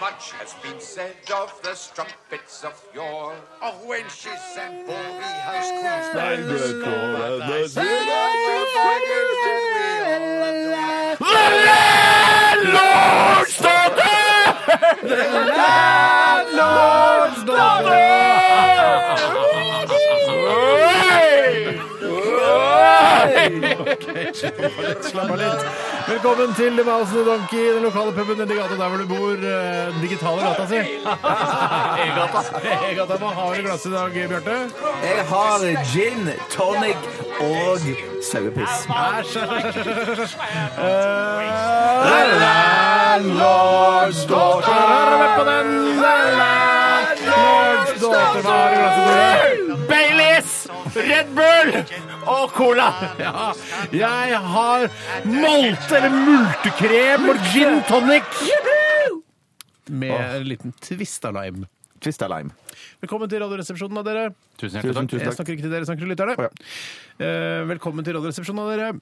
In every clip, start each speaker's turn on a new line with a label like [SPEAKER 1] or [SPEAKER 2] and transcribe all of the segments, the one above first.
[SPEAKER 1] Much has been said of the strumpets of yore, of wenches and baldy house queens.
[SPEAKER 2] Slapp av litt. Velkommen til The Mouse and the Donkey, den lokale puben nedi gata der hvor du bor. eh, Den digitale gata si. E-gata. E-gata, Hva har du i glasset i dag, Bjarte?
[SPEAKER 3] Jeg har gin, tonic og sauepiss.
[SPEAKER 2] Æsj, æsj, æsj, æsj, æsj. Eh, Landlords daughter. Har du vært på den? Landlords daughter. Hva har du i glasset, Tore? Baileys, Red Bull og cola. Ja, jeg har molte eller multekrem og gin tonic. Med en liten twist av lime.
[SPEAKER 3] Twist av lime.
[SPEAKER 2] Velkommen til Radioresepsjonen av dere. Tusen
[SPEAKER 3] hjertelig takk.
[SPEAKER 2] Jeg snakker ikke til dere, jeg snakker til lytterne.
[SPEAKER 3] Å,
[SPEAKER 2] Eh, Velkommen til Radioresepsjonen av dere.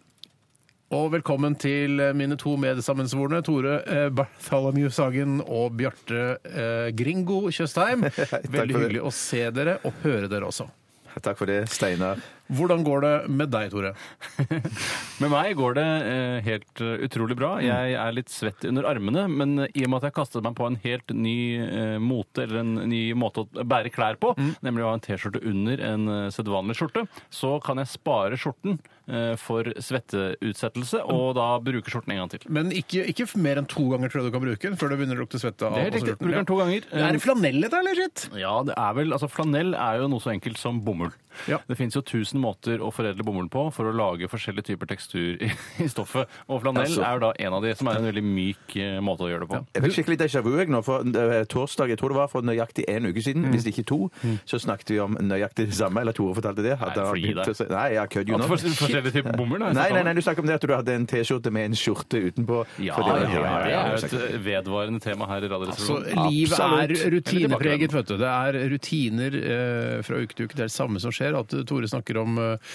[SPEAKER 2] Og velkommen til mine to medsammensvorne, Tore eh, Bartholomew Sagen og Bjarte eh, Gringo Tjøstheim.
[SPEAKER 3] for
[SPEAKER 2] Veldig
[SPEAKER 3] det.
[SPEAKER 2] hyggelig å se dere og høre dere også.
[SPEAKER 3] Takk for det, Steinar.
[SPEAKER 2] Hvordan går det med deg, Tore?
[SPEAKER 4] Med meg går det eh, helt eh, utrolig bra. Jeg er litt svett under armene, men eh, i og med at jeg kastet meg på en helt ny eh, mote, eller en ny måte å bære klær på, nemlig å ha en T-skjorte under en eh, sedvanlig skjorte, så kan jeg spare skjorten eh, for svetteutsettelse, og da bruke skjorten en gang til.
[SPEAKER 2] Men ikke, ikke mer enn to ganger tror jeg du kan bruke den før det begynner å lukte svette av
[SPEAKER 4] Det er helt
[SPEAKER 2] av
[SPEAKER 4] riktig.
[SPEAKER 2] skjorten.
[SPEAKER 4] Bruker den to ganger.
[SPEAKER 2] Ja. Er det flanell dette, eller shit?
[SPEAKER 4] Ja, det er vel, altså Flanell er jo noe så enkelt som bomull.
[SPEAKER 2] Ja.
[SPEAKER 4] Det fins jo tusen måter å foredle bomull på for å lage forskjellige typer tekstur i, i stoffet. Og flanell
[SPEAKER 3] Altså.
[SPEAKER 4] er jo da en av de som er en veldig myk eh, måte å gjøre det på.
[SPEAKER 3] Jeg fikk skikkelig déjà vu jeg nå. For eh, torsdag, jeg tror det var for nøyaktig en uke siden, hvis ikke to, så snakket vi om nøyaktig det samme. Eller Tore fortalte det. Hadde
[SPEAKER 4] Nei,
[SPEAKER 3] han
[SPEAKER 4] fri
[SPEAKER 3] begynt
[SPEAKER 4] deg.
[SPEAKER 3] å si- Nei, jeg kødder jo
[SPEAKER 4] At
[SPEAKER 3] nå.
[SPEAKER 4] for- forskjellige typer bomull, da,
[SPEAKER 3] Nei,
[SPEAKER 4] i så fall.
[SPEAKER 3] nei, nei, du snakker om det at du hadde en T-skjorte med en skjorte utenpå.
[SPEAKER 4] Ja,
[SPEAKER 3] for
[SPEAKER 4] ja,
[SPEAKER 3] var-
[SPEAKER 4] ja, det
[SPEAKER 3] ja,
[SPEAKER 4] er
[SPEAKER 3] ja,
[SPEAKER 4] jo et vedvarende tema her
[SPEAKER 2] Så
[SPEAKER 4] i Radioresepsjonen.
[SPEAKER 2] Altså, livet er
[SPEAKER 3] Absolutt.
[SPEAKER 2] rutinepreget, vet du. Det er rutiner eh, fra uke til uke. Det er det samme som skjer. At eh, Tore snakker om eh,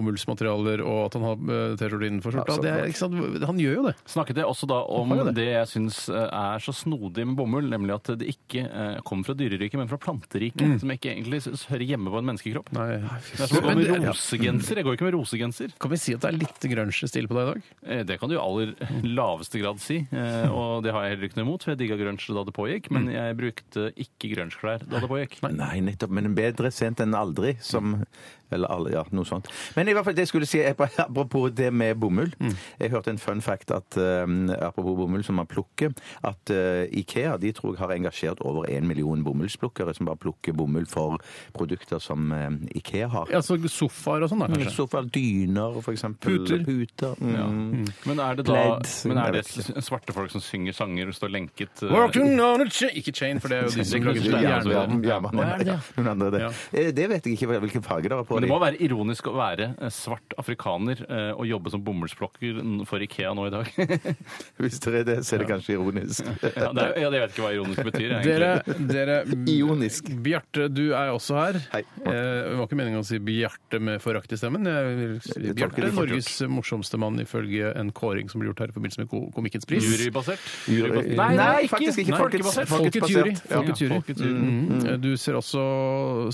[SPEAKER 2] bomullsmaterialer og at han har eh, T-skjorte innenfor skjorta. Det er, ikke sant? Han gjør jo det.
[SPEAKER 4] Snakket jeg også da om
[SPEAKER 2] Har jo
[SPEAKER 4] det.
[SPEAKER 2] det.
[SPEAKER 4] jeg syns eh, er så snodig med bomull, nemlig at det ikke eh, kommer fra dyreriket, men fra planteriket, som ikke egentlig s- hører hjemme på en menneskekropp. Det er som å gå
[SPEAKER 2] Men
[SPEAKER 4] med
[SPEAKER 2] det- ja.
[SPEAKER 4] rosegenser. Jeg går ikke med rosegenser.
[SPEAKER 2] Kan vi si at det er litt grunge-stil på deg i dag?
[SPEAKER 4] Eh, Det kan du i aller laveste grad si, eh, og det har jeg heller ikke noe imot, for jeg digga grunge da det pågikk, men jeg brukte ikke grunge-klær da det pågikk.
[SPEAKER 3] Nei, nettopp. Men bedre sent enn aldri. Som, eller alle, ja, noe sånt. Men i hvert fall det jeg skulle si, er på- apropos det med bomull. Jeg hørte en fun fact at eh, apropos bomull som man plukker, at eh, Ikea de tror jeg har engasjert over en million bomullsplukkere som bare plukker bomull for produkter som eh, Ikea har.
[SPEAKER 2] Ja, så Sofaer og sånn, da, kanskje?
[SPEAKER 3] Sofaer, dyner, for eksempel.
[SPEAKER 2] Puter.
[SPEAKER 3] Mm.
[SPEAKER 4] Men er det da
[SPEAKER 3] Pledd,
[SPEAKER 4] men er det
[SPEAKER 3] jeg vet
[SPEAKER 4] svarte folk som synger sanger og står lenket eh,
[SPEAKER 2] Working on a chain Ikke chain, for det er jo de som
[SPEAKER 4] Jernbanen.
[SPEAKER 2] klager til jernbanen.
[SPEAKER 3] Jernbanen,
[SPEAKER 2] Hva er det?
[SPEAKER 3] ja. Noen andre det.
[SPEAKER 2] Ja.
[SPEAKER 3] Eh, Det vet jeg ikke hva- hvilken farge det var på.
[SPEAKER 4] Men det
[SPEAKER 3] de.
[SPEAKER 4] må være ironisk å være eh, svart afrikaner eh, og jobbe som bomullsplukker for Ikea nå i dag.
[SPEAKER 3] Hvis det er det, så er det kanskje ironisk.
[SPEAKER 4] ja, det er, ja, det vet ikke hva ironisk betyr. jeg,
[SPEAKER 2] Dere,
[SPEAKER 4] egentlig.
[SPEAKER 2] dere mm,
[SPEAKER 3] Ionisk.
[SPEAKER 2] Bjarte, du er også her.
[SPEAKER 3] Hei.
[SPEAKER 2] Eh, det var ikke meningen å si Bjarte med forakt i stemmen. Jeg vil si
[SPEAKER 3] Jeg tolker
[SPEAKER 2] Bjarte,
[SPEAKER 3] det fort
[SPEAKER 2] Norges morsomste mann ifølge en kåring som ble gjort her i forbindelse med Ko- Komikkens pris.
[SPEAKER 4] Jurybasert?
[SPEAKER 3] Jury-
[SPEAKER 4] Nei,
[SPEAKER 3] Nei,
[SPEAKER 4] ikke.
[SPEAKER 3] faktisk ikke.
[SPEAKER 4] Nei,
[SPEAKER 3] Folkets-
[SPEAKER 4] folkebasert.
[SPEAKER 2] Folkets
[SPEAKER 3] Folkets
[SPEAKER 2] jury.
[SPEAKER 3] basert, ja.
[SPEAKER 2] Folkets jury.
[SPEAKER 4] Folkets jury.
[SPEAKER 2] Mm. Eh, Du ser også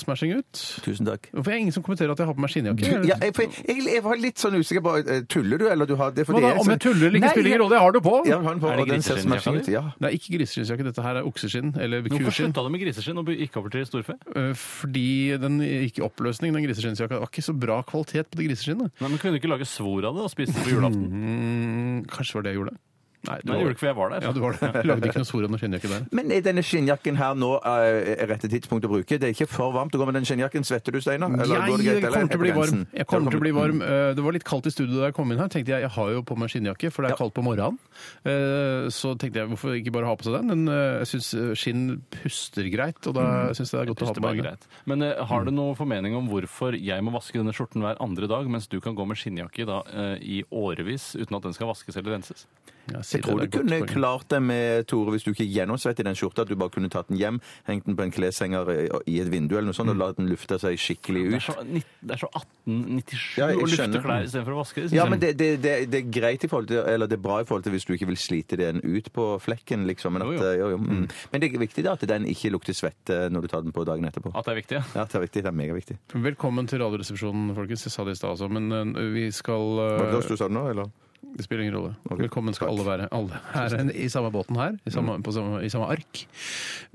[SPEAKER 2] smashing ut.
[SPEAKER 3] Tusen takk.
[SPEAKER 2] Hvorfor er det ingen som kommenterer at jeg har på meg skinnjakke?
[SPEAKER 3] Ja, jeg, for jeg, jeg var litt sånn usikker på eh, Tuller du, eller du har det er
[SPEAKER 2] Hva
[SPEAKER 3] fordi
[SPEAKER 2] da,
[SPEAKER 3] jeg-
[SPEAKER 2] om jeg tuller eller ikke
[SPEAKER 3] Nei,
[SPEAKER 2] spiller ingen rolle, jeg har det på!
[SPEAKER 3] Ja, han på,
[SPEAKER 4] Er det
[SPEAKER 3] og den ser som
[SPEAKER 4] griseskinnsjakka
[SPEAKER 3] maskin
[SPEAKER 4] di?
[SPEAKER 3] ut. Ja.
[SPEAKER 2] Det er ikke griseskinnsjakke, dette her er okseskinn eller
[SPEAKER 4] Hvorfor
[SPEAKER 2] kuskinn.
[SPEAKER 4] slutta du med griseskinn og gikk over til storfe?
[SPEAKER 2] Eh, Fordi den gikk i oppløsning, den griseskinnsjakka. Det var ikke så bra kvalitet på det griseskinnet.
[SPEAKER 4] Nei, men Kunne du ikke lage svor av det og spise det på julaften?
[SPEAKER 2] Mm, kanskje var det jeg gjorde.
[SPEAKER 4] Nei, det gjorde du ikke, for jeg var der.
[SPEAKER 2] Ja, du var det. Du lagde ikke noe soran og skinnjakke der.
[SPEAKER 3] Men er denne skinnjakken her nå eh, rette tidspunkt å bruke? Det er ikke for varmt å gå med den skinnjakken. Svetter du, Steinar? Eller går det
[SPEAKER 2] Jeg
[SPEAKER 3] greit, eller
[SPEAKER 2] kommer til å bli
[SPEAKER 3] heter det
[SPEAKER 2] varm.
[SPEAKER 3] grensen?
[SPEAKER 2] Jeg kommer til å bli varm. Eh, Det var litt kaldt i studio da jeg kom inn her. tenkte Jeg jeg har jo på meg skinnjakke, for det er kaldt på morgenen. Eh, Så tenkte jeg hvorfor ikke bare ha på seg den? Men eh, jeg syns skinn puster greit, og da
[SPEAKER 3] Mm.
[SPEAKER 2] syns jeg det er godt å ha
[SPEAKER 4] Det
[SPEAKER 2] på
[SPEAKER 4] var
[SPEAKER 2] meg.
[SPEAKER 4] greit. Men eh, har du noen formening om hvorfor jeg må vaske denne skjorten hver andre dag, mens du kan gå med skinnjakke da, eh, i årevis uten at den skal vaskes eller renses?
[SPEAKER 3] Jeg tror du kunne klart det med Tore hvis du ikke gjennomsvett i den skjorta, at du bare kunne tatt den hjem, hengt den på en kleshenger i i et vindu eller noe sånt, og latt den lufte seg skikkelig
[SPEAKER 4] Det er
[SPEAKER 3] ut.
[SPEAKER 4] så, nitt- det er så 1897
[SPEAKER 3] Ja, jeg
[SPEAKER 4] å lufte
[SPEAKER 3] skjønner.
[SPEAKER 4] klær istedenfor å vaske.
[SPEAKER 3] Ja, men det, det, det, det er greit i forhold til, eller det er bra i forhold til hvis du ikke vil slite den ut på flekken, liksom. Men, at,
[SPEAKER 4] Jo, jo.
[SPEAKER 3] Jo, jo, mm. men det er viktig da at den ikke lukter svette når du tar den på dagen etterpå.
[SPEAKER 4] At det er viktig, ja.
[SPEAKER 3] Ja, det er viktig. Det er megaviktig.
[SPEAKER 2] Velkommen til Radioresepsjonen, folkens. Jeg sa det i stad også, men eh, vi skal eh,
[SPEAKER 3] Var det oss du sa det nå, eller?
[SPEAKER 2] Det spiller ingen rolle.
[SPEAKER 3] Ok.
[SPEAKER 2] Velkommen skal
[SPEAKER 3] Takk. Mm.
[SPEAKER 2] alle være. Alle er en- i samme båten her, i samme, på samme, i samme ark.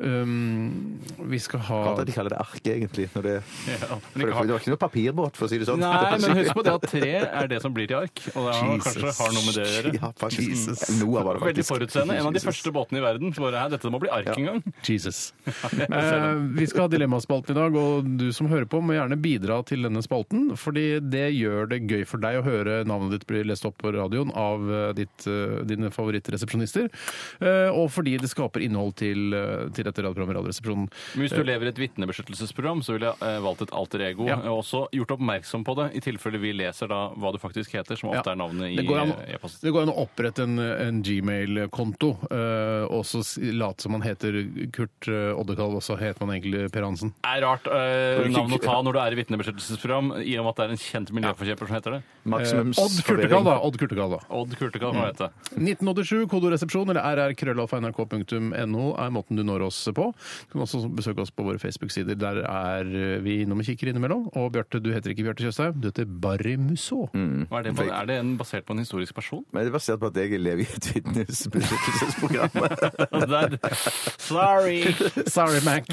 [SPEAKER 2] Um, vi skal ha
[SPEAKER 3] Rart at de kaller det ark, egentlig. Når det,
[SPEAKER 4] ja.
[SPEAKER 3] for
[SPEAKER 4] Men
[SPEAKER 3] det,
[SPEAKER 4] ikke har-
[SPEAKER 3] var ikke noe papirbåt, for å si det sånn.
[SPEAKER 4] Nei, men husk på det at tre er det som blir til ark. Og det har,
[SPEAKER 2] Jesus.
[SPEAKER 4] kanskje har noe med det å gjøre. Mm.
[SPEAKER 3] Ja, faktisk. Noe var det
[SPEAKER 4] Veldig
[SPEAKER 3] faktisk.
[SPEAKER 4] forutseende. En av de første båtene i verden som bare Hæ, dette må bli ark en gang.
[SPEAKER 2] Jesus.
[SPEAKER 4] det er
[SPEAKER 2] Eh, vi skal ha Dilemmaspalten i dag, og du som hører på må gjerne bidra til denne spalten, fordi det gjør det gøy for deg å høre navnet ditt bli lest opp på radioen av eh, ditt, eh, dine favorittresepsjonister, eh, og fordi det skaper innhold til, eh, til dette radioprogrammet Radioresepsjonen.
[SPEAKER 4] Men hvis du lever i et vitnebeskyttelsesprogram, så ville jeg eh, valgt et alter ego.
[SPEAKER 2] Ja.
[SPEAKER 4] Og også gjort oppmerksom på det, i tilfelle vi leser da hva du faktisk heter, som ofte
[SPEAKER 2] Ja.
[SPEAKER 4] er navnet i
[SPEAKER 2] det går an,
[SPEAKER 4] eh, e-posten.
[SPEAKER 2] det går an å opprette en, en Gmail-konto eh, og så s- late som man heter Kurt eh, Oddekalv, og så heter man egentlig Per Hansen.
[SPEAKER 4] Det er rart eh,
[SPEAKER 3] Ikke-
[SPEAKER 4] navn å ta når du er i vitnebeskyttelsesprogram, i og med at det er en kjent miljøforkjemper som heter det.
[SPEAKER 2] Eh,
[SPEAKER 3] Maksimums
[SPEAKER 2] Odd Kurtekall, da. Odd Kurtekall, da.
[SPEAKER 4] Odd Kurtekall, hva heter det?
[SPEAKER 2] 1987, kodoresepsjon eller rrkrøllalfa.nrk.no er måten du når oss på. Du kan også besøke oss på våre Facebook-sider. Der er eh, vi innom og kikker innimellom. Og Bjarte, du heter ikke Bjarte Tjøstheim, du heter Barry Musaa.
[SPEAKER 3] Mm.
[SPEAKER 4] Hva er, det på, er det en basert på en historisk person?
[SPEAKER 3] Men det er basert på at jeg lever i et vitnesbeskyttelsesprogram.
[SPEAKER 4] Altså, Det er- Sorry!
[SPEAKER 2] Sorry, Mac.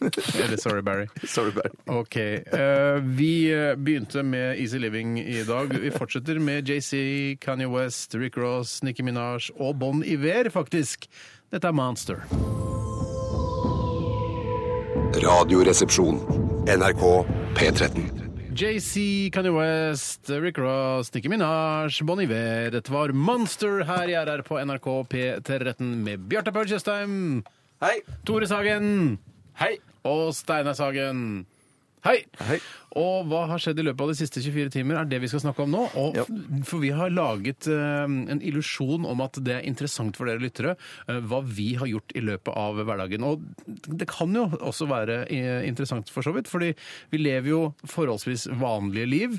[SPEAKER 2] eller sorry, Barry.
[SPEAKER 3] Sorry, Barry.
[SPEAKER 2] Ok. eh, vi eh, begynte med Easy Living i dag. Vi fortsetter med JC, Kanye West, Rick Ross, Nicki Minaj og Bon Iver, faktisk. Dette er Monster.
[SPEAKER 5] Radioresepsjon. NRK P13.
[SPEAKER 2] JC, Kanye West, Rick Ross, Nicki Minaj, Bon Iver. Dette var Monster her i RR på NRK P13 med Bjarte Paul Tjøstheim,
[SPEAKER 3] Hei!
[SPEAKER 2] Tore Sagen
[SPEAKER 4] Hei!
[SPEAKER 2] og Steinar Sagen. Hei!
[SPEAKER 3] Hei.
[SPEAKER 2] Og hva har skjedd i løpet av de siste 24 timer, er det vi skal snakke om nå. Og,
[SPEAKER 3] Ja.
[SPEAKER 2] For vi har laget eh, en illusjon om at det er interessant for dere lyttere eh, hva vi har gjort i løpet av hverdagen. Og det kan jo også være eh, interessant for så vidt, fordi vi lever jo forholdsvis vanlige liv.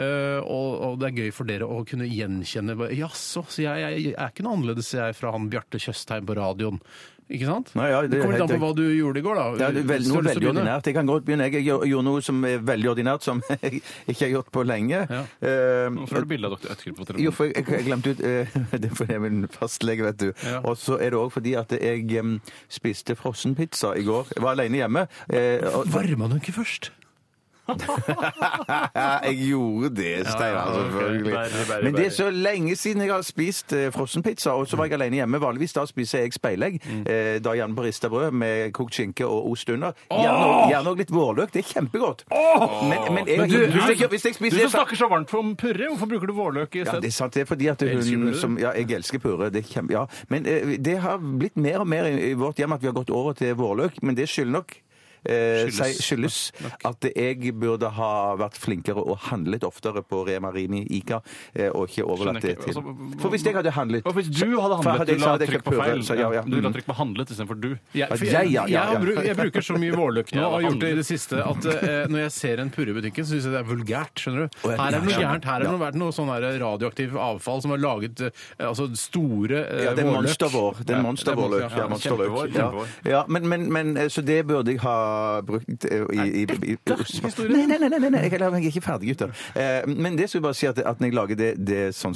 [SPEAKER 2] eh, og, og det er gøy for dere å kunne gjenkjenne hva- Jaså, så jeg, jeg, jeg er ikke noe annerledes jeg fra han Bjarte Tjøstheim på radioen. Ikke sant?
[SPEAKER 3] Nei, ja, det
[SPEAKER 2] det
[SPEAKER 3] er
[SPEAKER 2] kommer litt
[SPEAKER 3] helt
[SPEAKER 2] an på hva du gjorde i går, da.
[SPEAKER 3] Ja, det er vel,
[SPEAKER 2] Hvis du
[SPEAKER 3] noe
[SPEAKER 2] har lyst til
[SPEAKER 3] veldig
[SPEAKER 2] å begynne.
[SPEAKER 3] ordinært. Jeg kan godt begynne. Jeg gjør- gjorde noe som er veldig ordinært, som jeg ikke har gjort på lenge.
[SPEAKER 2] Ja.
[SPEAKER 3] Eh,
[SPEAKER 4] Hvorfor har du bilde av dr. Ødskrift på
[SPEAKER 3] jo,
[SPEAKER 4] telefonen?
[SPEAKER 3] for jeg, jeg glemte ut eh, Det er fordi jeg er min fastlege, vet du.
[SPEAKER 2] Ja.
[SPEAKER 3] Og så er det òg fordi at jeg em, spiste frossenpizza i går. Jeg var alene hjemme. eh, og,
[SPEAKER 2] Varma du ikke først?
[SPEAKER 3] jeg gjorde det, Steinar.
[SPEAKER 2] ok.
[SPEAKER 3] selvfølgelig.
[SPEAKER 4] Bare, bare,
[SPEAKER 3] Men det er
[SPEAKER 4] bare.
[SPEAKER 3] så lenge siden jeg har spist eh, frossenpizza, og så var jeg
[SPEAKER 4] Mm.
[SPEAKER 3] alene hjemme. Vanligvis da spiser jeg speilegg. Eh, da gjerne på rista brød med kokt skinke og ost under. Gjerne- Gjerne òg litt vårløk. Det er kjempegodt. Men, men jeg,
[SPEAKER 4] Men du-
[SPEAKER 3] hvis, jeg, hvis jeg
[SPEAKER 4] Du
[SPEAKER 3] spiser
[SPEAKER 4] som snakker så varmt om purre, hvorfor bruker du vårløk i
[SPEAKER 3] ja, det
[SPEAKER 4] stedet?
[SPEAKER 3] er sant. Det er fordi at hun
[SPEAKER 2] purre?
[SPEAKER 3] som, Ja, jeg elsker purre. Det er kjempe, ja. Men eh, det har blitt mer og mer i, i vårt hjem at vi har gått over til vårløk, men det skylder nok eh,
[SPEAKER 2] Skyldes.
[SPEAKER 3] seg- skyldes at jeg burde ha vært flinkere og handlet oftere på Rema Rimi Ica, eh, og ikke overlatt det
[SPEAKER 4] Skjønner ikke.
[SPEAKER 3] til
[SPEAKER 4] Altså,
[SPEAKER 3] For hvis jeg hadde handlet
[SPEAKER 4] Og hvis du hadde
[SPEAKER 3] For jeg
[SPEAKER 4] handlet,
[SPEAKER 3] hadde-
[SPEAKER 4] du
[SPEAKER 3] så
[SPEAKER 4] la
[SPEAKER 3] hadde jeg
[SPEAKER 4] trykk
[SPEAKER 3] ikke
[SPEAKER 4] på feil.
[SPEAKER 3] purre, så ja, ja.
[SPEAKER 4] Du la trykk på handlet istedenfor du.
[SPEAKER 2] Ja,
[SPEAKER 3] At
[SPEAKER 2] for
[SPEAKER 3] jeg,
[SPEAKER 2] jeg,
[SPEAKER 3] ja,
[SPEAKER 2] jeg,
[SPEAKER 3] ja, ja.
[SPEAKER 2] har bru- jeg bruker så mye vårløk nå
[SPEAKER 4] Ja,
[SPEAKER 2] og har gjort det i
[SPEAKER 4] andre.
[SPEAKER 2] det siste at eh, når jeg ser en purre i butikken, så syns jeg det er vulgært. skjønner du?
[SPEAKER 3] ja,
[SPEAKER 2] Her er det noe
[SPEAKER 3] ja,
[SPEAKER 2] gærent. Her er det noe, vært noe sånn her radioaktivt avfall som har laget eh, altså store eh,
[SPEAKER 3] Ja, det er
[SPEAKER 2] vårløk.
[SPEAKER 3] monstervår. Det
[SPEAKER 2] Ja,
[SPEAKER 3] er monstervårløk.
[SPEAKER 2] monster- ja.
[SPEAKER 3] Ja, monsterløk.
[SPEAKER 4] kjempevår,
[SPEAKER 3] Ja,
[SPEAKER 4] kjempevår.
[SPEAKER 3] ja men, men, men eh, Så det burde jeg ha ha brukt eh, i, i, i, i
[SPEAKER 4] historien?
[SPEAKER 3] Nei, nei, nei, nei, nei, nei, jeg jeg er ikke ferdig, gutter. Eh, Men det skal jeg bare si at, at når jeg lager det, det sånn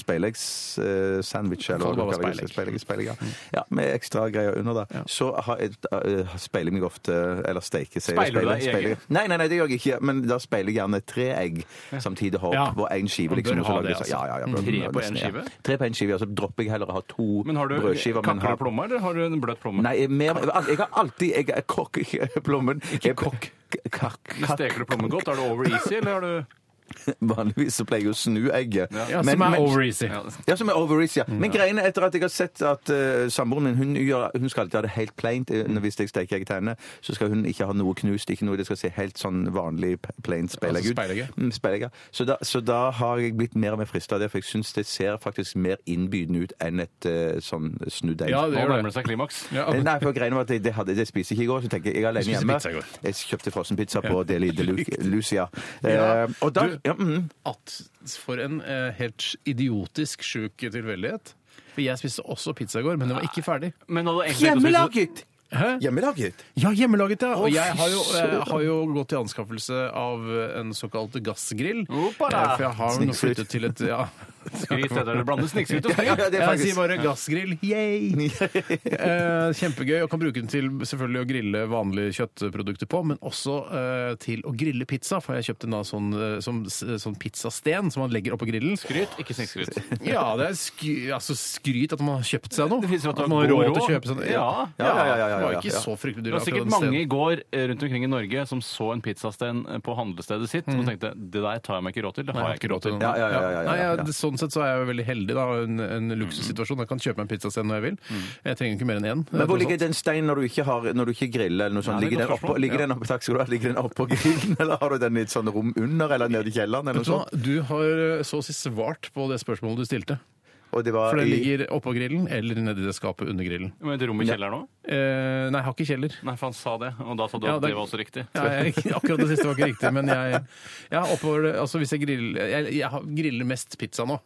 [SPEAKER 3] speileggs-sandwich eller
[SPEAKER 4] Kan
[SPEAKER 3] hva
[SPEAKER 4] det bare
[SPEAKER 3] det kalles,
[SPEAKER 4] være
[SPEAKER 3] speilegg, speilegg,
[SPEAKER 4] Mm.
[SPEAKER 3] ja. ja, med ekstra greier under, da, så har jeg, eh, speiler jeg meg ofte Eller steker seg
[SPEAKER 4] Speiler du deg i egget?
[SPEAKER 3] Nei, nei, nei, det gjør jeg ikke, men da speiler jeg gjerne tre egg samtidig hopp
[SPEAKER 4] Ja.
[SPEAKER 3] på én skive.
[SPEAKER 4] Man
[SPEAKER 3] Liksom,
[SPEAKER 4] bør
[SPEAKER 3] og så
[SPEAKER 4] ha
[SPEAKER 3] lager
[SPEAKER 4] det,
[SPEAKER 3] jeg så-
[SPEAKER 4] altså.
[SPEAKER 3] ja, ja, ja,
[SPEAKER 4] Tre
[SPEAKER 3] bør-
[SPEAKER 4] på en
[SPEAKER 3] nesten,
[SPEAKER 4] skive?
[SPEAKER 3] Ja. Tre på én skive, ja, så dropper jeg heller å ha to
[SPEAKER 4] Men har du
[SPEAKER 3] brødskiver. men
[SPEAKER 4] kakker
[SPEAKER 3] har-
[SPEAKER 4] du plomma, eller har du en bløt plomme?
[SPEAKER 3] Nei, jeg, mer, jeg har alltid Jeg er kokk i plommen. Ikke kokk. Kakk.
[SPEAKER 4] Steker du plommen godt? Er det over easy, eller har du
[SPEAKER 3] Vanligvis så pleier jeg å snu egget.
[SPEAKER 2] Ja, som er over easy.
[SPEAKER 3] Ja, som er over easy, ja. Men greiene etter at jeg har sett at eh, samboeren min hun, gjør, hun skal alltid ha det helt plaint. eh, Når hvis jeg steker egg til henne, så skal hun ikke ha noe knust, ikke noe. Det skal se helt sånn vanlig p- plaint speilegg
[SPEAKER 4] Altså
[SPEAKER 3] ut.
[SPEAKER 4] speilegg, ja.
[SPEAKER 3] Mm, speilegg, ja. Så, da, så da har jeg blitt mer og mer frista av det, for jeg syns det ser faktisk mer innbydende ut enn et eh, sånn snudd egg.
[SPEAKER 2] Ja, det
[SPEAKER 4] Nå
[SPEAKER 2] gjør
[SPEAKER 4] nærmer
[SPEAKER 2] det.
[SPEAKER 4] det seg klimaks.
[SPEAKER 2] Ja.
[SPEAKER 3] Eh, Nei, for greiene var at det, det, hadde, det spiser ikke i går, så tenker jeg jeg er alene
[SPEAKER 2] spiser
[SPEAKER 3] hjemme.
[SPEAKER 2] pizza i går.
[SPEAKER 3] Jeg kjøpte frossenpizza på Deli de Lu- Lucia.
[SPEAKER 2] Ja.
[SPEAKER 3] Eh, og da,
[SPEAKER 2] Du-
[SPEAKER 3] ja, mm,
[SPEAKER 2] At for en eh, helt idiotisk sjuk tilfeldighet. For jeg spiste også pizza i går, men det var ikke ferdig.
[SPEAKER 4] Men hadde du egentlig ikke spist-
[SPEAKER 3] Hjemmelaget! Hjemmelaget?
[SPEAKER 2] Ja, hjemmelaget, ja. Og
[SPEAKER 3] Å,
[SPEAKER 2] jeg har jo,
[SPEAKER 3] fy
[SPEAKER 2] eh,
[SPEAKER 3] søren.
[SPEAKER 2] har jo gått til anskaffelse av en såkalt gassgrill.
[SPEAKER 4] Oppa da!
[SPEAKER 2] Eh, For jeg har jo nå
[SPEAKER 3] Snikskryt.
[SPEAKER 2] flyttet til et ja.
[SPEAKER 4] Skryt, det der du blander snikskryt og
[SPEAKER 3] Ja, ja,
[SPEAKER 4] skryt.
[SPEAKER 3] det er
[SPEAKER 2] Jeg sier
[SPEAKER 3] faktisk
[SPEAKER 2] bare gassgrill. Yay! Eh, kjempegøy. Og kan bruke den til selvfølgelig å grille vanlige kjøttprodukter på, men også eh, til å grille pizza. For jeg kjøpte en da sånn, eh, sånn, sånn pizzasten som man legger oppå grillen.
[SPEAKER 4] Skryt, ikke snikskryt.
[SPEAKER 2] Ja, det er skry, altså skryt at man har kjøpt seg noe.
[SPEAKER 4] Det viser at du har
[SPEAKER 2] man har
[SPEAKER 4] god
[SPEAKER 2] råd til å
[SPEAKER 4] råd.
[SPEAKER 2] kjøpe seg noe.
[SPEAKER 4] Ja.
[SPEAKER 2] Ja, ja, ja, ja,
[SPEAKER 3] ja,
[SPEAKER 2] Det var
[SPEAKER 3] ja,
[SPEAKER 2] ikke
[SPEAKER 3] ja.
[SPEAKER 2] så fryktelig
[SPEAKER 4] Det
[SPEAKER 2] dyrt.
[SPEAKER 4] var sikkert
[SPEAKER 2] akkurat den
[SPEAKER 4] mange i
[SPEAKER 2] steden.
[SPEAKER 4] går eh, rundt omkring i Norge som så en pizzastein på handlestedet sitt og tenkte det der tar jeg meg ikke råd til. Det
[SPEAKER 2] Mm. Nei,
[SPEAKER 4] har jeg ikke råd til.
[SPEAKER 2] noe.
[SPEAKER 3] Ja, ja, ja, ja, ja,
[SPEAKER 2] Nei,
[SPEAKER 3] ja.
[SPEAKER 2] jeg- Sånn sett så er jeg jo veldig heldig. da, En, en luksussituasjon. Jeg kan kjøpe meg en pizzasten når jeg vil. Jeg trenger ikke mer enn én.
[SPEAKER 3] Mm. men hvor
[SPEAKER 2] tross alt.
[SPEAKER 3] ligger den steinen når du ikke, har, når du ikke griller? eller noe sånt?
[SPEAKER 4] Nei, det er
[SPEAKER 3] Ligger den
[SPEAKER 4] et godt
[SPEAKER 3] oppå
[SPEAKER 4] spørsmål.
[SPEAKER 3] ligger den oppe- takk skal du ha, ligger den oppå grillen, eller har du den i et sånt rom under eller nede i kjelleren? eller
[SPEAKER 2] Vet du hva?
[SPEAKER 3] noe sånt?
[SPEAKER 2] sånn. Du har eh, så å si svart på det spørsmålet du stilte.
[SPEAKER 3] Og det var
[SPEAKER 2] For den
[SPEAKER 3] i-
[SPEAKER 2] ligger oppå grillen eller nedi det skapet under grillen.
[SPEAKER 4] Men et rom i kjelleren òg?
[SPEAKER 2] Eh, nei, jeg har ikke kjeller.
[SPEAKER 4] Nei, for han sa det, og da sa du
[SPEAKER 2] Ja,
[SPEAKER 4] at
[SPEAKER 2] det-
[SPEAKER 4] det var også riktig.
[SPEAKER 2] Ja, jeg, akkurat det siste var ikke riktig, men jeg, jeg har oppover det altså hvis jeg, griller, jeg, jeg har- griller mest pizza nå.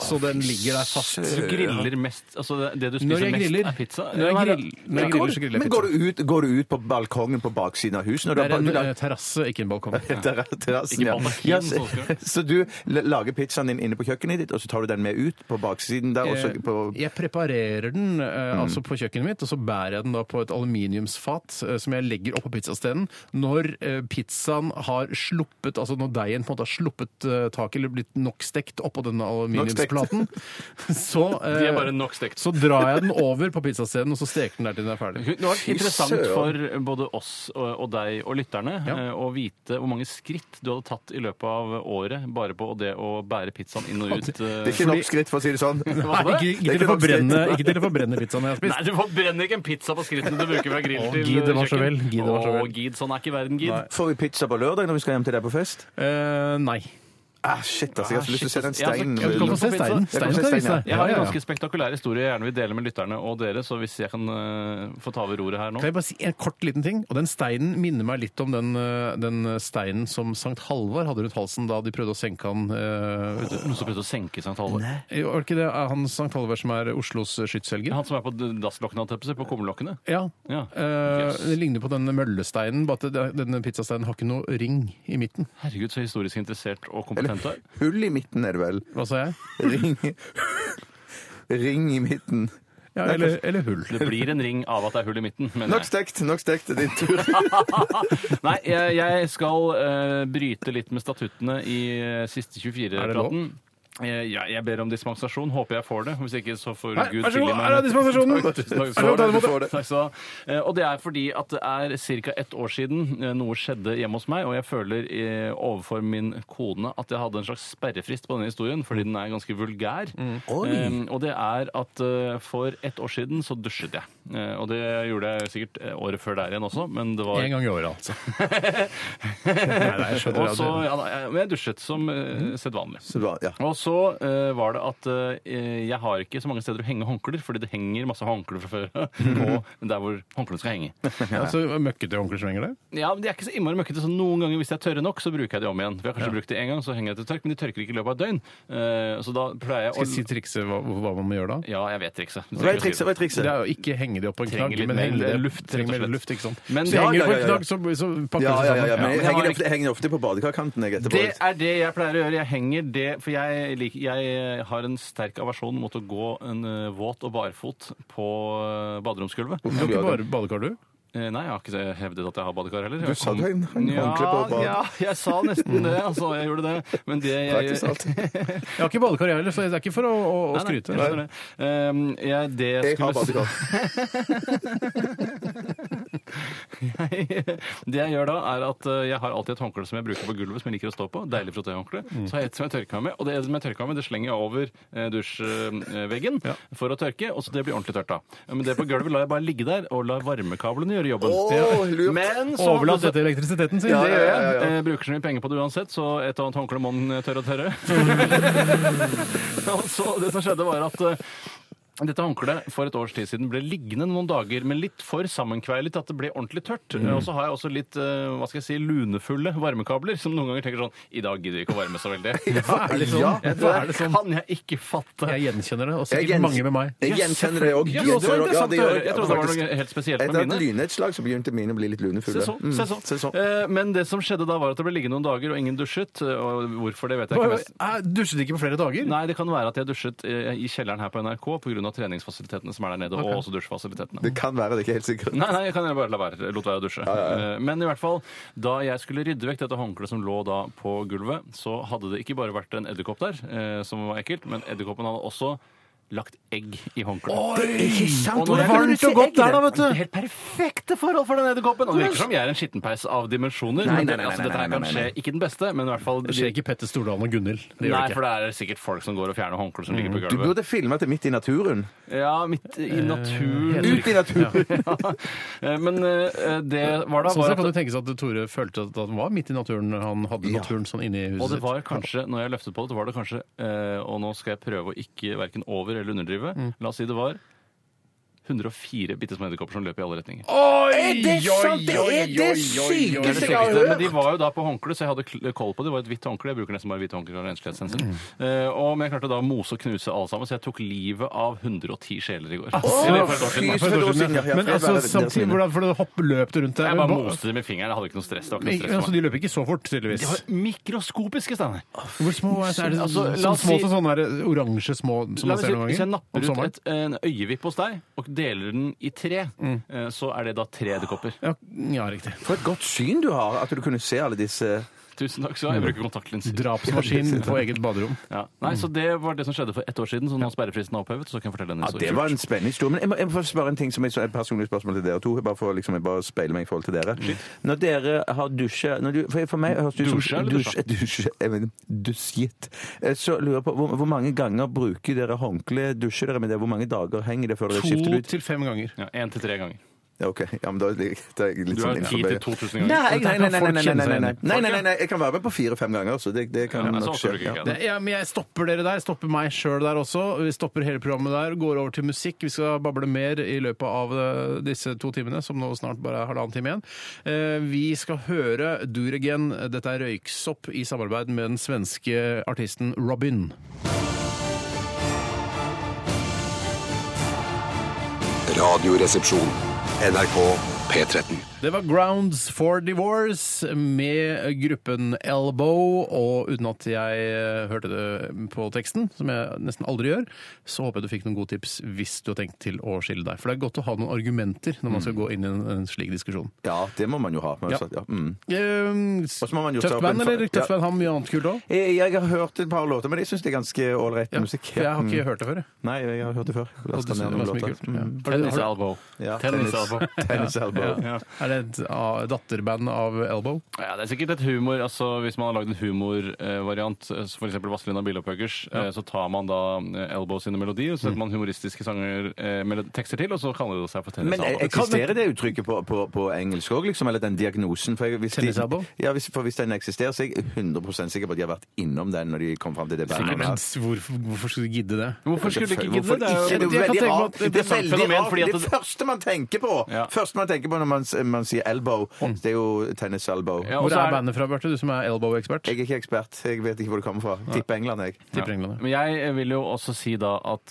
[SPEAKER 2] Så den ligger der fast.
[SPEAKER 4] Du griller mest altså det- Det du
[SPEAKER 2] Når
[SPEAKER 4] spiser
[SPEAKER 2] jeg
[SPEAKER 4] mest,
[SPEAKER 2] griller,
[SPEAKER 4] er pizza?
[SPEAKER 2] når jeg
[SPEAKER 4] Nei, det-
[SPEAKER 2] griller, når jeg griller så griller jeg
[SPEAKER 3] Men
[SPEAKER 2] pizza.
[SPEAKER 3] går du, ut, går du ut på balkongen på baksiden av huset? når du
[SPEAKER 2] Det er
[SPEAKER 3] har-
[SPEAKER 2] en
[SPEAKER 3] du har-
[SPEAKER 2] eh, terrasse, ikke en balkong.
[SPEAKER 3] Terra- terrassen,
[SPEAKER 4] Ikke
[SPEAKER 3] ja.
[SPEAKER 4] baldakin,
[SPEAKER 3] ja.
[SPEAKER 4] sånn
[SPEAKER 3] Så,
[SPEAKER 4] skal det.
[SPEAKER 3] så du l- lager pizzaen din inne på kjøkkenet ditt, og så tar du den med ut på baksiden der? Og så
[SPEAKER 2] Eh,
[SPEAKER 3] på
[SPEAKER 2] Jeg preparerer den eh, altså på kjøkkenet mitt, og så bærer jeg den da på et aluminiumsfat eh, som jeg legger oppå pizzastenen. Når eh, pizzaen har sluppet, altså når deigen på en måte har sluppet eh, taket eller blitt nok stekt oppå denne aluminiumsplaten, så, eh,
[SPEAKER 4] De er bare nok stekt.
[SPEAKER 2] så drar jeg den over på pizzastenen, og så steker den der til den er ferdig.
[SPEAKER 4] Det var interessant
[SPEAKER 3] søren.
[SPEAKER 4] for både oss og og deg og lytterne
[SPEAKER 2] Ja.
[SPEAKER 4] eh, å vite hvor mange skritt du hadde tatt i løpet av året bare på det å bære pizzaen inn og ut. eh,
[SPEAKER 3] Det er ikke nok skritt, for å si det sånn.
[SPEAKER 4] Hva var det?
[SPEAKER 2] Ikke, ikke, til å
[SPEAKER 3] nok skritt.
[SPEAKER 2] forbrenne, ikke til å forbrenne pizzaen jeg har spist.
[SPEAKER 4] Nei, du forbrenner ikke en pizza på skrittene du bruker fra grill
[SPEAKER 2] Å,
[SPEAKER 4] til
[SPEAKER 2] Gid, det var så
[SPEAKER 4] kjøkken.
[SPEAKER 2] vel. Gid, det var så
[SPEAKER 4] Å,
[SPEAKER 2] vel.
[SPEAKER 4] Gid, sånn er ikke verden, Gid.
[SPEAKER 2] Nei.
[SPEAKER 3] Får vi pizza på lørdag når vi skal hjem til deg på fest?
[SPEAKER 2] Eh, nei.
[SPEAKER 3] Ah, shit, altså, Jeg har så lyst til å se den
[SPEAKER 4] Ja, så-
[SPEAKER 3] steinen.
[SPEAKER 4] Ja, du kan få se
[SPEAKER 2] steinen.
[SPEAKER 3] Jeg
[SPEAKER 2] Steinen
[SPEAKER 3] kan få
[SPEAKER 2] skal
[SPEAKER 3] se
[SPEAKER 2] jeg vise
[SPEAKER 3] steinen,
[SPEAKER 2] deg.
[SPEAKER 4] Jeg
[SPEAKER 2] Ja,
[SPEAKER 4] har
[SPEAKER 2] ja,
[SPEAKER 4] en
[SPEAKER 2] ja.
[SPEAKER 4] ganske spektakulær historie jeg gjerne vil dele med lytterne og dere, så hvis jeg kan eh, få ta over roret her nå
[SPEAKER 2] Kan jeg bare si en kort liten ting? Og Den steinen minner meg litt om den, eh, den steinen som Sankt Halvard hadde rundt halsen da de prøvde å senke han eh, vet du.
[SPEAKER 4] Noen som prøvde å senke Sankt Halvor.
[SPEAKER 2] Jo, Er det ikke det er han Sankt Halvard som er Oslos skytshelgen?
[SPEAKER 4] Han som er på dasslokkene, holdt jeg på å si, på kumlokkene.
[SPEAKER 2] Ja.
[SPEAKER 4] Ja.
[SPEAKER 2] Eh,
[SPEAKER 4] Yes.
[SPEAKER 2] det ligner på denne møllesteinen, bare at det- denne pizzasteinen har ikke noe ring i midten.
[SPEAKER 4] Herregud, så historisk interessert og kompetent du er.
[SPEAKER 3] Hull i midten er det vel.
[SPEAKER 2] Hva sa jeg?
[SPEAKER 3] Ring, ring i midten.
[SPEAKER 2] Ja, eller, eller hull.
[SPEAKER 4] Det blir en ring av at det er hull i midten. mener
[SPEAKER 3] Nok
[SPEAKER 4] jeg.
[SPEAKER 3] stekt, nok stekt. Det er din tur.
[SPEAKER 4] Nei, jeg, jeg skal eh, bryte litt med statuttene i eh, siste 24-praten. Eh, ja, jeg ber om dispensasjon. Håper jeg får det. Hvis ikke, så får
[SPEAKER 2] Nei,
[SPEAKER 4] Gud
[SPEAKER 2] vær så
[SPEAKER 4] tilgi
[SPEAKER 2] god,
[SPEAKER 4] meg.
[SPEAKER 2] her er dispensasjonen!
[SPEAKER 4] Takk skal du
[SPEAKER 2] Er det
[SPEAKER 4] ha.
[SPEAKER 2] på denne
[SPEAKER 4] Du
[SPEAKER 2] måten?
[SPEAKER 4] får det. Takk skal du ha. Eh, Og det er fordi at det er ca. ett år siden eh, noe skjedde hjemme hos meg, og jeg føler eh, overfor min kone at jeg hadde en slags sperrefrist på denne historien, fordi den er ganske vulgær.
[SPEAKER 2] Mm.
[SPEAKER 4] Eh, og det er at eh, for ett år siden så dusjet jeg. Eh, og det gjorde jeg sikkert eh, året før der igjen også, men det var
[SPEAKER 2] En gang i året, altså. Nei, nei, jeg skjønner
[SPEAKER 4] og så,
[SPEAKER 2] at
[SPEAKER 4] ja, da, jeg, men jeg dusjet som eh, sedvanlig.
[SPEAKER 3] Så bra, ja.
[SPEAKER 4] Og så så eh, var det at eh, jeg har ikke så mange steder å henge håndklær, fordi det henger masse håndklær fra før på der hvor håndklærne skal henge.
[SPEAKER 2] Ja, så møkkete håndklær som henger der?
[SPEAKER 4] Ja, men De er ikke så innmari møkkete, så noen ganger hvis de er tørre nok, så bruker jeg de om igjen. For jeg har kanskje brukt de en gang, så henger jeg til tørk, men de tørker ikke i løpet av et døgn. Eh, så da pleier jeg å
[SPEAKER 2] Skal jeg si trikset hva, hva man må gjøre da?
[SPEAKER 4] Ja, jeg vet trikset. Du
[SPEAKER 3] Hva
[SPEAKER 4] trenger
[SPEAKER 3] er
[SPEAKER 4] ikke å si
[SPEAKER 3] trikset? Hva er
[SPEAKER 2] Det
[SPEAKER 3] trikset?
[SPEAKER 2] er jo ikke henge de opp på en
[SPEAKER 4] Trenger
[SPEAKER 2] knagg,
[SPEAKER 4] litt
[SPEAKER 2] men
[SPEAKER 4] mer
[SPEAKER 2] henge de
[SPEAKER 4] luft, rett og
[SPEAKER 2] trenger mer
[SPEAKER 4] slett.
[SPEAKER 2] luft, ikke sant?
[SPEAKER 4] Men-
[SPEAKER 2] så henger de på en
[SPEAKER 3] Ja, ja, ja, ja.
[SPEAKER 2] knagg, så, så pakker
[SPEAKER 3] Ja,
[SPEAKER 2] det seg
[SPEAKER 3] ja, ja, ja.
[SPEAKER 2] sammen.
[SPEAKER 3] Men jeg
[SPEAKER 4] Ja,
[SPEAKER 3] henger
[SPEAKER 4] men-
[SPEAKER 3] ofte, jeg henger ofte på badekarkanten jeg etterpå.
[SPEAKER 4] Det er det jeg pleier å gjøre. Jeg henger det For jeg, lik- jeg eh, har en sterk aversjon mot å gå en eh, våt og barfot på eh, baderomsgulvet.
[SPEAKER 2] Du har ikke bare badekar, du?
[SPEAKER 4] Eh, Nei, jeg har ikke hevdet at jeg har badekar heller.
[SPEAKER 3] Du
[SPEAKER 4] Jeg
[SPEAKER 3] sa
[SPEAKER 4] kom-
[SPEAKER 3] du har Sånn, en- en
[SPEAKER 4] ja,
[SPEAKER 3] håndkle på bad.
[SPEAKER 4] Ja, jeg sa nesten det. Altså, jeg gjorde det. Men det jeg,
[SPEAKER 3] Praktisk alt.
[SPEAKER 2] Jeg har ikke badekar, jeg heller, så det er ikke for å, å, å
[SPEAKER 4] Nei, nei,
[SPEAKER 2] skryte.
[SPEAKER 4] jeg skjønner det. Um, jeg, det jeg
[SPEAKER 3] Jeg har
[SPEAKER 4] skulle s-
[SPEAKER 3] badekar.
[SPEAKER 4] Jeg- Det jeg gjør da, er at eh, jeg har alltid et håndkle som jeg bruker på gulvet, som jeg liker å stå på. Deilig frottéhåndkle.
[SPEAKER 3] Mm.
[SPEAKER 4] Så har jeg et som jeg tørker meg med, og det som jeg tørker meg med, det slenger jeg over eh, dusjveggen for å tørke, og så det blir ordentlig tørt da. Men det på gulvet lar jeg bare ligge der, og lar varmekablene gjøre jobben.
[SPEAKER 3] lurt.
[SPEAKER 4] Men så
[SPEAKER 2] Overlatt dette til elektrisiteten sin.
[SPEAKER 4] Det
[SPEAKER 2] Det
[SPEAKER 4] gjør
[SPEAKER 2] gjør
[SPEAKER 4] jeg. Eh, bruker så mye penger på det uansett, så et og annet håndkle må den eh, tørre og tørre. Og så det som skjedde, var at eh, dette håndkleet for et års tid siden ble liggende noen dager, men litt for sammenkveilet at det ble ordentlig tørt. Og så har jeg også litt eh, hva skal jeg si, lunefulle varmekabler, som noen ganger tenker sånn I dag gidder vi ikke å varme så veldig.
[SPEAKER 2] Hva er det sånn?
[SPEAKER 3] Ja,
[SPEAKER 2] Hva er det sånn?
[SPEAKER 4] kan jeg ikke fatte.
[SPEAKER 2] Jeg gjenkjenner det, og
[SPEAKER 3] Jeg
[SPEAKER 2] sikkert
[SPEAKER 3] gjen-
[SPEAKER 2] mange med meg.
[SPEAKER 3] Jeg gjenkjenner det òg.
[SPEAKER 4] Ja, det var interessant å høre. Jeg trodde det var noe helt spesielt
[SPEAKER 3] Etter
[SPEAKER 4] med
[SPEAKER 3] et
[SPEAKER 4] mine.
[SPEAKER 3] lynnedslag så begynte mine å bli litt lunefulle.
[SPEAKER 4] Se så, se så.
[SPEAKER 3] Mm, se så.
[SPEAKER 4] Eh, men det som skjedde da, var at det ble liggende noen dager, og ingen dusjet. eh, Og hvorfor, det vet jeg
[SPEAKER 2] Oi, oi,
[SPEAKER 4] ikke. mest.
[SPEAKER 2] jeg Dusjet ikke på flere dager?
[SPEAKER 4] Nei, det kan være at jeg dusjet eh, i kjelleren her på NRK pga. treningsfasilitetene som er der nede, og også dusjfasilitetene.
[SPEAKER 3] Det kan være det, er ikke helt sikkert.
[SPEAKER 4] Nei, nei, jeg kan bare la være, lot være å dusje. Eh, Men i hvert fall, da jeg skulle rydde vekk dette håndkleet som lå da på gulvet, så hadde det ikke bare vært en edderkopp der, eh, som var ekkelt, men edderkoppen hadde også lagt egg i håndkleet.
[SPEAKER 3] sant!
[SPEAKER 4] Og det er varmt og godt der, da, vet
[SPEAKER 3] du!
[SPEAKER 4] Helt perfekte forhold for den edderkoppen! Og det virker som jeg er en skittenpeis av dimensjoner.
[SPEAKER 3] Nei,
[SPEAKER 4] men
[SPEAKER 3] nei,
[SPEAKER 4] det-
[SPEAKER 3] nei,
[SPEAKER 4] altså,
[SPEAKER 3] nei,
[SPEAKER 4] Dette her
[SPEAKER 3] nei,
[SPEAKER 4] kan
[SPEAKER 3] nei,
[SPEAKER 4] skje
[SPEAKER 3] nei.
[SPEAKER 4] ikke den beste, men i hvert fall
[SPEAKER 2] Det skjer ikke Petter Stordalen og Gunhild. Det gjør
[SPEAKER 4] Nei,
[SPEAKER 2] det
[SPEAKER 4] for
[SPEAKER 2] ikke.
[SPEAKER 4] det er sikkert folk som går og fjerner håndklær som ligger på
[SPEAKER 3] Du
[SPEAKER 4] gulvet.
[SPEAKER 3] burde filme det midt i naturen.
[SPEAKER 4] Ja, midt
[SPEAKER 2] Eh,
[SPEAKER 4] i naturen.
[SPEAKER 3] Ut i naturen!
[SPEAKER 4] Eh, Men eh, det var da
[SPEAKER 2] Sånn
[SPEAKER 4] var
[SPEAKER 2] sett kan
[SPEAKER 4] at,
[SPEAKER 2] du tenke seg at Tore følte at han var midt i naturen. Han hadde naturen sånn inni huset
[SPEAKER 4] Og det
[SPEAKER 2] sitt.
[SPEAKER 4] var kanskje, når jeg løftet på det, så var det kanskje eh, Og nå skal jeg prøve å ikke verken over- eller underdrive.
[SPEAKER 2] Mm.
[SPEAKER 4] La oss si det var 104 bitte små edderkopper som løp i alle retninger.
[SPEAKER 2] Oi,
[SPEAKER 3] Er det sant? Det er det sykeste
[SPEAKER 4] Det er det
[SPEAKER 3] jeg har
[SPEAKER 4] sykeste, men
[SPEAKER 3] hørt.
[SPEAKER 4] de var jo da på håndkle, så jeg hadde kl- koll på det. Det var et hvitt håndkle. Jeg bruker nesten bare hvitt håndkle av renslighetshensyn.
[SPEAKER 2] Mm.
[SPEAKER 4] Eh, og men jeg klarte da å mose og knuse alle sammen, så jeg tok livet av 110 sjeler i går. Eller for et år siden.
[SPEAKER 3] fy
[SPEAKER 2] For et år siden, ja.
[SPEAKER 3] Ja,
[SPEAKER 2] Men
[SPEAKER 3] for det
[SPEAKER 2] altså,
[SPEAKER 3] var det- det var
[SPEAKER 2] samtidig,
[SPEAKER 3] sine.
[SPEAKER 2] hvordan for det hopp løp det rundt der?
[SPEAKER 4] Jeg bare
[SPEAKER 2] Ba-
[SPEAKER 4] moste det med fingeren. Jeg hadde ikke noe stress. Det var ikke noe
[SPEAKER 2] Ikke-
[SPEAKER 4] stress for
[SPEAKER 2] Altså,
[SPEAKER 4] meg.
[SPEAKER 2] de løper ikke så fort, tydeligvis.
[SPEAKER 4] De var mikroskopiske steiner.
[SPEAKER 2] Hvor små er, er det?
[SPEAKER 4] Altså, la
[SPEAKER 2] sånn
[SPEAKER 4] oss
[SPEAKER 2] små
[SPEAKER 4] si-
[SPEAKER 2] som sånne der oransje små som man
[SPEAKER 4] La meg
[SPEAKER 2] ser
[SPEAKER 4] si,
[SPEAKER 2] noen
[SPEAKER 4] hvis jeg
[SPEAKER 2] ganger?
[SPEAKER 4] napper ut
[SPEAKER 2] sommeren?
[SPEAKER 4] et, en øyevipp hos deg og deler den i tre,
[SPEAKER 2] Mm.
[SPEAKER 4] eh, så er det da tre edderkopper.
[SPEAKER 2] Ja, ja, riktig.
[SPEAKER 3] For et godt syn du har, at du kunne se alle disse
[SPEAKER 4] Tusen takk.
[SPEAKER 2] Mm.
[SPEAKER 4] skal du ha. Jeg bruker kontaktlinser.
[SPEAKER 2] Drapsmaskin på eget baderom.
[SPEAKER 4] Ja. Nei,
[SPEAKER 2] Mm.
[SPEAKER 4] så Det var det som skjedde for ett år siden, så nå er sperrefristen er opphevet. så kan jeg fortelle denne
[SPEAKER 3] Ja,
[SPEAKER 4] historien.
[SPEAKER 3] Det var en spennende historie. Men jeg må, jeg må få spørre en ting som er så- et personlig spørsmål til dere to. Bare for å liksom, jeg bare speile meg i forhold til dere. Når dere har dusja når du, for, for meg høres det ut som
[SPEAKER 4] Dusja eller
[SPEAKER 3] dusj, dusj, jeg mener, Dusjet. Eh, Så lurer jeg på hvor, hvor mange ganger bruker dere håndkle? Dusjer dere med det? Hvor mange dager henger det før dere skifter
[SPEAKER 2] To
[SPEAKER 3] ut?
[SPEAKER 2] til fem ganger.
[SPEAKER 4] Ja, Én til tre ganger.
[SPEAKER 3] Ja, OK. Ja, men da ligger da er jeg litt
[SPEAKER 4] Du har
[SPEAKER 3] sånn
[SPEAKER 4] ti
[SPEAKER 3] innenfor
[SPEAKER 4] til
[SPEAKER 3] det.
[SPEAKER 4] to tusen ganger.
[SPEAKER 3] Nei, nei, nei, nei, nei, nei, nei, nei, nei, nei,
[SPEAKER 2] Folk,
[SPEAKER 3] nei, nei, nei, jeg kan være med på fire-fem ganger, så det, det kan
[SPEAKER 4] Ja, nei, så
[SPEAKER 3] nok
[SPEAKER 4] ofte
[SPEAKER 3] skje.
[SPEAKER 4] bruker jeg
[SPEAKER 3] Ja.
[SPEAKER 4] ikke
[SPEAKER 2] Det,
[SPEAKER 4] det.
[SPEAKER 2] ja, men jeg stopper dere der. Stopper meg sjøl der også. Vi stopper hele programmet der, går over til musikk. Vi skal bable mer i løpet av eh, disse to timene, som nå snart bare er halvannen time igjen. Eh, Vi skal høre Duregen. Dette er Røyksopp i samarbeid med den svenske artisten Robin.
[SPEAKER 5] Radioresepsjon. NRK P13.
[SPEAKER 2] Det var Grounds for Divorce med gruppen Elbow, og uten at jeg eh, hørte det på teksten, som jeg nesten aldri gjør, så håper jeg du fikk noen gode tips hvis du har tenkt til å skille deg. For det er godt å ha noen argumenter når man skal gå inn i en, en slik diskusjon.
[SPEAKER 3] Ja, det må man jo ha. Men,
[SPEAKER 2] Ja.
[SPEAKER 3] så- ja. Mm.
[SPEAKER 2] Um,
[SPEAKER 3] så må man gjøre seg
[SPEAKER 2] tøft
[SPEAKER 3] opp
[SPEAKER 2] band,
[SPEAKER 3] en-
[SPEAKER 2] eller?
[SPEAKER 3] Ja.
[SPEAKER 2] Tøft band har mye annet kult òg.
[SPEAKER 3] Jeg, jeg har hørt et par låter, men jeg syns det er ganske ålreit
[SPEAKER 2] Ja,
[SPEAKER 3] musikk.
[SPEAKER 2] for jeg har
[SPEAKER 3] Mm.
[SPEAKER 2] ikke hørt det før. jeg.
[SPEAKER 3] Nei, jeg har hørt det før.
[SPEAKER 2] Og det
[SPEAKER 3] Lasta ned
[SPEAKER 2] synes jeg
[SPEAKER 3] noen
[SPEAKER 2] var så mye
[SPEAKER 3] låter.
[SPEAKER 2] kult. Ja.
[SPEAKER 3] Mm.
[SPEAKER 2] Har du-
[SPEAKER 4] Tennis
[SPEAKER 2] har du-
[SPEAKER 4] elbow.
[SPEAKER 3] Ja,
[SPEAKER 4] Tennis
[SPEAKER 3] tennis-
[SPEAKER 4] elbow.
[SPEAKER 3] tennis elbow.
[SPEAKER 4] Mm. Ja. Ja.
[SPEAKER 2] Er det et ah, datterband av Elbow?
[SPEAKER 4] Ja, det er sikkert et humor, altså Hvis man har lagd en eh, humorvariant, f.eks. Vazelina Bilopphøggers, eh, så tar man da eh, Elbow sine melodier, og så
[SPEAKER 2] Mm.
[SPEAKER 4] setter man humoristiske sanger, eh, melo- tekster til, og så kaller det seg for
[SPEAKER 3] Men
[SPEAKER 2] eh,
[SPEAKER 3] e-
[SPEAKER 4] tennisalbum.
[SPEAKER 3] eksisterer det uttrykket på, på, på engelsk òg, liksom? Eller den diagnosen? For, jeg- hvis de-
[SPEAKER 2] Tennisalbum?
[SPEAKER 3] ja, hvis, for hvis den eksisterer, så er jeg 100 sikker på at de har vært innom den når de kom fram til det bandet.
[SPEAKER 2] Men s- hvorfor, hvorfor skulle du gidde det?
[SPEAKER 4] Hvorfor skulle det ikke gidde?
[SPEAKER 3] Hvorfor
[SPEAKER 4] Det
[SPEAKER 3] ikke?
[SPEAKER 4] er jo-
[SPEAKER 3] Det er jo
[SPEAKER 4] Jeg kan
[SPEAKER 3] veldig
[SPEAKER 4] tenke meg
[SPEAKER 3] rart.
[SPEAKER 4] at
[SPEAKER 3] Det er
[SPEAKER 4] interessant
[SPEAKER 3] veldig
[SPEAKER 4] fenomen,
[SPEAKER 3] rart.
[SPEAKER 4] fordi at
[SPEAKER 3] Det
[SPEAKER 4] det-
[SPEAKER 3] første man tenker på
[SPEAKER 4] Ja.
[SPEAKER 3] Første man tenker på når man, s- man sier elbow, det er jo tenniselbow.
[SPEAKER 4] Ja, og
[SPEAKER 2] Hvor
[SPEAKER 4] så
[SPEAKER 2] er
[SPEAKER 4] er-
[SPEAKER 2] bandet fra, Bjarte? Du som er Elbow-ekspert.
[SPEAKER 3] Jeg er ikke ekspert. Jeg vet ikke hvor det kommer fra. Tipper England, jeg.
[SPEAKER 2] Tipper England. ja.
[SPEAKER 4] Men jeg vil jo også si da at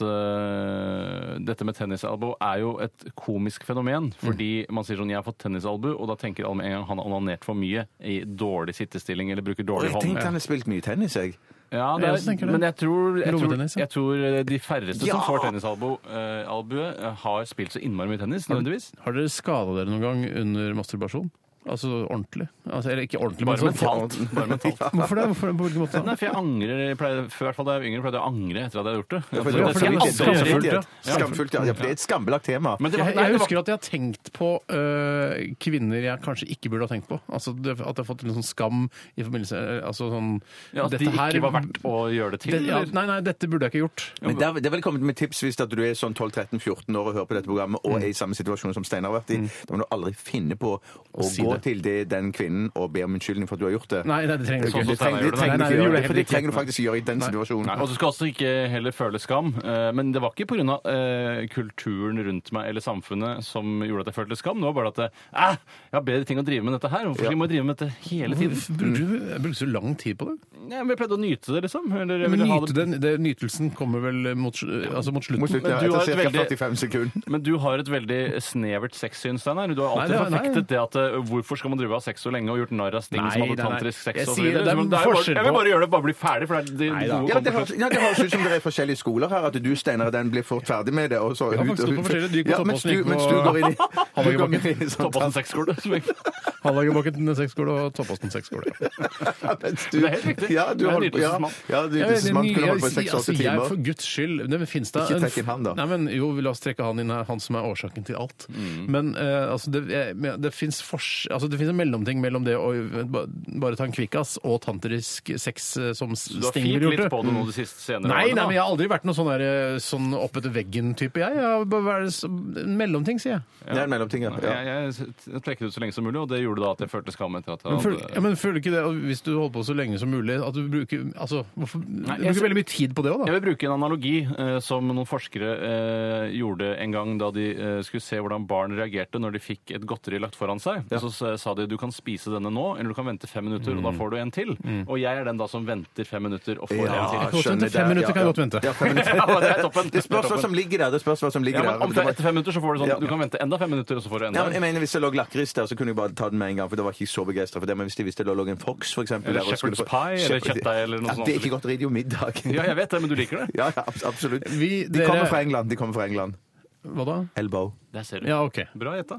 [SPEAKER 4] øh, dette med tennisalbu er jo et komisk
[SPEAKER 2] Mm.
[SPEAKER 4] fenomen. Fordi man sier sånn 'jeg har fått tennisalbu', og da tenker alle med en gang han har onanert for mye i dårlig sittestilling eller bruker
[SPEAKER 3] Og
[SPEAKER 4] dårlig
[SPEAKER 3] jeg
[SPEAKER 4] hånd.
[SPEAKER 3] tenkte han har spilt mye tennis, jeg.
[SPEAKER 4] Ja, det
[SPEAKER 2] Jeg
[SPEAKER 4] er,
[SPEAKER 2] også tenker det.
[SPEAKER 4] men jeg tror, jeg, tror,
[SPEAKER 2] Lommetennis, ja.
[SPEAKER 4] jeg tror øh, de færreste
[SPEAKER 3] Ja!
[SPEAKER 4] som får tennisalbue, øh, har spilt så innmari mye tennis nødvendigvis.
[SPEAKER 2] Har dere skada dere noen gang under masturbasjon? Altså ordentlig? Altså, eller ikke ordentlig,
[SPEAKER 4] Bare
[SPEAKER 2] men sånn
[SPEAKER 4] mentalt. Bare mentalt.
[SPEAKER 2] Hvorfor det? Hvorfor, på hvilken måte da?
[SPEAKER 4] Nei, for jeg angrer, jeg pleier, før, i hvert fall da jeg var yngre, pleide jeg å angre etter at jeg hadde gjort det. Jeg
[SPEAKER 3] For
[SPEAKER 2] ja,
[SPEAKER 4] tror det
[SPEAKER 2] for
[SPEAKER 4] skal
[SPEAKER 2] det
[SPEAKER 4] jeg
[SPEAKER 2] var
[SPEAKER 4] aldri
[SPEAKER 2] skamfullt,
[SPEAKER 4] gjøre.
[SPEAKER 2] ja.
[SPEAKER 3] Skamfullt, ja. Ja, for Det er et skambelagt tema.
[SPEAKER 4] Men det var,
[SPEAKER 2] Jeg,
[SPEAKER 4] nei,
[SPEAKER 2] jeg
[SPEAKER 4] det var,
[SPEAKER 2] husker at jeg har tenkt på øh, kvinner jeg kanskje ikke burde ha tenkt på. Altså det, At jeg har fått en sånn skam i forbindelse øh, Altså sånn
[SPEAKER 4] ja, at de
[SPEAKER 2] dette her-
[SPEAKER 4] ikke var verdt å gjøre det til.
[SPEAKER 2] det, ja,
[SPEAKER 4] eller?
[SPEAKER 2] Nei, nei, dette burde jeg ikke gjort.
[SPEAKER 3] Men det er, det er vel kommet med tips hvis at du er sånn 12-13-14 år og hører på dette programmet og er i samme situasjon som Steinar har vært i. Da må du aldri finne på å
[SPEAKER 2] si
[SPEAKER 3] gå
[SPEAKER 2] det.
[SPEAKER 3] til det, den kvinnen og be om unnskyldning for at du har gjort det.
[SPEAKER 2] Nei, nei, det trenger du
[SPEAKER 4] Sånn
[SPEAKER 2] ikke.
[SPEAKER 4] som
[SPEAKER 3] Det trenger, det
[SPEAKER 4] Steinar gjorde det.
[SPEAKER 3] trenger
[SPEAKER 2] Nei, nei,
[SPEAKER 3] du
[SPEAKER 2] det gjorde
[SPEAKER 3] ikke gjøre,
[SPEAKER 2] jeg
[SPEAKER 3] for det
[SPEAKER 2] heller
[SPEAKER 3] trenger du faktisk gjøre i den situasjonen.
[SPEAKER 4] Nei, og du skal altså ikke heller føle skam, eh, men det var ikke pga. Eh, kulturen rundt meg eller samfunnet som gjorde at jeg følte skam. Det var bare at eh, «Æ, jeg har bedre ting å drive med enn dette her. Hvorfor skal jeg må drive med dette hele tiden?
[SPEAKER 2] Hvorfor Brukte du, jeg brukte så lang tid på det?
[SPEAKER 4] Ja, men jeg pleide å nyte det, liksom. Eller jeg
[SPEAKER 2] Men
[SPEAKER 4] ville ha
[SPEAKER 2] nyte
[SPEAKER 4] det.
[SPEAKER 2] den, det, Nytelsen kommer vel mot, sl- altså mot slutten?
[SPEAKER 3] Mot slutten,
[SPEAKER 4] Men
[SPEAKER 3] ja,
[SPEAKER 4] du har
[SPEAKER 3] etter
[SPEAKER 4] et
[SPEAKER 3] ca.
[SPEAKER 4] veldig-
[SPEAKER 3] 45 sekunder.
[SPEAKER 4] Men du har et veldig snevert sexsyn, Steinar. Du har
[SPEAKER 2] Nei,
[SPEAKER 4] alltid
[SPEAKER 2] det er- nei.
[SPEAKER 4] forfektet det at eh, hvorfor skal man drive av sex så lenge og gjort narr av Sting
[SPEAKER 2] Nei,
[SPEAKER 4] som hadde
[SPEAKER 2] nei, nei.
[SPEAKER 4] tantrisk
[SPEAKER 2] Jeg
[SPEAKER 4] sex og så
[SPEAKER 2] sier
[SPEAKER 4] videre.
[SPEAKER 2] det er
[SPEAKER 4] Så det er jo
[SPEAKER 2] forskjell
[SPEAKER 4] bare- Jeg vil
[SPEAKER 2] på-
[SPEAKER 4] bare gjøre det, bare bli ferdig, for det er de, de
[SPEAKER 2] da.
[SPEAKER 4] gode
[SPEAKER 3] Ja, men det,
[SPEAKER 4] kommer
[SPEAKER 3] høres,
[SPEAKER 4] først.
[SPEAKER 3] ja, det høres ut som det er forskjellige skoler her. At du, Steinar, den blir fort ferdig med det. Og så
[SPEAKER 2] har faktisk
[SPEAKER 3] ut-
[SPEAKER 2] gått på forskjellige. Du gikk på
[SPEAKER 3] Ja, mens
[SPEAKER 2] Toppåsen,
[SPEAKER 3] du-
[SPEAKER 2] gikk
[SPEAKER 3] mens
[SPEAKER 2] på
[SPEAKER 3] du går inn i- du går
[SPEAKER 2] Hallagerbakken.
[SPEAKER 3] inn i sånn-
[SPEAKER 4] Toppåsen sexskole. som jeg-
[SPEAKER 2] Hallagerbakken sexskole og Toppåsten sexskole.
[SPEAKER 3] Ja, mens du-
[SPEAKER 4] Men det er helt riktig.
[SPEAKER 3] Ja, du
[SPEAKER 4] Det er
[SPEAKER 3] holdt på, ja,
[SPEAKER 4] nytelsesmann.
[SPEAKER 3] ja, du,
[SPEAKER 2] Jeg vet,
[SPEAKER 3] man kunne holdt på i
[SPEAKER 2] jeg- altså,
[SPEAKER 3] 6-8
[SPEAKER 2] jeg,
[SPEAKER 3] timer.
[SPEAKER 2] for guds skyld det finnes da
[SPEAKER 3] Ikke
[SPEAKER 2] en-
[SPEAKER 3] trekk inn han, da.
[SPEAKER 2] Nei, men, jo, la oss trekke han inn her, han som er årsaken til alt. Men eh, altså, det, jeg, men det fins fors- altså, det finnes en mellomting mellom det å ba- bare ta en kvikkas og tantrisk sex eh, som s-
[SPEAKER 4] Du har
[SPEAKER 2] Sting
[SPEAKER 4] fint
[SPEAKER 2] ville
[SPEAKER 4] litt
[SPEAKER 2] gjort
[SPEAKER 4] på
[SPEAKER 2] det. Mm.
[SPEAKER 4] det nå de siste senere
[SPEAKER 2] Nei,
[SPEAKER 4] årene,
[SPEAKER 2] nei,
[SPEAKER 4] da.
[SPEAKER 2] men jeg har aldri vært noen sånn, der, eh, sånn oppete-veggen-type, jeg. jeg har bare vært så- en mellomting, sier jeg.
[SPEAKER 3] Det er en mellomting, ja. ja.
[SPEAKER 4] Jeg, jeg, jeg trekket ut så lenge som mulig, og det gjorde da at jeg følte skam etter at jeg
[SPEAKER 2] Men føler, ja,
[SPEAKER 4] hadde
[SPEAKER 2] men føler ikke det, og hvis du holder på så lenge som mulig at Du bruker altså, hvorfor, du
[SPEAKER 4] jeg
[SPEAKER 2] bruker
[SPEAKER 4] ser-
[SPEAKER 2] veldig mye tid på det òg,
[SPEAKER 4] Jeg
[SPEAKER 2] da.
[SPEAKER 4] vil bruke en analogi eh, som noen forskere eh, gjorde en gang da de eh, skulle se hvordan barn reagerte når de fikk et godteri lagt foran seg. Så s- sa de du kan spise denne nå, eller du kan vente fem minutter, og da får du en til. Og jeg er den da som venter fem minutter og får en til.
[SPEAKER 2] godt vente.
[SPEAKER 3] skjønner det.
[SPEAKER 2] Fem minutter kan
[SPEAKER 3] Ja,
[SPEAKER 2] godt
[SPEAKER 3] ja.
[SPEAKER 2] vente.
[SPEAKER 3] Ja, fem minutter.
[SPEAKER 4] Ja, det er toppen.
[SPEAKER 3] Det spørs hva som ligger der. Det spørs hva som
[SPEAKER 4] Ja,
[SPEAKER 3] ligger
[SPEAKER 4] men om,
[SPEAKER 3] der.
[SPEAKER 4] etter fem minutter så får du sånn
[SPEAKER 3] Ja.
[SPEAKER 4] du kan vente enda fem minutter, og så får du
[SPEAKER 3] Ja,
[SPEAKER 4] enda
[SPEAKER 3] men jeg mener, Hvis det lå lakris der, så kunne jeg bare ta den med en gang. for da var jeg ikke så begeistret for det. Men hvis det, hvis det lå en fox, for eksempel
[SPEAKER 4] Eller
[SPEAKER 3] der, og skulle
[SPEAKER 4] shepherd's
[SPEAKER 3] få-
[SPEAKER 4] pie, eller kjøttdeig, eller noe
[SPEAKER 3] ja,
[SPEAKER 4] sånt.
[SPEAKER 3] Det er ikke godteri, det er jo middag.
[SPEAKER 4] Ja, jeg vet det, men du liker det.
[SPEAKER 3] Ja, ja, abs- absolutt.
[SPEAKER 2] Vi-
[SPEAKER 3] De kommer
[SPEAKER 2] dere-
[SPEAKER 3] fra England. De kommer fra England.
[SPEAKER 2] Hva da?
[SPEAKER 3] Elbow.
[SPEAKER 4] Der ser du.
[SPEAKER 2] Ja, OK.
[SPEAKER 4] Bra gjetta.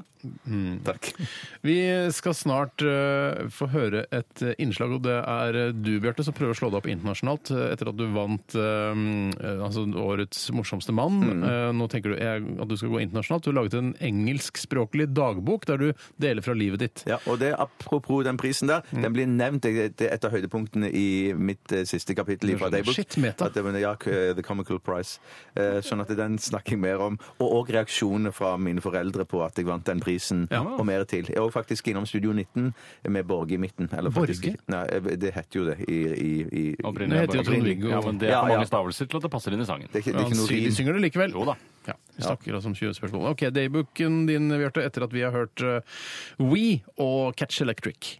[SPEAKER 3] Takk.
[SPEAKER 2] Vi skal snart eh, få høre et eh, innslag, og det er eh, du, Bjarte, som prøver å slå deg opp internasjonalt eh, etter at du vant eh, eh, altså årets morsomste mann.
[SPEAKER 3] Mm.
[SPEAKER 2] Eh, nå tenker du jeg, at du skal gå internasjonalt. Du har laget en engelskspråklig dagbok der du deler fra livet ditt.
[SPEAKER 3] Ja, og det Apropos den prisen der.
[SPEAKER 2] Mm.
[SPEAKER 3] Den blir nevnt det- det er et av høydepunktene i mitt eh, siste kapittel. i fra
[SPEAKER 2] skjønner.
[SPEAKER 3] Daybook.
[SPEAKER 2] sånn Shit, meta.
[SPEAKER 3] At det var- ja, k- The Comical Prize. Eh, Sånn at den snakker jeg mer om. Og òg reaksjonene fra mine foreldre på at jeg vant den prisen, og mer til. Jeg er òg faktisk innom Studio 19 med Borge i midten. Eller faktisk,
[SPEAKER 2] Borge?
[SPEAKER 3] Nei, eh, det heter jo det i, i, i
[SPEAKER 4] Opprinnelig
[SPEAKER 2] Det heter jo
[SPEAKER 4] bare-
[SPEAKER 2] Trond-Viggo.
[SPEAKER 4] Ja, men det er
[SPEAKER 3] Ja,
[SPEAKER 4] for
[SPEAKER 3] ja.
[SPEAKER 4] mange stavelser til at det passer inn i sangen.
[SPEAKER 3] Det er ikke, det er
[SPEAKER 2] Han
[SPEAKER 3] ikke noe
[SPEAKER 2] sier- de
[SPEAKER 3] rim.
[SPEAKER 2] synger det likevel.
[SPEAKER 4] Jo da.
[SPEAKER 2] Ja, vi snakker altså om 20 spørsmål. Ok, Daybooken din, Bjarte, etter at vi har hørt eh, We og Catch Electric.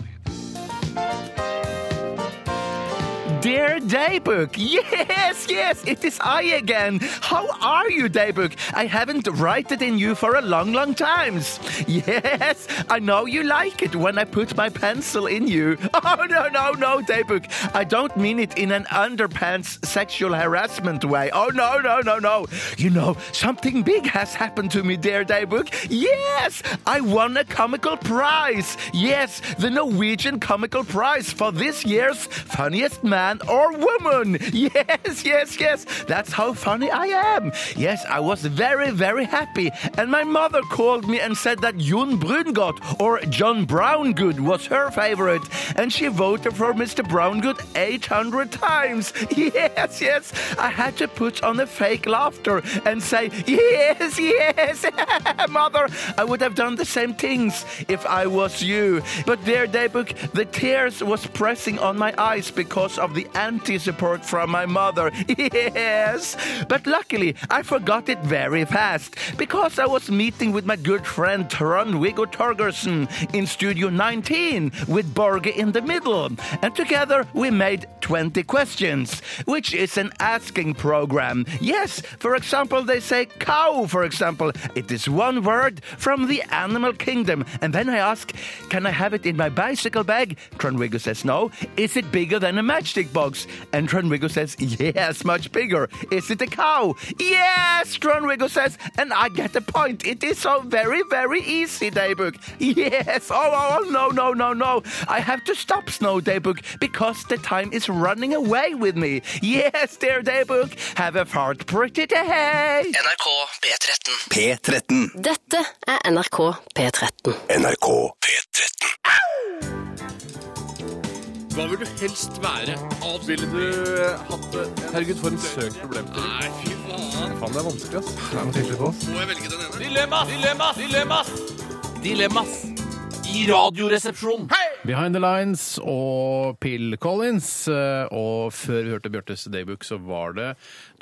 [SPEAKER 2] Dear
[SPEAKER 6] there, Daybrook? Yes, yes, it is I again. How are you, Daybrook? I haven't written in you for a long, long time. Yes, I know you like it when I put my pencil in you. Oh, no, no, no, Daybrook. I don't mean it in an underpants sexual harassment way. Oh, no, no, no, no. You know, something big has happened to me, dear Daybrook. Yes, I won a comical prize. Yes, the Norwegian comical prize for this year's funniest man or woman. Yes, yes, yes. That's how funny I am. Yes, I was very, very happy. And my mother called me and said that Jon Brungot or John Browngood was her favorite. And she voted for Mr. Browngood 800 times. Yes, yes. I had to put on a fake laughter and say, Yes, yes, mother. I would have done the same things if I was you. But dear Daybook, the tears was pressing on my eyes because of the anti-support from my mother. Yes. But luckily, I forgot it very fast because I was meeting with my good friend Trond-Viggo Torgersen in Studio 19 with Borge in the middle. And together we made 20 questions, which is an asking program. Yes, for example, they say cow, for example. It is one word from the animal kingdom. And then I ask, can I have it in my bicycle bag? Trond-Viggo says no. Is it bigger than a matchstick box? And Trond-Viggo says, yes, much bigger. Is it a cow? Yes, Trond-Viggo says. And I get the point. It is so very, very easy, Daybook. Yes. Oh, oh, oh, no, no, no, no. I have to stop, Snow Daybook, because the time is running away with me. Yes, dear Daybook. Have a fart pretty day.
[SPEAKER 7] NRK P13.
[SPEAKER 5] P13.
[SPEAKER 8] Dette er NRK P13.
[SPEAKER 5] NRK P13.
[SPEAKER 9] Hva vil du helst være? Avspilling? Nei, fy faen. Må jeg velge den ene? Dilemmas! Dilemmas! Dilemmas! Dilemmas! I radioresepsjonen.
[SPEAKER 2] Behind the Lines og Pill Collins. eh, Og før vi hørte Bjørtes daybook, så var det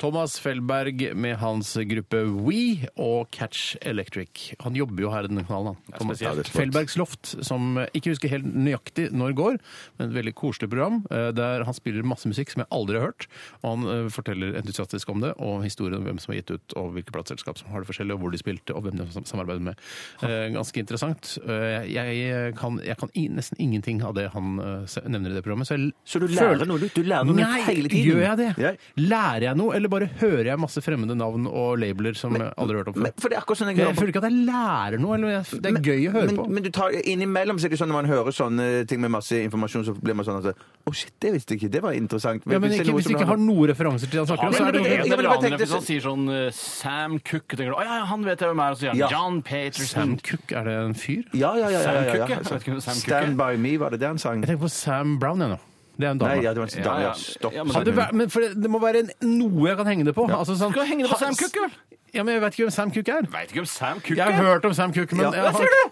[SPEAKER 2] Thomas Felberg med hans gruppe We og Catch Electric. Han jobber jo her i denne kanalen. Han. Thomas
[SPEAKER 6] spesielt.
[SPEAKER 2] Felbergs Loft, som eh, ikke husker helt nøyaktig når går, men et veldig koselig program eh, der han spiller masse musikk som jeg aldri har hørt. Og han eh, forteller entusiastisk om det, og historien om hvem som har gitt ut, og hvilke plateselskap som har det forskjellig, og hvor de spilte, og hvem de sam- samarbeidet med. Eh, Ganske interessant. Eh, Jeg kan, jeg kan i- nesten ingenting av det han eh, se- nevner i det programmet. Så, jeg l-
[SPEAKER 6] Så du
[SPEAKER 2] føler-
[SPEAKER 6] lærer noe nytt? Du lærer noe nytt
[SPEAKER 2] Nei,
[SPEAKER 6] hele tiden?
[SPEAKER 2] Gjør jeg det?
[SPEAKER 6] Ja.
[SPEAKER 2] Lærer jeg noe, eller bare hører jeg masse fremmede navn og labeler som jeg aldri har hørt om før?
[SPEAKER 6] Men, for det er akkurat sånn
[SPEAKER 2] Jeg føler ikke at jeg lærer noe. Eller jeg, det er gøy å høre
[SPEAKER 6] men,
[SPEAKER 2] på.
[SPEAKER 6] Men du tar, innimellom så er det sånn når man hører sånne ting med masse informasjon, så blir man sånn at Å, shit, det visste jeg ikke. Det var interessant.
[SPEAKER 2] ja, men
[SPEAKER 6] det er
[SPEAKER 2] ikke,
[SPEAKER 6] noe
[SPEAKER 2] hvis du
[SPEAKER 6] som
[SPEAKER 2] ikke har noen referanser til det han snakker om,
[SPEAKER 4] Han
[SPEAKER 2] så er det
[SPEAKER 6] men-
[SPEAKER 2] jo
[SPEAKER 6] men-
[SPEAKER 2] helt
[SPEAKER 4] helt
[SPEAKER 6] jeg-
[SPEAKER 4] bra.
[SPEAKER 6] jeg- jeg- jeg-
[SPEAKER 4] Hvis han sier sånn eh, Sam Cook, tenker du å ja, ja, han vet jeg hvem er. Og så sier han
[SPEAKER 6] Ja.
[SPEAKER 4] John Peterson.
[SPEAKER 2] Sam Cook, er det en fyr?
[SPEAKER 6] Ja, ja, ja. ja, ja, ja,
[SPEAKER 4] Sam Cooke, jeg vet ikke hvem Sam Cooke er.
[SPEAKER 6] Stand by me, var det det han sang?
[SPEAKER 2] Jeg tenker på Sam Brown, jeg nå. Det er en dame.
[SPEAKER 6] Nei, ja, det var en
[SPEAKER 4] Ja,
[SPEAKER 6] dame.
[SPEAKER 4] ja.
[SPEAKER 6] Ja, stopp.
[SPEAKER 4] Ja, men-
[SPEAKER 2] Hadde vært, men for det, det må være en, noe jeg kan henge det på. Altså, sånn,
[SPEAKER 4] Skal du henge det på Sam Cook, vel?
[SPEAKER 2] Ja, men jeg vet ikke hvem Sam Cook er.
[SPEAKER 4] Veit ikke om Sam Cook
[SPEAKER 2] Jeg har hørt om Sam Cook, men
[SPEAKER 6] Ja.
[SPEAKER 2] jeg,
[SPEAKER 6] Hva
[SPEAKER 2] har-
[SPEAKER 6] sier du?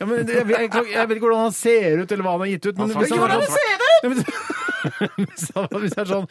[SPEAKER 2] Ja, men jeg, jeg, jeg, jeg vet ikke hvordan han ser ut, eller hva han har gitt ut. Men
[SPEAKER 4] Han
[SPEAKER 2] hvis
[SPEAKER 4] sa-
[SPEAKER 2] var
[SPEAKER 4] Hvordan
[SPEAKER 2] sånn- Ja, men- Hvis han- Hvis det er sånn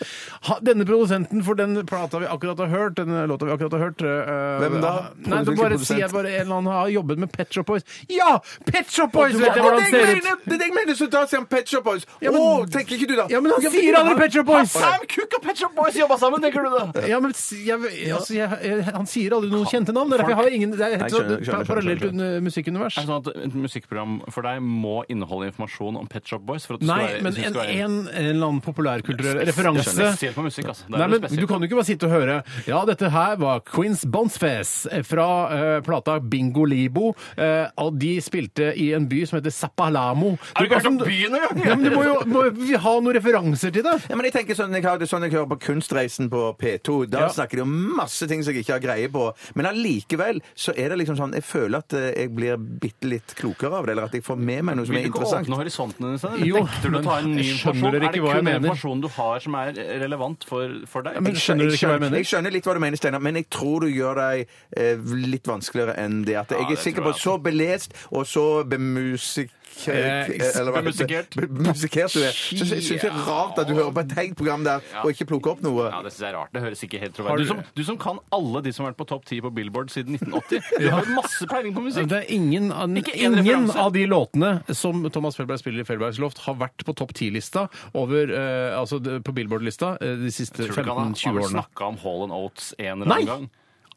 [SPEAKER 2] ha, Denne produsenten for den plata vi akkurat har hørt, denne låta vi akkurat har hørt øh,
[SPEAKER 6] Hvem da?
[SPEAKER 2] Nei, du
[SPEAKER 6] Produsent,
[SPEAKER 2] bare
[SPEAKER 6] produsent.
[SPEAKER 2] sier jeg bare en eller annen har jobbet med Pet Shop Boys. Ja! Pet Shop Boys!
[SPEAKER 6] Det
[SPEAKER 2] Vet jeg hvordan han
[SPEAKER 6] er det
[SPEAKER 2] ser
[SPEAKER 6] jeg
[SPEAKER 2] ut!
[SPEAKER 6] mener! Det er det jeg mener! Så da sier han Pet Shop Boys. Å,
[SPEAKER 2] Ja, men-
[SPEAKER 6] tenker ikke du da?
[SPEAKER 2] Ja, men han sier aldri Pet Shop Boys!
[SPEAKER 4] Sam Cook og Pet Shop Boys jobba sammen, tenker du det?
[SPEAKER 2] Ja, men s- jeg, altså, jeg, jeg, han sier aldri noen kjente navn. Det er derfor jeg har ingen Det er
[SPEAKER 6] Nei,
[SPEAKER 2] et
[SPEAKER 6] jeg skjønner,
[SPEAKER 2] sånt
[SPEAKER 6] skjønner, skjønner,
[SPEAKER 2] parallelt
[SPEAKER 6] skjønner.
[SPEAKER 2] under- musikkunivers.
[SPEAKER 4] Er det sånn at Et musikkprogram for deg må inneholde informasjon om Pet Shop Boys? For at du skal
[SPEAKER 2] Nei,
[SPEAKER 4] være-
[SPEAKER 2] men
[SPEAKER 4] du
[SPEAKER 2] en,
[SPEAKER 4] skal være-
[SPEAKER 2] en, en eller annen populærkulturell
[SPEAKER 4] Det er
[SPEAKER 2] referanse
[SPEAKER 4] Spesielt på musikk, altså. Det er
[SPEAKER 2] Nei,
[SPEAKER 4] noe
[SPEAKER 2] men
[SPEAKER 4] spesielt.
[SPEAKER 2] Du kan jo ikke bare sitte og høre Ja, dette her var Queens Bonsfes fra eh, plata Bingo Libo. eh, og de spilte i en by som heter Zapalamo. Du,
[SPEAKER 4] Har du ikke hørt om
[SPEAKER 2] altså,
[SPEAKER 4] byen engang?
[SPEAKER 2] ja, men du må jo må jo ha noen referanser til det.
[SPEAKER 6] Ja, men jeg tenker sånn, jeg har det sånn jeg hører på Kunstreisen på P2. Da
[SPEAKER 2] Ja.
[SPEAKER 6] snakker de om masse ting som jeg ikke har greie på. Men allikevel så er det liksom sånn Jeg føler at eh, jeg blir bitte litt klokere av det, eller at jeg får med meg noe som
[SPEAKER 4] Vil
[SPEAKER 6] er
[SPEAKER 4] du ikke åpne
[SPEAKER 6] interessant.
[SPEAKER 4] horisonten din? Stein?
[SPEAKER 2] Jo,
[SPEAKER 4] Nekter du å
[SPEAKER 2] men
[SPEAKER 4] ta inn ny
[SPEAKER 2] jeg skjønner
[SPEAKER 4] informasjon?
[SPEAKER 2] dere
[SPEAKER 4] Er
[SPEAKER 2] ikke
[SPEAKER 4] det
[SPEAKER 2] hva jeg
[SPEAKER 4] kun den
[SPEAKER 2] mener?
[SPEAKER 4] informasjonen du har som er relevant for, for deg?
[SPEAKER 2] men skjønner dere ikke hva jeg mener?
[SPEAKER 6] Jeg skjønner litt hva du mener, Steinar, men jeg tror du gjør deg eh, litt vanskeligere enn det. At jeg
[SPEAKER 4] det
[SPEAKER 6] er sikker
[SPEAKER 4] tror
[SPEAKER 6] på
[SPEAKER 4] jeg,
[SPEAKER 6] så belest og så bemusik...
[SPEAKER 2] Eh,
[SPEAKER 3] eh, eller hva heter det?
[SPEAKER 4] Musikert.
[SPEAKER 3] B- Musikert du er. Så jeg syns det er rart at du hører på et helt program der og ikke plukker opp noe.
[SPEAKER 4] Ja, det synes jeg er rart. Det høres ikke helt
[SPEAKER 2] Har
[SPEAKER 4] troverdig
[SPEAKER 2] du-
[SPEAKER 4] du, som- du som kan alle de som har vært på topp ti på Billboard siden 1980. Du har jo masse peiling på musikk.
[SPEAKER 2] Det er ingen, av-
[SPEAKER 4] Ikke en
[SPEAKER 2] ingen
[SPEAKER 4] referanse.
[SPEAKER 2] av de låtene som Thomas Felberg spiller i Felbergs Loft, har vært på topp 10-lista over, eh, altså de- på Billboard-lista eh, de siste
[SPEAKER 4] Tror du ikke han har-
[SPEAKER 2] 15-20
[SPEAKER 4] har
[SPEAKER 2] årene.
[SPEAKER 4] snakka om Hall and Oates en eller
[SPEAKER 2] Nei!
[SPEAKER 4] annen gang?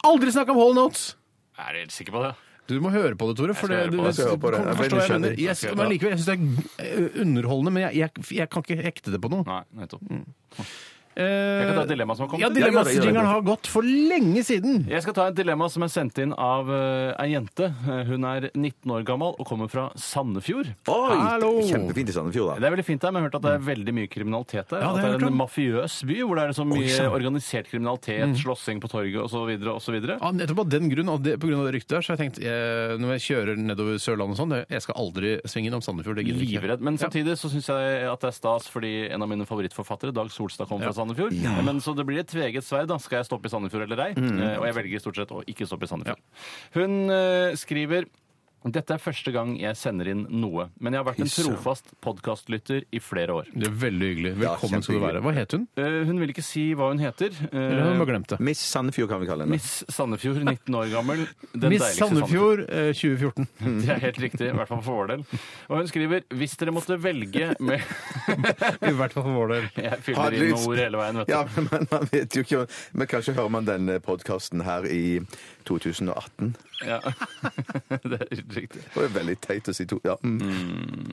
[SPEAKER 2] Aldri snakk om Hall Notes!
[SPEAKER 4] Er du helt sikker på det?
[SPEAKER 2] Du må høre på det, Tore. For det,
[SPEAKER 4] Jeg skal høre
[SPEAKER 2] du,
[SPEAKER 4] på det. Jeg
[SPEAKER 3] skal høre på det.
[SPEAKER 2] kommer til å
[SPEAKER 3] Jeg
[SPEAKER 2] forstå hva jeg
[SPEAKER 3] er veldig
[SPEAKER 2] mener.
[SPEAKER 3] kjedelig.
[SPEAKER 2] Jeg,
[SPEAKER 4] Ok,
[SPEAKER 2] men
[SPEAKER 4] ja.
[SPEAKER 2] likevel, jeg syns det er eh, underholdende, men jeg, jeg, jeg kan ikke hekte det på noe.
[SPEAKER 4] Nei, nettopp.
[SPEAKER 2] Mm. Jeg
[SPEAKER 4] kan ta et dilemma som har kommet.
[SPEAKER 2] Ja,
[SPEAKER 4] Ja,
[SPEAKER 3] gjør det, gjør det.
[SPEAKER 2] dilemmasjingeren har gått for lenge siden.
[SPEAKER 4] Jeg skal ta et dilemma som er sendt inn av eh, ei jente. Eh, Hun er 19 år gammel og kommer fra Sandefjord.
[SPEAKER 3] Oi,
[SPEAKER 2] Hallo!
[SPEAKER 3] Kjempefint i Sandefjord,
[SPEAKER 4] Det
[SPEAKER 3] da.
[SPEAKER 4] er veldig fint der, men jeg har hørt at det er veldig mye kriminalitet der.
[SPEAKER 2] Mm. Ja, det
[SPEAKER 4] at
[SPEAKER 2] har jeg
[SPEAKER 4] det er
[SPEAKER 2] hørt
[SPEAKER 4] en
[SPEAKER 2] om.
[SPEAKER 4] mafiøs by hvor det er så mye
[SPEAKER 2] sann.
[SPEAKER 4] organisert kriminalitet, slåssing på torget osv. osv.
[SPEAKER 2] Mm. Ja, nettopp av den grunn, og det, på grunn av det ryktet der, så har jeg tenkt eh, når jeg kjører nedover Sørlandet og sånn, det- jeg skal aldri svinge innom Sandefjord. Det gidder jeg ikke.
[SPEAKER 4] Livredd. Men samtidig så syns jeg at det er stas fordi en av mine favorittforfattere, Dag Solstad, kom fra Sandefjord. Men Så det blir et tveget sverd. da. Skal jeg stoppe i Sandefjord eller ei?
[SPEAKER 2] Mm.
[SPEAKER 4] Eh, Og jeg velger stort sett å ikke stoppe i Sandefjord. Hun eh, skriver dette er første gang jeg sender inn noe, men jeg har vært en trofast podkastlytter i flere år.
[SPEAKER 2] Det er veldig hyggelig. Velkommen skal du være. Hva het hun?
[SPEAKER 4] Eh, Hun vil ikke si hva hun heter. Eh,
[SPEAKER 2] Eller har hun bare glemt det?
[SPEAKER 3] Miss Sandefjord kan vi kalle henne.
[SPEAKER 4] Miss Sandefjord, 19 år gammel. Den
[SPEAKER 2] Miss
[SPEAKER 4] deiligste
[SPEAKER 2] Sandefjord eh, 2014.
[SPEAKER 4] Det er helt riktig, i hvert fall for vår del. Og hun skriver hvis dere måtte velge med
[SPEAKER 2] I hvert fall for vår del.
[SPEAKER 4] Jeg
[SPEAKER 3] Har
[SPEAKER 4] fyller
[SPEAKER 3] du
[SPEAKER 4] inn
[SPEAKER 3] lyst?
[SPEAKER 4] ord hele veien, vet du.
[SPEAKER 3] Ja, men man, man vet jo ikke Men kanskje hører man denne podkasten her i 2018.
[SPEAKER 4] Ja. Det er helt riktig.
[SPEAKER 3] Det var jo veldig teit å si to... Ja. Mm.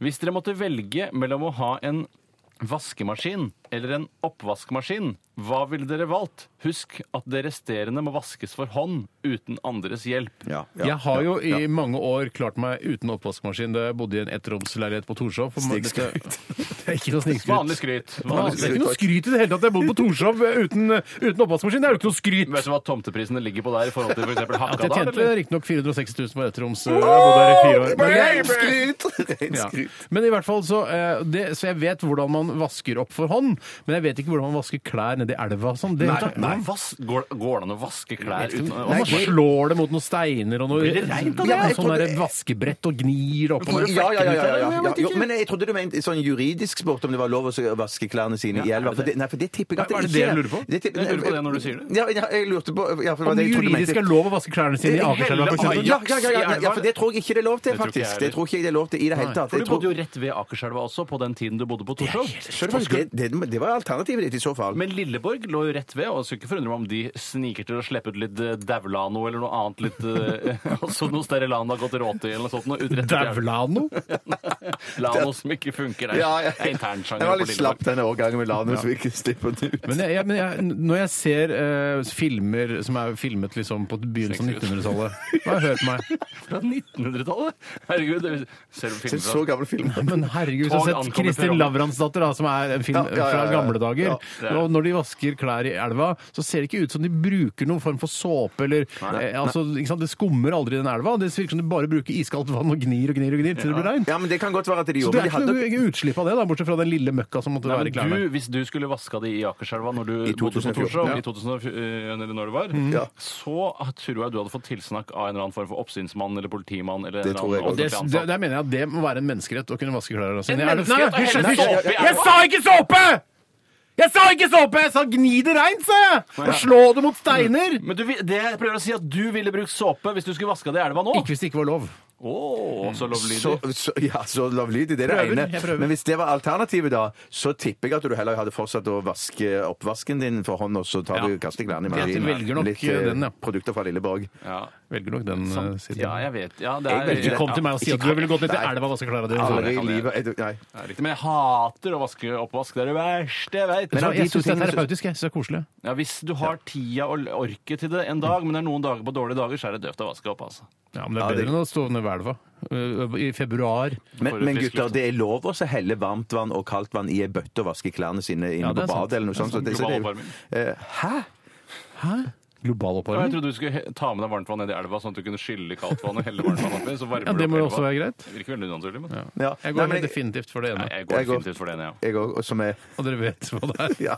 [SPEAKER 4] Hvis dere måtte velge mellom å ha en vaskemaskin eller en oppvaskmaskin, hva ville dere valgt? Husk at det resterende må vaskes for hånd uten andres hjelp.
[SPEAKER 3] Ja, ja,
[SPEAKER 2] Jeg har jo i
[SPEAKER 3] ja.
[SPEAKER 2] mange år klart meg uten oppvaskmaskin da jeg bodde i en ettromsleilighet på Torshov. For man- dette- Det er ikke noe
[SPEAKER 4] Vanlig
[SPEAKER 2] snikskryt.
[SPEAKER 4] skryt.
[SPEAKER 2] Vanlig
[SPEAKER 4] Vanlig
[SPEAKER 2] skryt. Det
[SPEAKER 4] skryt.
[SPEAKER 2] er ikke noe skryt i det hele tatt. Jeg bodde på Torshov eh, uten, uten oppvaskmaskin. Det er jo ikke noe skryt.
[SPEAKER 4] Vet du hva tomteprisene ligger på der i forhold til f.eks. eksempel
[SPEAKER 2] At jeg
[SPEAKER 4] Hakadal?
[SPEAKER 2] tjente
[SPEAKER 4] eller?
[SPEAKER 2] riktignok 460 000 på Ettroms. Jeg bodde der i fire år. Men,
[SPEAKER 3] Rein skryt! Rein
[SPEAKER 2] ja.
[SPEAKER 3] skryt.
[SPEAKER 2] men i hvert fall så, eh, det, så jeg vet hvordan man vasker opp for hånd, men jeg vet ikke hvordan man vasker klær nedi elva. og Sånn. Det,
[SPEAKER 4] Nei, hvordan vas- Går, går det an å vaske klær uten
[SPEAKER 2] Og man slår det mot noen steiner og noe
[SPEAKER 4] Blir det reint av det?
[SPEAKER 2] Ja,
[SPEAKER 3] Jeg
[SPEAKER 2] sånn
[SPEAKER 3] tror
[SPEAKER 2] der
[SPEAKER 3] det-
[SPEAKER 2] vaskebrett og gnir opp
[SPEAKER 3] Ja, ja, ja, ja, ja, ja. Jo, men jeg trodde du mente sånn juridisk sport om det var lov å vaske klærne sine i elva. For det, nei, for det tipper jeg at
[SPEAKER 2] Ja, er det det du lurer på?
[SPEAKER 3] Det,
[SPEAKER 4] Jeg lurer på det når du sier det.
[SPEAKER 3] Ja, ja, jeg lurte på ja, for det var
[SPEAKER 2] Om
[SPEAKER 3] det
[SPEAKER 2] det
[SPEAKER 3] jeg trodde du mente. Eh,
[SPEAKER 2] juridisk er lov å vaske klærne sine i
[SPEAKER 4] I
[SPEAKER 2] Akerselva,
[SPEAKER 4] helle
[SPEAKER 2] for eksempel.
[SPEAKER 3] Ja, ja, ja, ja,
[SPEAKER 4] Ajax i
[SPEAKER 3] ja,
[SPEAKER 4] elva.
[SPEAKER 3] for det tror jeg ikke det er lov til,
[SPEAKER 4] Det tror ikke jeg
[SPEAKER 3] faktisk. Det
[SPEAKER 4] heller.
[SPEAKER 3] tror ikke jeg det er lov til i det hele tatt.
[SPEAKER 4] For
[SPEAKER 3] Jeg
[SPEAKER 4] du bodde
[SPEAKER 3] tror-
[SPEAKER 4] jo rett ved Akerselva også på den tiden du bodde på Torshov.
[SPEAKER 3] Så det var- det- det- Det var alternativet ditt i så fall.
[SPEAKER 4] Men Lilleborg lå jo rett ved, og jeg skulle ikke forundre meg om de sniker til å slippe ut litt eh, Daulano eller noe annet litt eh, Også noe Sterelano har gått råt i eller noe sånt. Noe ut rett ved
[SPEAKER 2] Dævlano?
[SPEAKER 4] Lano som ikke funker der.
[SPEAKER 3] Ja, ja.
[SPEAKER 4] Det er
[SPEAKER 3] Jeg var
[SPEAKER 4] internsjanger på
[SPEAKER 3] litt slapp
[SPEAKER 4] Lilleborg.
[SPEAKER 3] denne årgangen med Lanus, vi ikke slipper den ut.
[SPEAKER 2] Men, jeg, jeg, men jeg, når jeg ser eh, filmer som er filmet liksom på begynnelsen av 1900-tallet Hva har jeg hørt meg?
[SPEAKER 4] Fra 1900-tallet! Herregud, det- ser
[SPEAKER 3] Det
[SPEAKER 4] du
[SPEAKER 3] er
[SPEAKER 4] filmen
[SPEAKER 3] så
[SPEAKER 4] fra
[SPEAKER 3] gammel film.
[SPEAKER 2] Men herregud, hvis jeg
[SPEAKER 4] Tog
[SPEAKER 2] har sett
[SPEAKER 4] ankommer
[SPEAKER 2] Kristin
[SPEAKER 4] perrongen.
[SPEAKER 2] Lavransdatter, da, som er en film
[SPEAKER 3] Ja, ja, ja, ja,
[SPEAKER 2] fra
[SPEAKER 3] ja.
[SPEAKER 2] gamle dager.
[SPEAKER 3] Ja,
[SPEAKER 4] det er det.
[SPEAKER 2] Og når de vasker klær i elva, så ser det ikke ut som de bruker noen form for såpe eller eh, altså, ikke sant? Det skummer aldri den elva. Det virker som de bare bruker iskaldt vann og gnir og gnir og gnir til det blir reint.
[SPEAKER 3] Ja, men det kan godt være at de
[SPEAKER 2] Så
[SPEAKER 3] gjorde
[SPEAKER 2] det er
[SPEAKER 3] men de
[SPEAKER 2] ikke
[SPEAKER 3] hadde-
[SPEAKER 2] noe ikke utslipp av det, da, bortsett fra den lille møkka som måtte
[SPEAKER 4] Nei,
[SPEAKER 2] være i
[SPEAKER 4] men
[SPEAKER 2] klærne.
[SPEAKER 4] du, hvis du skulle vaska de i Akerselva når du
[SPEAKER 3] I
[SPEAKER 4] bodde på
[SPEAKER 3] 2004.
[SPEAKER 4] Torshov
[SPEAKER 3] Ja. Mm.
[SPEAKER 4] i 2004, eller når det var,
[SPEAKER 3] Ja.
[SPEAKER 4] så tror jeg du hadde fått tilsnakk av en eller annen form for oppsynsmann eller politimann eller en
[SPEAKER 3] Det tror
[SPEAKER 4] eller
[SPEAKER 3] jeg
[SPEAKER 4] annen
[SPEAKER 3] også.
[SPEAKER 2] Det,
[SPEAKER 4] offentlig
[SPEAKER 2] det,
[SPEAKER 4] ansatt.
[SPEAKER 2] der mener jeg at det må være en menneskerett å kunne vaske klær. Altså.
[SPEAKER 4] En
[SPEAKER 2] Jeg-
[SPEAKER 4] menneskerett å
[SPEAKER 2] Nei,
[SPEAKER 4] helle
[SPEAKER 2] nei, hysj,
[SPEAKER 4] såpe
[SPEAKER 2] hysj.
[SPEAKER 4] i elva.
[SPEAKER 2] Jeg sa ikke såpe! Jeg sa ikke såpe! Jeg sa gni det reint, sa jeg! Og slå det mot steiner!
[SPEAKER 4] Men du, vil- det jeg prøver å si er at du ville brukt såpe hvis du skulle vaska det i elva nå.
[SPEAKER 2] Ikke hvis det ikke var lov.
[SPEAKER 4] Åh, så lovlydig.
[SPEAKER 3] Mm. Så, så, ja, så lovlydig. Det er
[SPEAKER 2] Prøver,
[SPEAKER 3] det
[SPEAKER 2] jeg
[SPEAKER 3] ene.
[SPEAKER 2] prøver.
[SPEAKER 3] Men hvis det var alternativet, da, så tipper jeg at du heller hadde fortsatt å vaske oppvasken din for hånd, og så tar du
[SPEAKER 2] Ja.
[SPEAKER 3] kaster klærne i
[SPEAKER 2] Jeg velger nok
[SPEAKER 3] Litt eh,
[SPEAKER 2] den, ja.
[SPEAKER 3] produkter fra Lilleborg.
[SPEAKER 4] Ja.
[SPEAKER 2] Velger nok den eh,
[SPEAKER 4] Sant.
[SPEAKER 2] siden.
[SPEAKER 4] ja, jeg vet. Ja, det
[SPEAKER 3] Jeg
[SPEAKER 4] er,
[SPEAKER 3] vet ikke
[SPEAKER 2] Ikke kom til meg og si at du ville gått ned til
[SPEAKER 3] Nei.
[SPEAKER 2] elva og vaske klærne
[SPEAKER 3] Aldri
[SPEAKER 2] dine.
[SPEAKER 3] i livet. Jeg- Nei.
[SPEAKER 4] det er riktig, men jeg hater å vaske oppvask. Det er det verste jeg vet.
[SPEAKER 2] Men
[SPEAKER 3] av de
[SPEAKER 2] jeg syns
[SPEAKER 3] to
[SPEAKER 2] det er
[SPEAKER 3] tingene så-
[SPEAKER 2] terapeutisk. jeg. Jeg synes det er koselig.
[SPEAKER 4] Ja, hvis du har tida og orket til det en dag, men det er noen dager på dårlige dager, så er det døvt å vaske opp. altså.
[SPEAKER 2] Ja, men det
[SPEAKER 3] Ja,
[SPEAKER 2] er
[SPEAKER 3] det-
[SPEAKER 2] bedre enn å stå ned ved elva eh, i februar.
[SPEAKER 4] Får
[SPEAKER 3] Men,
[SPEAKER 4] du
[SPEAKER 3] men gutter,
[SPEAKER 4] frisk
[SPEAKER 2] liksom.
[SPEAKER 4] luft.
[SPEAKER 3] det er lov å så helle varmt vann og kaldt vann i ei bøtte og vaske klærne sine
[SPEAKER 2] Ja,
[SPEAKER 3] inne
[SPEAKER 2] det er
[SPEAKER 3] på
[SPEAKER 2] sant.
[SPEAKER 3] badet eller noe sånt. så
[SPEAKER 4] sant.
[SPEAKER 3] det- så det-
[SPEAKER 4] Global oppvarming.
[SPEAKER 3] Eh, Hæ?
[SPEAKER 2] Hæ? Global
[SPEAKER 4] Ja, Jeg
[SPEAKER 2] oppvarming?
[SPEAKER 4] trodde du skulle he- ta med deg varmt vann ned i elva, sånn at du kunne skylle kaldt vann og helle varmt vann oppi. Så varmer
[SPEAKER 2] Ja,
[SPEAKER 4] du
[SPEAKER 2] det
[SPEAKER 4] opp
[SPEAKER 2] må jo
[SPEAKER 4] elva.
[SPEAKER 2] også være greit.
[SPEAKER 4] Det virker veldig unaturlig, men
[SPEAKER 3] Ja.
[SPEAKER 2] Jeg
[SPEAKER 3] Nei,
[SPEAKER 2] går
[SPEAKER 3] men
[SPEAKER 2] helt definitivt for det
[SPEAKER 4] Nei,
[SPEAKER 2] ene.
[SPEAKER 4] jeg går
[SPEAKER 3] Jeg går-
[SPEAKER 4] definitivt for det ene, ja.
[SPEAKER 3] Jeg òg, som er
[SPEAKER 2] Og dere vet hva det er.
[SPEAKER 3] Ja,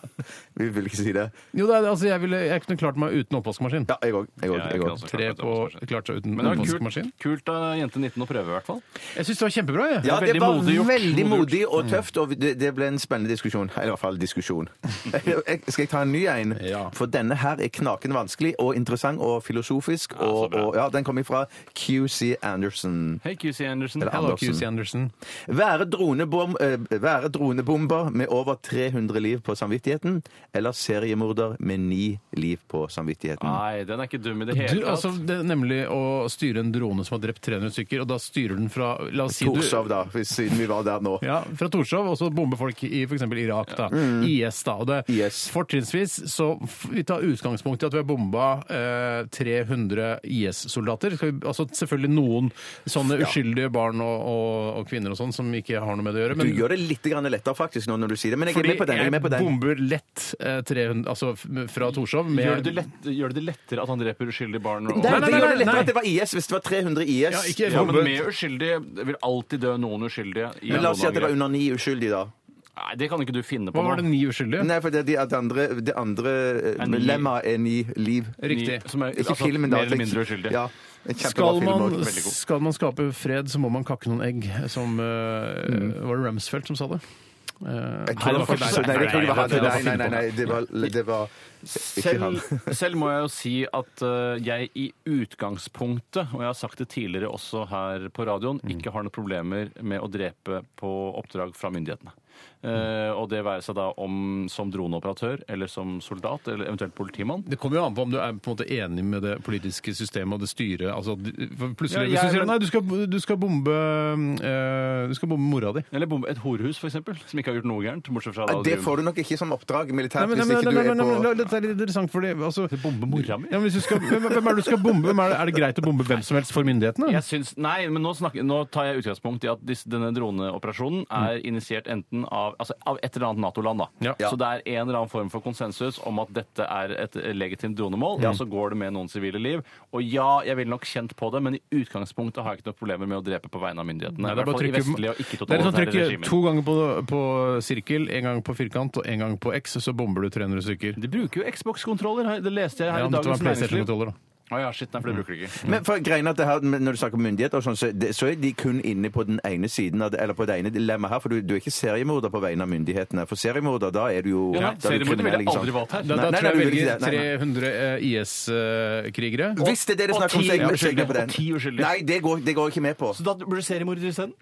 [SPEAKER 3] vi vil ikke si det.
[SPEAKER 2] Jo, det er, altså, jeg, ville, jeg kunne klart meg uten oppvaskmaskin.
[SPEAKER 3] Ja, jeg òg. Jeg òg,
[SPEAKER 4] Ja, jeg
[SPEAKER 3] jeg
[SPEAKER 4] kan
[SPEAKER 3] òg.
[SPEAKER 4] også
[SPEAKER 2] Tre
[SPEAKER 4] klare meg til
[SPEAKER 2] på
[SPEAKER 4] oppvaskmaskin.
[SPEAKER 2] klart seg uten
[SPEAKER 4] Men det var
[SPEAKER 2] oppvaskmaskin.
[SPEAKER 4] kult, kult av jente 19 å prøve, i hvert fall.
[SPEAKER 2] Jeg syns det var kjempebra. Jeg.
[SPEAKER 3] Ja, det
[SPEAKER 4] Veldig
[SPEAKER 3] var
[SPEAKER 4] modig gjort.
[SPEAKER 3] veldig modig og tøft, og det, det ble en spennende diskusjon. Eller i hvert fall diskusjon. Jeg- Skal jeg ta en ny en?
[SPEAKER 2] Ja.
[SPEAKER 3] For denne her er knakende vanskelig og interessant og filosofisk. Og, og ja, Den kommer fra QC Anderson.
[SPEAKER 4] Hei, QC Andersen.
[SPEAKER 3] Eller
[SPEAKER 2] Hello,
[SPEAKER 3] Andersen.
[SPEAKER 2] QC Andersen.
[SPEAKER 3] Være, dronebom, eh, være dronebomber med over 300 liv på samvittigheten, eller seriemorder med ni liv på samvittigheten.
[SPEAKER 4] Nei, den er ikke dum i det
[SPEAKER 2] Du,
[SPEAKER 4] hele tatt.
[SPEAKER 2] altså, det er nemlig å styre en drone som har drept 300 stykker, og da styrer den fra La oss si du
[SPEAKER 3] Torshov, da, hvis- siden vi var der nå.
[SPEAKER 2] Ja, fra Torshov, og så bomber folk i f.eks. Irak, da. IS, da. Og det,
[SPEAKER 3] Mm. IS.
[SPEAKER 2] Fortrinnsvis så f- vi tar utgangspunkt i at vi har bomba eh, 300 IS-soldater. Skal vi- Altså selvfølgelig noen sånne uskyldige barn og, og, og kvinner og sånn som ikke har noe med det å gjøre.
[SPEAKER 3] Du
[SPEAKER 2] men-
[SPEAKER 3] gjør det litt grann lettere faktisk nå når du sier det, men jeg er
[SPEAKER 2] Fordi
[SPEAKER 3] med på den. Jeg er med på
[SPEAKER 2] jeg
[SPEAKER 3] den.
[SPEAKER 2] bomber lett eh, 300, altså f- fra Torshov med
[SPEAKER 4] Gjør det, det lett, gjør det det lettere at han dreper uskyldige barn? Og,
[SPEAKER 3] Nei,
[SPEAKER 2] Nei, nei,
[SPEAKER 3] det gjør
[SPEAKER 2] nei,
[SPEAKER 3] det lettere
[SPEAKER 2] nei.
[SPEAKER 3] at det var IS hvis det var 300 IS.
[SPEAKER 2] Ja, ikke
[SPEAKER 4] ja, men
[SPEAKER 2] bombe-
[SPEAKER 4] med uskyldige det vil alltid dø noen uskyldige. i
[SPEAKER 3] Men la oss si at det var
[SPEAKER 4] noen
[SPEAKER 3] under ni uskyldige, da.
[SPEAKER 4] angrep. Nei, det kan ikke du finne på
[SPEAKER 2] Hva var det,
[SPEAKER 4] nå.
[SPEAKER 2] ni uskyldige?
[SPEAKER 3] Nei, for det, det, det andre, det andre
[SPEAKER 4] Er ni-
[SPEAKER 3] lemmaet er ni liv.
[SPEAKER 2] Riktig.
[SPEAKER 4] Ni- Som er
[SPEAKER 3] Ikke
[SPEAKER 4] altså,
[SPEAKER 3] filmen, da.
[SPEAKER 4] mer eller
[SPEAKER 3] men-
[SPEAKER 4] mindre uskyldige.
[SPEAKER 3] Ja, en kjempebra
[SPEAKER 2] Skal
[SPEAKER 3] film
[SPEAKER 2] man,
[SPEAKER 3] også.
[SPEAKER 4] veldig god.
[SPEAKER 2] skal man skape fred, så må man kakke noen egg, som eh, Var det Rumsfeldt som sa det? Eh,
[SPEAKER 3] Jeg tror det var
[SPEAKER 2] ikke
[SPEAKER 3] faktisk-
[SPEAKER 2] deg.
[SPEAKER 3] Nei, jeg tror det
[SPEAKER 2] Nei,
[SPEAKER 3] var han.
[SPEAKER 2] det var
[SPEAKER 3] Nei,
[SPEAKER 2] Finn
[SPEAKER 3] nei,
[SPEAKER 2] på
[SPEAKER 3] nei,
[SPEAKER 2] det.
[SPEAKER 3] nei, det var, det var ikke han.
[SPEAKER 4] Selv, selv må jeg jo si at eh, jeg i utgangspunktet, og jeg har sagt det tidligere også her på radioen, ikke har noen problemer med å drepe på oppdrag fra myndighetene. Eh, og det være seg da om som droneoperatør eller som soldat eller eventuelt politimann.
[SPEAKER 2] Det kommer jo an på om du er på en måte enig med det politiske systemet og det styret. Altså, du- for plutselig
[SPEAKER 4] Ja, jeg-
[SPEAKER 2] hvis du sier nei, du skal, du skal bombe eh, Du skal bombe mora di.
[SPEAKER 4] Eller bombe et horehus, f.eks., som ikke har gjort noe gærent. bortsett fra da
[SPEAKER 3] Ja, Det
[SPEAKER 4] de-
[SPEAKER 3] får du nok ikke som oppdrag
[SPEAKER 2] Nei,
[SPEAKER 3] militært
[SPEAKER 2] men,
[SPEAKER 3] hvis
[SPEAKER 2] nei, men,
[SPEAKER 3] ikke du
[SPEAKER 2] nei,
[SPEAKER 3] er
[SPEAKER 2] men, nei,
[SPEAKER 3] på
[SPEAKER 2] men, Dette er litt interessant, fordi altså,
[SPEAKER 4] Bombe mora mi?
[SPEAKER 2] ja, men hvis du skal, hvem, hvem er det du skal bombe? Hvem er det, er det greit å bombe hvem som helst for myndighetene?
[SPEAKER 4] Jeg syns, nei, men nå, snakker, nå tar jeg utgangspunkt i at disse, denne droneoperasjonen er initiert enten av, altså, av et eller annet Nato-land. da.
[SPEAKER 2] Ja.
[SPEAKER 4] Så det er en eller annen form for konsensus om at dette er et legitimt dronemål. Ja, så går det med noen sivile liv. Og ja, jeg ville nok kjent på det, men i utgangspunktet har jeg ikke noen problemer med å drepe på vegne av myndighetene.
[SPEAKER 2] Nei,
[SPEAKER 4] I
[SPEAKER 2] det er
[SPEAKER 4] hvert
[SPEAKER 2] bare å
[SPEAKER 4] fall i
[SPEAKER 2] trykke-
[SPEAKER 4] vestlige og ikke
[SPEAKER 2] Det er litt sånn
[SPEAKER 4] totalitære
[SPEAKER 2] trykke
[SPEAKER 4] regimer.
[SPEAKER 2] to ganger på, på sirkel, en gang på firkant og en gang på X, så bomber du 300 stykker.
[SPEAKER 4] De bruker jo Xbox-kontroller, her, det leste jeg her
[SPEAKER 2] Ja,
[SPEAKER 4] i
[SPEAKER 2] dette var
[SPEAKER 4] Dagens
[SPEAKER 2] en
[SPEAKER 4] Næringsliv.
[SPEAKER 2] PlayStation-kontroller, da.
[SPEAKER 4] Å ja, shit, nei, for det bruker de ikke.
[SPEAKER 3] men for greien at det her, men Når du snakker om myndigheter, og sånn, så, det, så er de kun inne på den ene siden av det, eller på det ene dilemmaet her. For du, du er ikke seriemorder på vegne av myndighetene. For seriemorder, da er du jo
[SPEAKER 4] Ja,
[SPEAKER 3] da er
[SPEAKER 4] nei,
[SPEAKER 3] du
[SPEAKER 4] Seriemorder
[SPEAKER 3] kriminell,
[SPEAKER 4] ville
[SPEAKER 3] ikke sant?
[SPEAKER 4] aldri valgt her.
[SPEAKER 2] Da,
[SPEAKER 3] Nei,
[SPEAKER 2] da
[SPEAKER 3] nei,
[SPEAKER 2] tror
[SPEAKER 3] nei,
[SPEAKER 2] jeg
[SPEAKER 3] vi vil
[SPEAKER 2] velger
[SPEAKER 3] ikke det. Nei,
[SPEAKER 2] 300 IS-krigere.
[SPEAKER 3] Hvis det er det det er
[SPEAKER 4] Og
[SPEAKER 3] snakk om,
[SPEAKER 4] ti
[SPEAKER 3] så er jeg med- så er jeg
[SPEAKER 4] uskyldige.
[SPEAKER 3] med på den.
[SPEAKER 4] Og ti uskyldige.
[SPEAKER 3] Nei, det går, det går jeg ikke med på.
[SPEAKER 4] Så da blir det seriemorder isteden?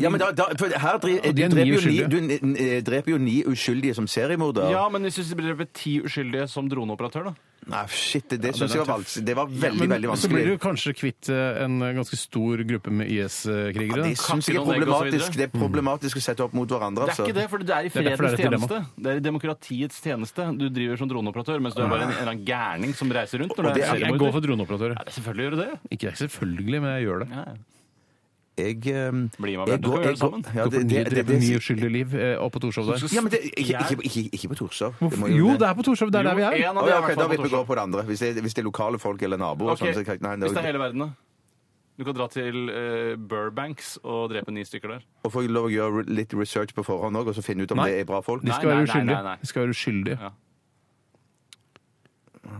[SPEAKER 3] Ja, men da, da, for her dri,
[SPEAKER 2] Og de er
[SPEAKER 3] du, dreper
[SPEAKER 2] ni
[SPEAKER 3] jo ni,
[SPEAKER 2] uskyldige.
[SPEAKER 3] du eh, dreper jo ni uskyldige som seriemorder.
[SPEAKER 4] Ja, men hvis vi dreper ti uskyldige som droneoperatør, da?
[SPEAKER 3] Nei, shit, det, det
[SPEAKER 2] den
[SPEAKER 3] syns
[SPEAKER 2] er
[SPEAKER 3] jeg var
[SPEAKER 2] tøff.
[SPEAKER 3] vanskelig. Det var veldig, veldig
[SPEAKER 2] Så blir
[SPEAKER 3] vanskelig.
[SPEAKER 2] du kanskje kvitt eh, en ganske stor gruppe med eh,
[SPEAKER 3] Ja,
[SPEAKER 2] IS-krigere.
[SPEAKER 3] det syns jeg er
[SPEAKER 4] Kakken og negg og så
[SPEAKER 3] problematisk.
[SPEAKER 4] videre.
[SPEAKER 3] Det er problematisk å sette opp mot hverandre,
[SPEAKER 4] Det er
[SPEAKER 3] altså.
[SPEAKER 4] ikke det, for det er i
[SPEAKER 2] er derfor det
[SPEAKER 4] fredens
[SPEAKER 2] er et dilemma.
[SPEAKER 4] tjeneste. Det er i demokratiets tjeneste. Du driver som droneoperatør, mens du er bare en, en eller annen gærning som reiser rundt
[SPEAKER 3] Og
[SPEAKER 4] når du
[SPEAKER 3] det
[SPEAKER 4] er
[SPEAKER 3] er-
[SPEAKER 2] jeg går
[SPEAKER 4] seriemorder.
[SPEAKER 2] for droneoperatør.
[SPEAKER 4] Ja, selvfølgelig gjør du det.
[SPEAKER 2] Ikke selvfølgelig, men jeg gjør det.
[SPEAKER 4] Ja.
[SPEAKER 3] Jeg, eh,
[SPEAKER 4] Bli
[SPEAKER 3] jeg går-
[SPEAKER 4] med, Bjarte, skal vi gjøre det
[SPEAKER 3] jeg går-
[SPEAKER 4] sammen?
[SPEAKER 3] Ja,
[SPEAKER 2] Gå
[SPEAKER 3] det-
[SPEAKER 2] for
[SPEAKER 3] det-
[SPEAKER 2] ni,
[SPEAKER 3] det-
[SPEAKER 2] drepe
[SPEAKER 3] det-
[SPEAKER 2] ni uskyldige liv eh, oppe på Torshov der.
[SPEAKER 3] Ja, men det, ikke, ikke, ikke, ikke på Torshov. Det må
[SPEAKER 2] Hvorfor-
[SPEAKER 3] jeg
[SPEAKER 2] Jo,
[SPEAKER 3] gjøre.
[SPEAKER 2] det er på Torshov. Det er der vi er.
[SPEAKER 4] en
[SPEAKER 3] Å,
[SPEAKER 4] av de
[SPEAKER 3] ja,
[SPEAKER 4] er i
[SPEAKER 3] ok,
[SPEAKER 4] hvert
[SPEAKER 3] da
[SPEAKER 4] fall
[SPEAKER 3] vil
[SPEAKER 4] på
[SPEAKER 3] vi gå
[SPEAKER 4] Torshov.
[SPEAKER 3] på det andre. Hvis det, hvis det er lokale folk eller naboer. og
[SPEAKER 4] Ok,
[SPEAKER 3] Sånn, så, kan- nei,
[SPEAKER 4] Hvis det er
[SPEAKER 3] nei,
[SPEAKER 4] hele verden, da. Du kan dra til eh, Burbanks og drepe ni stykker der.
[SPEAKER 3] og får jeg lov å gjøre litt research på forhånd òg, og så finne ut om
[SPEAKER 2] Nei.
[SPEAKER 3] det er bra folk.
[SPEAKER 2] De
[SPEAKER 4] Nei,
[SPEAKER 2] skal være
[SPEAKER 4] nei, nei,
[SPEAKER 2] uskyldige.
[SPEAKER 4] nei.
[SPEAKER 2] De skal være uskyldige.
[SPEAKER 4] Ja.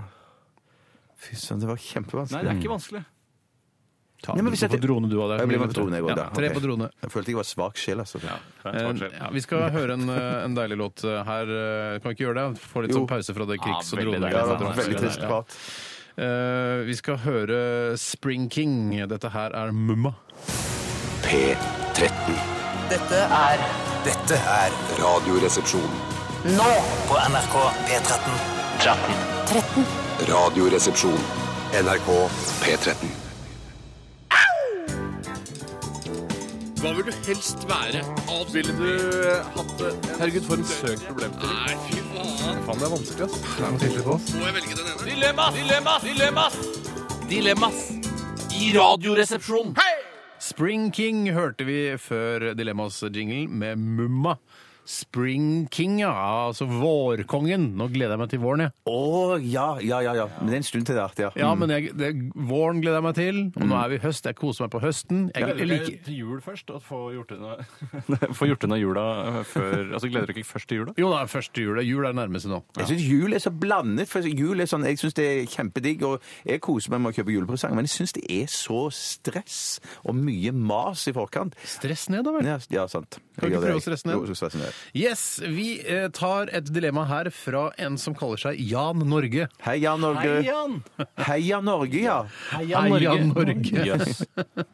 [SPEAKER 3] Fy søren, det var
[SPEAKER 4] Nei, det
[SPEAKER 3] kjempevanskelig.
[SPEAKER 4] er ikke vanskelig.
[SPEAKER 2] Ta
[SPEAKER 3] Nei, men
[SPEAKER 2] med
[SPEAKER 3] hvis
[SPEAKER 2] på
[SPEAKER 3] jeg-
[SPEAKER 2] drone, du og
[SPEAKER 3] Jeg blir med på
[SPEAKER 2] det.
[SPEAKER 3] drone, jeg går,
[SPEAKER 2] Ja,
[SPEAKER 3] da.
[SPEAKER 2] Tre
[SPEAKER 3] Ok.
[SPEAKER 2] på drone.
[SPEAKER 3] Jeg følte jeg var svak sjel, altså.
[SPEAKER 4] Svart skjell.
[SPEAKER 2] Ja, vi skal høre en, eh, en deilig låt eh, her. eh, Kan vi ikke gjøre det? Få litt sånn
[SPEAKER 3] Jo.
[SPEAKER 2] pause fra det krigs- og
[SPEAKER 4] Ja, veldig
[SPEAKER 2] drone.
[SPEAKER 3] Ja, det
[SPEAKER 4] deilig. Ja,
[SPEAKER 3] var
[SPEAKER 4] det er
[SPEAKER 3] veldig trist
[SPEAKER 4] ja.
[SPEAKER 3] prat.
[SPEAKER 2] Eh, Vi skal høre Spring King. Dette her er Mumma.
[SPEAKER 5] P13.
[SPEAKER 10] Dette er
[SPEAKER 11] Dette er
[SPEAKER 5] Radioresepsjon.
[SPEAKER 10] nå
[SPEAKER 11] på NRK P13.
[SPEAKER 5] Radioresepsjon. NRK P13.
[SPEAKER 6] Hva vil du helst være? Ville du hatt det? Herregud, for en søk problem til. Nei, fy faen. Faen, det er vanskelig, ass. Nei, Må jeg velge den ene? Dilemmas! Dilemmas! Dilemmas! Dilemmas i Radioresepsjonen.
[SPEAKER 2] Spring King hørte vi før Dilemmas-jingle med Mumma. Spring King, ja. Altså vårkongen. Nå gleder jeg meg til våren, jeg.
[SPEAKER 3] Å, ja, ja, ja, ja. Men det er en stund til det er artig, ja.
[SPEAKER 2] Ja, men jeg, det, våren gleder jeg meg til. Og nå er vi i høst. Jeg koser meg på høsten. Jeg, jeg
[SPEAKER 4] Gleder
[SPEAKER 2] liker
[SPEAKER 4] dere til jul først? At få gjort unna Få gjort unna jula før Altså, gleder dere ikke først til jula?
[SPEAKER 2] jo, det er første jul. Jul er nærmeste nå.
[SPEAKER 3] Jeg syns jul er så blandet. for jul er sånn, Jeg syns det er kjempedigg, og jeg koser meg med å kjøpe julepresanger, men jeg syns det er så stress og mye mas i forkant.
[SPEAKER 2] Stress ned, da vel.
[SPEAKER 3] Ja, ja sant.
[SPEAKER 2] Kan vi ikke prøve å stresse ned?
[SPEAKER 3] Jo, så stress ned.
[SPEAKER 2] Yes, vi eh, tar et dilemma her fra en som kaller seg Jan Norge.
[SPEAKER 3] Heia Norge! Heia Norge, ja!
[SPEAKER 2] Heia Norge!
[SPEAKER 4] Jøss.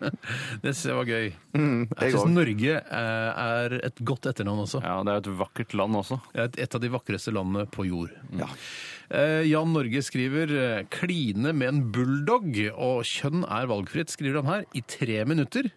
[SPEAKER 2] Det synes jeg var gøy. jeg
[SPEAKER 3] jeg
[SPEAKER 2] syns
[SPEAKER 3] også.
[SPEAKER 2] Norge eh, er et godt etternavn også.
[SPEAKER 4] Ja, det er jo et vakkert land også.
[SPEAKER 2] Det er Et, et av de vakreste landene på jord.
[SPEAKER 3] Ja.
[SPEAKER 2] Eh, Jan Norge skriver eh, 'kline med en bulldog', og kjønn er valgfritt, skriver han her, i tre minutter.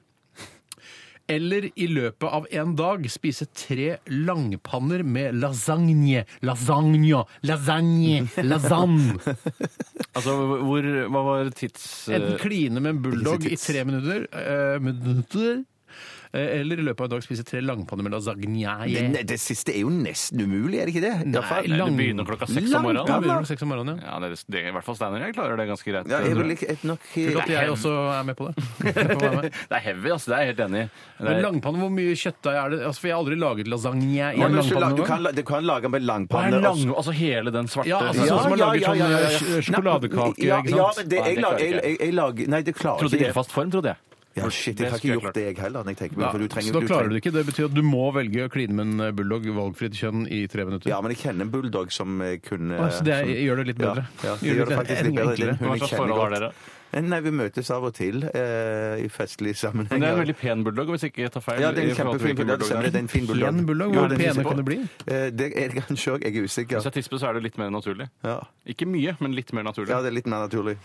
[SPEAKER 2] Eller i løpet av en dag spise tre langpanner med lasagne. Lasagne, lasagne, lasagne.
[SPEAKER 4] Altså, hvor, hva var tids...
[SPEAKER 2] Enten kline med en bulldog i tre minutter, eh, minutter eh, eller i løpet av en dag spise tre langpanner med
[SPEAKER 3] Det,
[SPEAKER 2] lasagne.
[SPEAKER 3] nei, det siste er jo nesten umulig, er det ikke det? I hvert fall.
[SPEAKER 4] Nei, det begynner klokka seks om
[SPEAKER 2] Ja,
[SPEAKER 4] morgenen.
[SPEAKER 2] begynner du seks om morgenen, ja.
[SPEAKER 4] Ja, det, er- det, er I hvert fall Steinar jeg klarer det ganske greit.
[SPEAKER 3] Ja, jeg vil ikke et nok
[SPEAKER 2] Godt jeg også er med på det. Jeg får være med.
[SPEAKER 4] Det er heavy, altså. Det er jeg helt enig i. Det
[SPEAKER 2] Men
[SPEAKER 4] er-
[SPEAKER 2] langpanne, hvor mye kjøttdeig er det? Altså, for jeg har aldri laget lasagne i
[SPEAKER 3] Ja,
[SPEAKER 2] en
[SPEAKER 3] men du,
[SPEAKER 2] langpanne
[SPEAKER 3] du,
[SPEAKER 2] noen gang.
[SPEAKER 3] kan, la- du kan lage med
[SPEAKER 4] Hva er
[SPEAKER 3] langpanne.
[SPEAKER 4] lang,
[SPEAKER 3] også.
[SPEAKER 4] altså hele den svarte
[SPEAKER 2] Ja, altså,
[SPEAKER 4] ja.
[SPEAKER 2] sånn som man
[SPEAKER 3] ja,
[SPEAKER 2] lager
[SPEAKER 3] ja,
[SPEAKER 2] sånn
[SPEAKER 3] ja, ja, ja.
[SPEAKER 2] eh, sjokoladekake,
[SPEAKER 3] ja,
[SPEAKER 2] ikke
[SPEAKER 3] Ja,
[SPEAKER 2] sant?
[SPEAKER 3] men det, jeg,
[SPEAKER 4] Nei, det klarer
[SPEAKER 3] lager,
[SPEAKER 4] jeg
[SPEAKER 3] jeg, jeg, jeg lager Nei, det klarer
[SPEAKER 4] Trodde
[SPEAKER 3] ikke
[SPEAKER 4] ikke i fast form, trodde jeg.
[SPEAKER 3] Ja, shit, jeg har ikke
[SPEAKER 4] skulle jeg
[SPEAKER 3] gjort det, jeg heller. når Jeg tenker, meg
[SPEAKER 2] Ja,
[SPEAKER 3] om, for du trenger,
[SPEAKER 2] så da
[SPEAKER 3] du
[SPEAKER 2] klarer du
[SPEAKER 3] trenger-
[SPEAKER 2] det ikke. Det betyr at du må velge å kline med en bulldog valgfritt kjønn i tre minutter.
[SPEAKER 3] Ja, men jeg kjenner en bulldog som eh, kunne
[SPEAKER 2] Å, så det er-
[SPEAKER 3] som-
[SPEAKER 2] gjør det litt bedre.
[SPEAKER 3] Ja, ja, det
[SPEAKER 2] Gjør
[SPEAKER 3] gjør
[SPEAKER 2] det
[SPEAKER 3] det
[SPEAKER 2] litt
[SPEAKER 3] faktisk litt bedre.
[SPEAKER 2] enklere.
[SPEAKER 3] Den hunden
[SPEAKER 4] Hva
[SPEAKER 3] jeg
[SPEAKER 4] slags
[SPEAKER 3] kjenner
[SPEAKER 4] forhold har
[SPEAKER 3] godt.
[SPEAKER 4] dere?
[SPEAKER 3] Eh, Nei, vi møtes av og til eh, i festlige sammenhenger.
[SPEAKER 4] Men det er en veldig pen bulldog, hvis ikke jeg tar feil.
[SPEAKER 3] ja, det er
[SPEAKER 4] i
[SPEAKER 3] en
[SPEAKER 4] forhold til
[SPEAKER 3] kjempefin
[SPEAKER 4] hvilken
[SPEAKER 3] bulldog.
[SPEAKER 4] bulldog
[SPEAKER 3] stemmer Det er
[SPEAKER 4] det er.
[SPEAKER 3] en fin bulldog.
[SPEAKER 2] Pen bulldog,
[SPEAKER 3] Ja,
[SPEAKER 2] hvor
[SPEAKER 3] den er
[SPEAKER 2] pene
[SPEAKER 3] på.
[SPEAKER 2] kan det bli?
[SPEAKER 3] Eh, Det er det kanskje òg. Jeg er usikker.
[SPEAKER 4] Hvis jeg tisper, så er det litt mer naturlig.
[SPEAKER 3] Ja.
[SPEAKER 4] Ikke mye, men litt mer naturlig.
[SPEAKER 3] ja, det er litt mer naturlig.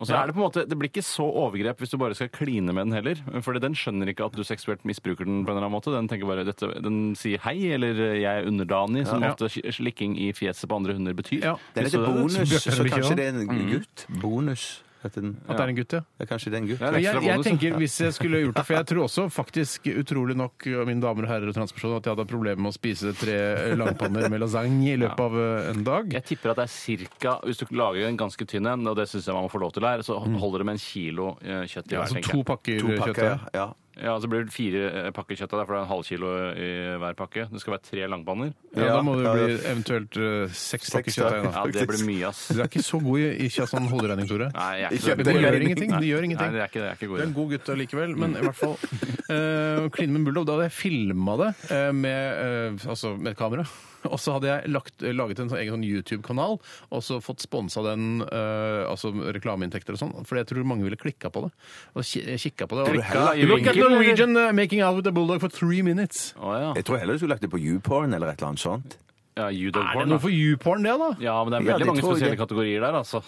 [SPEAKER 4] Og så er det på en måte, det blir ikke så overgrep hvis du bare skal kline med den heller. For den skjønner ikke at du seksuelt misbruker den på en eller annen måte. Den tenker bare, dette, den sier hei, eller eh, jeg er underdanig, som
[SPEAKER 2] Ja.
[SPEAKER 4] ofte slikking i fjeset på andre hunder betyr.
[SPEAKER 2] Ja.
[SPEAKER 3] Den
[SPEAKER 4] Så-
[SPEAKER 3] heter Bonus,
[SPEAKER 2] Bjørte
[SPEAKER 3] så
[SPEAKER 2] Bikkje,
[SPEAKER 3] kanskje
[SPEAKER 2] da.
[SPEAKER 3] det er en gutt. Bonus heter den.
[SPEAKER 2] At det er en gutt, ja.
[SPEAKER 3] Ja, kanskje det er en gutt.
[SPEAKER 4] Ja, det er
[SPEAKER 2] Men Jeg,
[SPEAKER 4] ekstra
[SPEAKER 2] jeg
[SPEAKER 4] bonus,
[SPEAKER 2] tenker hvis jeg skulle gjort det, for jeg tror også faktisk utrolig nok, mine damer og herrer og transpersoner, at jeg hadde hatt problemer med å spise tre langpanner med lasagne i løpet av eh, en dag.
[SPEAKER 4] Jeg tipper at det er cirka, hvis du lager en ganske tynn en, og det synes jeg man må få lov til her, så holder det med en kilo eh, kjøtt
[SPEAKER 2] Mm. Ja,
[SPEAKER 4] i hver,
[SPEAKER 2] altså
[SPEAKER 4] tenker
[SPEAKER 2] to
[SPEAKER 4] jeg.
[SPEAKER 2] pakker
[SPEAKER 3] To
[SPEAKER 2] kjøtt.
[SPEAKER 3] pakker, ja.
[SPEAKER 2] ja.
[SPEAKER 3] ja.
[SPEAKER 4] Ja, så blir det fire eh, pakker kjøtt av det, for det er en halv kilo i hver pakke. Det skal være tre langpanner.
[SPEAKER 2] Ja, da må det
[SPEAKER 3] Ja, ja.
[SPEAKER 2] bli eventuelt eh, seks pakker
[SPEAKER 3] ja.
[SPEAKER 2] kjøttdeig. da.
[SPEAKER 4] Ja, det blir mye, ass.
[SPEAKER 2] Du er ikke så god i, i sånn hoderegning, Tore.
[SPEAKER 4] Nei, jeg er
[SPEAKER 3] Ikke-
[SPEAKER 2] Det
[SPEAKER 4] ikke så
[SPEAKER 3] det
[SPEAKER 4] god i
[SPEAKER 3] gjør
[SPEAKER 2] gjør
[SPEAKER 4] det.
[SPEAKER 2] ingenting. Det gjør
[SPEAKER 4] Nei,
[SPEAKER 2] ingenting.
[SPEAKER 4] det er ikke, det er ikke
[SPEAKER 2] Du
[SPEAKER 4] god
[SPEAKER 2] er
[SPEAKER 4] idé.
[SPEAKER 2] en god gutt allikevel, men i hvert fall eh, å Kline med en bulldog. Da hadde jeg filma det eh, med, eh, altså med et kamera. Og så hadde jeg lagt, laget en sånn egen sånn YouTube-kanal og så fått sponsa den, eh, altså reklameinntekter og sånn. For jeg tror mange ville klikka på det. Og ki- kikka på det. Og,
[SPEAKER 3] Klikka i
[SPEAKER 2] Look at
[SPEAKER 4] vinkel, eller?
[SPEAKER 2] Norwegian eh, making out with a bulldog for three minutes.
[SPEAKER 4] Å ja.
[SPEAKER 3] Jeg tror heller du skulle lagt det på YouPorn eller et eller annet sånt.
[SPEAKER 4] ja
[SPEAKER 2] Er
[SPEAKER 4] judogporn,
[SPEAKER 2] det
[SPEAKER 4] da.
[SPEAKER 2] noe for YouPorn, det, da?
[SPEAKER 4] Ja, men det er
[SPEAKER 3] Ja,
[SPEAKER 4] veldig
[SPEAKER 3] det
[SPEAKER 4] mange
[SPEAKER 3] tror jeg
[SPEAKER 4] spesielle
[SPEAKER 3] det.
[SPEAKER 4] kategorier der, altså.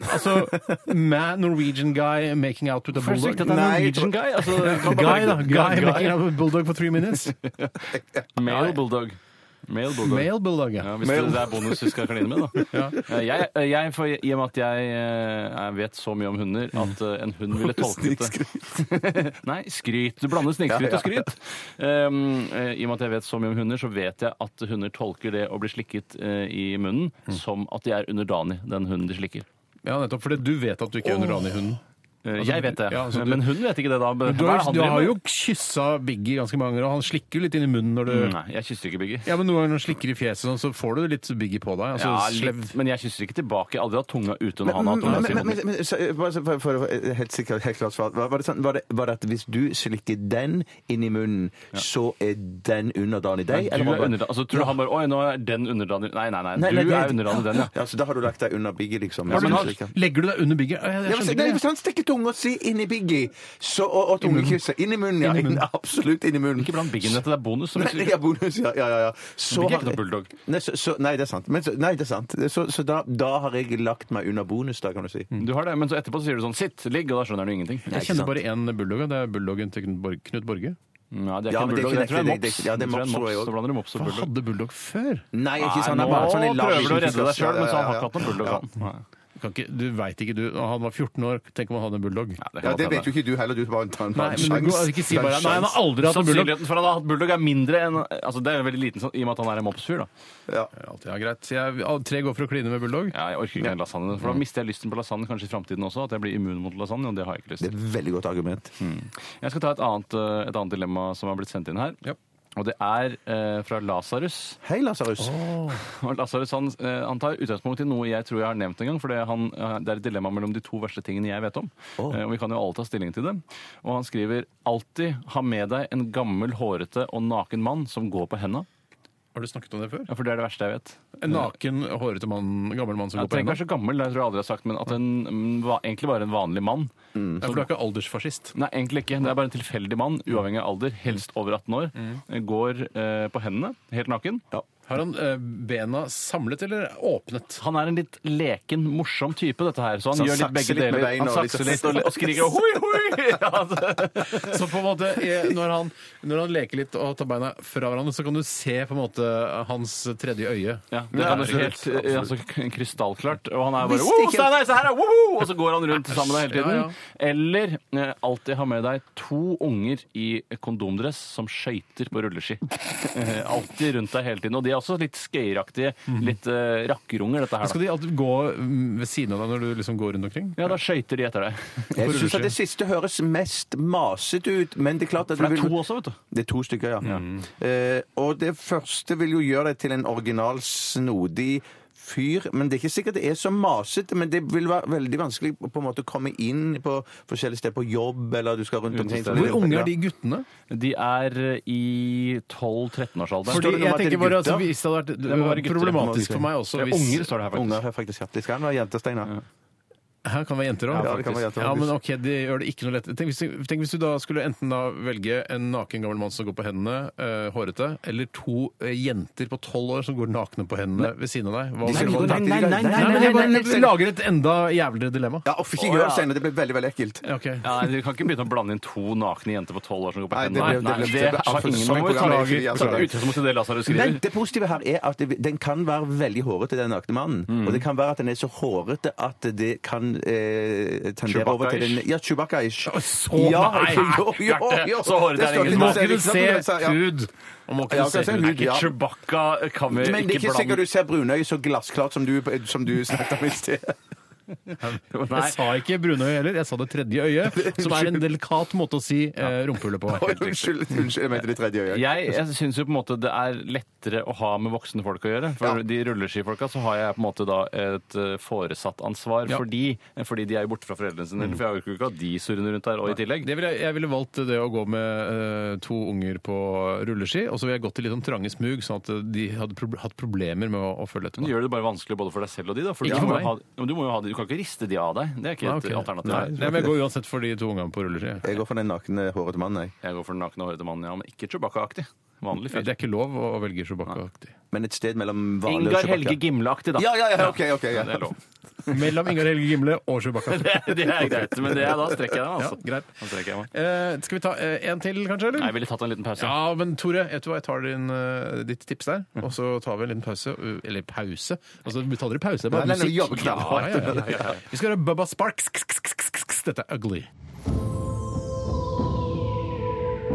[SPEAKER 2] Altså man, Norwegian guy making out with a
[SPEAKER 4] Først
[SPEAKER 2] bulldog.
[SPEAKER 4] at det er
[SPEAKER 3] Nei,
[SPEAKER 4] Norwegian guy. Altså,
[SPEAKER 2] Guy, da. Guy,
[SPEAKER 4] Guy.
[SPEAKER 2] making out with a bulldog for three minutes.
[SPEAKER 4] Male bulldog. Male bulldog.
[SPEAKER 2] Male bulldog, ja.
[SPEAKER 4] Ja, hvis det, det er bonus vi skal kline med, da. Jeg, jeg, for, I og med at jeg, eh, jeg vet så mye om hunder,
[SPEAKER 2] Mm.
[SPEAKER 4] at eh, en hund ville tolket det Nei, skryt. Du blander snikskryt og skryt. Um, eh, I og med at jeg vet så mye om hunder, så vet jeg at hunder tolker det å bli slikket eh, i munnen
[SPEAKER 2] Mm.
[SPEAKER 4] som at de er underdanig den hunden de slikker.
[SPEAKER 2] Ja, nettopp. Fordi du vet at du ikke er underdanig hunden.
[SPEAKER 4] Eh,
[SPEAKER 2] Altså,
[SPEAKER 4] jeg vet det,
[SPEAKER 2] ja, altså, du-
[SPEAKER 4] men hun vet ikke det da. Hva er
[SPEAKER 2] Du
[SPEAKER 4] det
[SPEAKER 2] har,
[SPEAKER 4] han
[SPEAKER 2] du
[SPEAKER 4] driver
[SPEAKER 2] har
[SPEAKER 4] med?
[SPEAKER 2] jo kyssa Biggie ganske mange ganger, og han slikker jo litt inn i munnen når du
[SPEAKER 4] Nei, jeg kysser ikke Biggie.
[SPEAKER 2] Ja, men Noen ganger når han slikker i fjeset, sånn, så får du litt Biggie på deg. Altså,
[SPEAKER 4] Ja,
[SPEAKER 2] slev.
[SPEAKER 4] litt, men jeg kysser ikke tilbake. Jeg har aldri hatt tunga ute når
[SPEAKER 3] Men,
[SPEAKER 4] han har
[SPEAKER 3] men,
[SPEAKER 4] hatt tunga si
[SPEAKER 3] men,
[SPEAKER 4] mot
[SPEAKER 3] men,
[SPEAKER 4] meg.
[SPEAKER 3] men, så, eh, bare så- for, for, for helt sikkert, helt klart svar. Var, var, det sånn, var, det, var det at hvis du slikker den inn i munnen, så er den underdanig
[SPEAKER 4] Nei,
[SPEAKER 3] deg?
[SPEAKER 4] Du er
[SPEAKER 3] eller var det bare-
[SPEAKER 4] underdanig. Altså, tror du han bare Oi, nå er den underdanig Nei, nei, nei.
[SPEAKER 3] Nei, nei,
[SPEAKER 4] du
[SPEAKER 3] det-
[SPEAKER 4] er underdanig den, ja.
[SPEAKER 3] ja. Så da har du lagt deg under Biggie, liksom?
[SPEAKER 4] Ja, men
[SPEAKER 3] Så
[SPEAKER 4] har-
[SPEAKER 3] slikker.
[SPEAKER 2] Legger du deg under Biggie? Ja, Jeg
[SPEAKER 3] Ja, men
[SPEAKER 2] skjønner
[SPEAKER 3] nei,
[SPEAKER 2] ikke
[SPEAKER 3] hvis
[SPEAKER 2] det.
[SPEAKER 3] han stikker tunga si inn i Biggie, så, og, og tungekysset inn i munnen, ja.
[SPEAKER 2] Inn i munnen.
[SPEAKER 3] Absolutt inn i munnen.
[SPEAKER 4] Ikke blant Biggen dette, det er bonus. Som
[SPEAKER 3] Nei,
[SPEAKER 4] nei,
[SPEAKER 3] ja, bonus, ja, ja, ja, ja. Så
[SPEAKER 4] Biggie er
[SPEAKER 3] har-
[SPEAKER 4] ikke noe bulldog.
[SPEAKER 3] Nei, så, så, nei, det er sant. Men, så, nei, det er sant. Så, så da, da har jeg lagt meg under bonus, da, kan du si.
[SPEAKER 4] Du har det, men så etterpå så sier du sånn sitt, ligg, og da skjønner du ingenting. Nei,
[SPEAKER 2] Jeg kjenner bare én bulldog, og det er bulldoggen til Knut Borg- Knut Borge.
[SPEAKER 4] Mm,
[SPEAKER 3] Ja,
[SPEAKER 4] det er ikke en
[SPEAKER 3] men det er
[SPEAKER 4] bulldog.
[SPEAKER 3] ikke
[SPEAKER 4] Jeg tror det er
[SPEAKER 3] riktig, det er
[SPEAKER 4] mops.
[SPEAKER 3] ikke- ja, det er
[SPEAKER 4] Jeg tror det
[SPEAKER 3] mops, tror jeg også.
[SPEAKER 4] Så blander du mops og
[SPEAKER 2] Hva
[SPEAKER 4] bulldog.
[SPEAKER 2] hadde bulldog før?
[SPEAKER 3] Nei, ikke sant.
[SPEAKER 4] Nei,
[SPEAKER 3] Han er bare sånn en
[SPEAKER 4] nå
[SPEAKER 3] lav
[SPEAKER 4] prøver du å
[SPEAKER 3] liten
[SPEAKER 4] redde deg
[SPEAKER 3] kloss.
[SPEAKER 4] sjøl, mens han har ikke hatt
[SPEAKER 3] Ja,
[SPEAKER 4] noen bulldog. han. Nei.
[SPEAKER 2] kan ikke, du veit ikke, du. Han var 14 år. Tenk om han hadde en bulldog.
[SPEAKER 4] Ja,
[SPEAKER 12] det vet jo ikke du heller. Du bare tar en
[SPEAKER 2] Nei, men du
[SPEAKER 12] sjans.
[SPEAKER 2] går- ikke si
[SPEAKER 12] Ta en
[SPEAKER 2] bare, nei, han
[SPEAKER 12] sjans.
[SPEAKER 2] har aldri hatt en bulldog.
[SPEAKER 4] Sannsynligheten for at han har hatt bulldog er mindre enn altså Det er jo veldig liten sånn, i og med at han er en mobsfyr. da.
[SPEAKER 2] Alt, ja, greit. Jeg, alle tre går for å kline med bulldog.
[SPEAKER 4] Ja, jeg orker ikke den lasagne, for da
[SPEAKER 2] Mm.
[SPEAKER 4] mister jeg lysten på lasagne kanskje i framtiden også. At jeg blir immun mot lasagne, og det har jeg ikke lyst
[SPEAKER 3] Det
[SPEAKER 4] til.
[SPEAKER 3] er et veldig godt argument.
[SPEAKER 4] Jeg skal ta et annet, eh, et annet dilemma som har blitt sendt inn her.
[SPEAKER 2] Ja.
[SPEAKER 4] Og det er eh, fra Lasarus.
[SPEAKER 3] Hei, Lasarus.
[SPEAKER 4] Og Lasarus han, eh, han tar utgangspunkt i noe jeg tror jeg har nevnt en gang. For det, han, eh, det er et dilemma mellom de to verste tingene jeg vet om. Eh, Og vi kan jo alle ta stilling til det. Og han skriver alltid ha med deg en gammel, hårete og naken mann som går på henda.
[SPEAKER 2] Har du snakket om det før?
[SPEAKER 4] Ja, for det er det verste jeg vet.
[SPEAKER 2] En naken, hårete mann, gammel mann som
[SPEAKER 4] Jeg
[SPEAKER 2] går på
[SPEAKER 4] trenger
[SPEAKER 2] hendene?
[SPEAKER 4] kanskje gammel, det tror jeg aldri jeg har sagt, men at en, mm, va- egentlig bare en vanlig mann.
[SPEAKER 2] Ja, for du er ikke aldersfascist?
[SPEAKER 4] Nei, egentlig ikke. Det er bare en tilfeldig mann, uavhengig av alder, helst over 18 år, går eh, på hendene, helt naken.
[SPEAKER 2] Har han eh, bena samlet eller åpnet?
[SPEAKER 4] Han er en litt leken, morsom type, dette her. Så han,
[SPEAKER 3] Så han
[SPEAKER 4] gjør litt
[SPEAKER 3] sakser
[SPEAKER 4] begge
[SPEAKER 3] litt med
[SPEAKER 4] deler.
[SPEAKER 3] beina
[SPEAKER 4] han
[SPEAKER 3] og litt
[SPEAKER 4] sakser
[SPEAKER 3] sånn.
[SPEAKER 4] litt og, og skriker og hoi, hoi! Ja, altså. det-
[SPEAKER 2] Så på en måte, eh, når han, når han leker litt og tar beina fra hverandre, så kan du se på en måte hans tredje øye.
[SPEAKER 4] ja, det er helt
[SPEAKER 2] absolutt.
[SPEAKER 4] eh, altså, k- krystallklart. Og han er bare
[SPEAKER 3] Visste
[SPEAKER 4] Wow,
[SPEAKER 3] ikke-
[SPEAKER 4] Steinar, se her, er woho! Og så går han rundt sammen med deg hele tiden.
[SPEAKER 2] Ja, ja.
[SPEAKER 4] Eller eh, alltid ha med deg to unger i kondomdress som skøyter på rulleski. Eh, alltid rundt deg hele tiden. Og de er også litt skøyeraktige. Litt eh, rakkerunger, dette her.
[SPEAKER 2] Skal
[SPEAKER 4] Da.
[SPEAKER 2] de alltid gå mm, ved siden av deg når du liksom går rundt omkring?
[SPEAKER 4] Ja, da skøyter de etter deg.
[SPEAKER 3] Jeg syns det siste høres mest masete ut, men det er klart at
[SPEAKER 4] For det
[SPEAKER 3] du
[SPEAKER 4] er
[SPEAKER 3] vil-
[SPEAKER 4] to også, vet du.
[SPEAKER 3] Det er to stykker, ja. Eh, og det første vil jo gjøre deg til en original, snodig fyr, men det er ikke sikkert det er så masete, men det vil være veldig vanskelig på en måte å komme inn på forskjellige steder, på jobb, eller du skal rundt omkring.
[SPEAKER 2] Hvor unge er de guttene?
[SPEAKER 4] De er eh, i 12-13-årsalderen.
[SPEAKER 2] Fordi
[SPEAKER 3] det noe om
[SPEAKER 2] jeg
[SPEAKER 3] at det er
[SPEAKER 2] tenker bare altså,
[SPEAKER 3] gutter?
[SPEAKER 2] Hvis det hadde vært
[SPEAKER 4] må være gutter, det må være
[SPEAKER 2] problematisk
[SPEAKER 4] gutter.
[SPEAKER 2] for meg også
[SPEAKER 4] Det er
[SPEAKER 2] hvis
[SPEAKER 4] unger, står det her, faktisk.
[SPEAKER 3] Unger har faktisk hatt det. Skal han være jenter, Steinar?
[SPEAKER 2] Her kan det være jenter òg.
[SPEAKER 3] Ja, det kan være jenter også.
[SPEAKER 2] Ja, men ok, det gjør det ikke noe lett. Tenk hvis, tenk hvis du da skulle enten da velge en naken gammel mann som går på hendene, eh, hårete, eller to eh, jenter på tolv år som går nakne på hendene ved siden av deg. Hva
[SPEAKER 3] Nei,
[SPEAKER 2] ville
[SPEAKER 3] nei,
[SPEAKER 2] valgt?
[SPEAKER 3] nei, nei,
[SPEAKER 2] Nei,
[SPEAKER 3] nei,
[SPEAKER 2] men jeg
[SPEAKER 3] nei, nei,
[SPEAKER 2] bare
[SPEAKER 3] nei.
[SPEAKER 2] lager et enda jævligere dilemma.
[SPEAKER 3] Ja, uff, ikke gjør det, Steinar. Det blir veldig, veldig ekkelt.
[SPEAKER 2] Ja, ok.
[SPEAKER 4] Ja, nei, Du kan ikke begynne å blande inn to nakne jenter på tolv år som går på
[SPEAKER 3] Nei, det
[SPEAKER 4] hendene.
[SPEAKER 3] ble- det ble- det ble
[SPEAKER 4] har
[SPEAKER 3] altfor
[SPEAKER 4] ingen
[SPEAKER 3] sånn
[SPEAKER 4] Man må jo ta
[SPEAKER 3] program.
[SPEAKER 4] lager-
[SPEAKER 3] Jeg
[SPEAKER 4] ta
[SPEAKER 3] beklager.
[SPEAKER 4] utgangspunkt i det
[SPEAKER 3] Men
[SPEAKER 4] Lasarus skriver.
[SPEAKER 3] det positive her er at det- den kan være veldig hårete, den nakne mannen. Og det kan være at den er så hårete at det kan eh, tendere over til en
[SPEAKER 4] Chewbacca-ish?
[SPEAKER 3] Ja, Chewbacca-ish.
[SPEAKER 2] Så
[SPEAKER 3] Ja,
[SPEAKER 2] nei!
[SPEAKER 3] jo, jo, jo.
[SPEAKER 4] Så hårete
[SPEAKER 3] Det står
[SPEAKER 4] er ingen
[SPEAKER 3] litt
[SPEAKER 2] Kunne
[SPEAKER 3] på
[SPEAKER 4] smak.
[SPEAKER 3] serien,
[SPEAKER 2] se
[SPEAKER 3] ikke sant? Ja.
[SPEAKER 2] hud. Man må
[SPEAKER 3] Ja,
[SPEAKER 2] kunne
[SPEAKER 3] kan
[SPEAKER 2] se
[SPEAKER 3] se
[SPEAKER 2] hud.
[SPEAKER 3] hud.
[SPEAKER 4] Ikke
[SPEAKER 3] ja.
[SPEAKER 4] Chewbacca kan
[SPEAKER 3] Men
[SPEAKER 4] vi
[SPEAKER 3] det er
[SPEAKER 4] ikke
[SPEAKER 3] ikke sikkert
[SPEAKER 4] blande
[SPEAKER 3] du ser brunøye så glassklart som du, som du snakket om i sted.
[SPEAKER 4] Nei.
[SPEAKER 2] Jeg sa ikke brunøye heller, jeg sa det tredje øyet, som er en delikat måte å si eh, rumpehullet på.
[SPEAKER 3] Oi, Unnskyld, unnskyld, jeg mente det tredje øyet.
[SPEAKER 4] Jeg, jeg syns jo på en måte det er lettere å ha med voksne folk å gjøre. For
[SPEAKER 3] Ja.
[SPEAKER 4] de rulleskifolka så har jeg på en måte da et eh, foresatt ansvar
[SPEAKER 2] Ja. Mm.
[SPEAKER 4] for de, eh, fordi de er jo borte fra foreldrene sine. For jeg orker jo ikke at de surrer rundt der og i tillegg.
[SPEAKER 2] Det ville jeg, jeg ville valgt det å gå med eh, to unger på rulleski, og så ville jeg gått i litt sånn trange smug, sånn at de hadde prob hatt problemer med å, å følge etter.
[SPEAKER 4] Men
[SPEAKER 2] meg.
[SPEAKER 4] gjør det bare vanskelig både for deg selv og de, da. For
[SPEAKER 2] Ikke
[SPEAKER 4] du,
[SPEAKER 2] for
[SPEAKER 4] må jo
[SPEAKER 2] meg.
[SPEAKER 4] ha, men du, må jo ha, de- du kan ikke riste de av deg. Det er ikke
[SPEAKER 2] Ah,
[SPEAKER 4] et
[SPEAKER 2] ok.
[SPEAKER 4] alternativ.
[SPEAKER 2] Nei, nei, men jeg går uansett for de to ungene på rulleski.
[SPEAKER 3] Jeg går for den nakne, hårete mannen, jeg.
[SPEAKER 4] Jeg går for den nakne, hårete mannen, ja, men ikke Chewbacca-aktig. Vanlig
[SPEAKER 2] Ja,
[SPEAKER 4] fyr.
[SPEAKER 2] det er ikke lov å velge Chewbacca-aktig.
[SPEAKER 3] Men et sted mellom vanlig og
[SPEAKER 4] Ingar
[SPEAKER 3] Chewbacca.
[SPEAKER 4] Helge Gimle-aktig, da.
[SPEAKER 3] Ja, ja, ja, ok, ok. Ja.
[SPEAKER 4] Det er lov.
[SPEAKER 2] Mellom Ingar Helge Gimle og Chewbacca.
[SPEAKER 4] Det, det er greit, men det er, da strekker jeg meg,
[SPEAKER 2] Ja,
[SPEAKER 4] altså.
[SPEAKER 2] greit.
[SPEAKER 4] Da strekker jeg meg.
[SPEAKER 2] Eh, skal vi ta eh, en til, kanskje?
[SPEAKER 4] Nei,
[SPEAKER 2] eller?
[SPEAKER 4] jeg ville tatt en liten pause.
[SPEAKER 2] Ja, men Tore, vet du hva, jeg tar din, eh, ditt tips der,
[SPEAKER 4] Mm.
[SPEAKER 2] og så tar vi en liten pause. uh, Eller pause? Altså, vi tar dere pause? Det er
[SPEAKER 3] Nei,
[SPEAKER 2] bare
[SPEAKER 3] nei,
[SPEAKER 2] musikk.
[SPEAKER 3] nei, vi jobber knallhardt.
[SPEAKER 2] Ja, ja, ja, ja. Vi skal høre Bubba Sparks. Dette er ugly.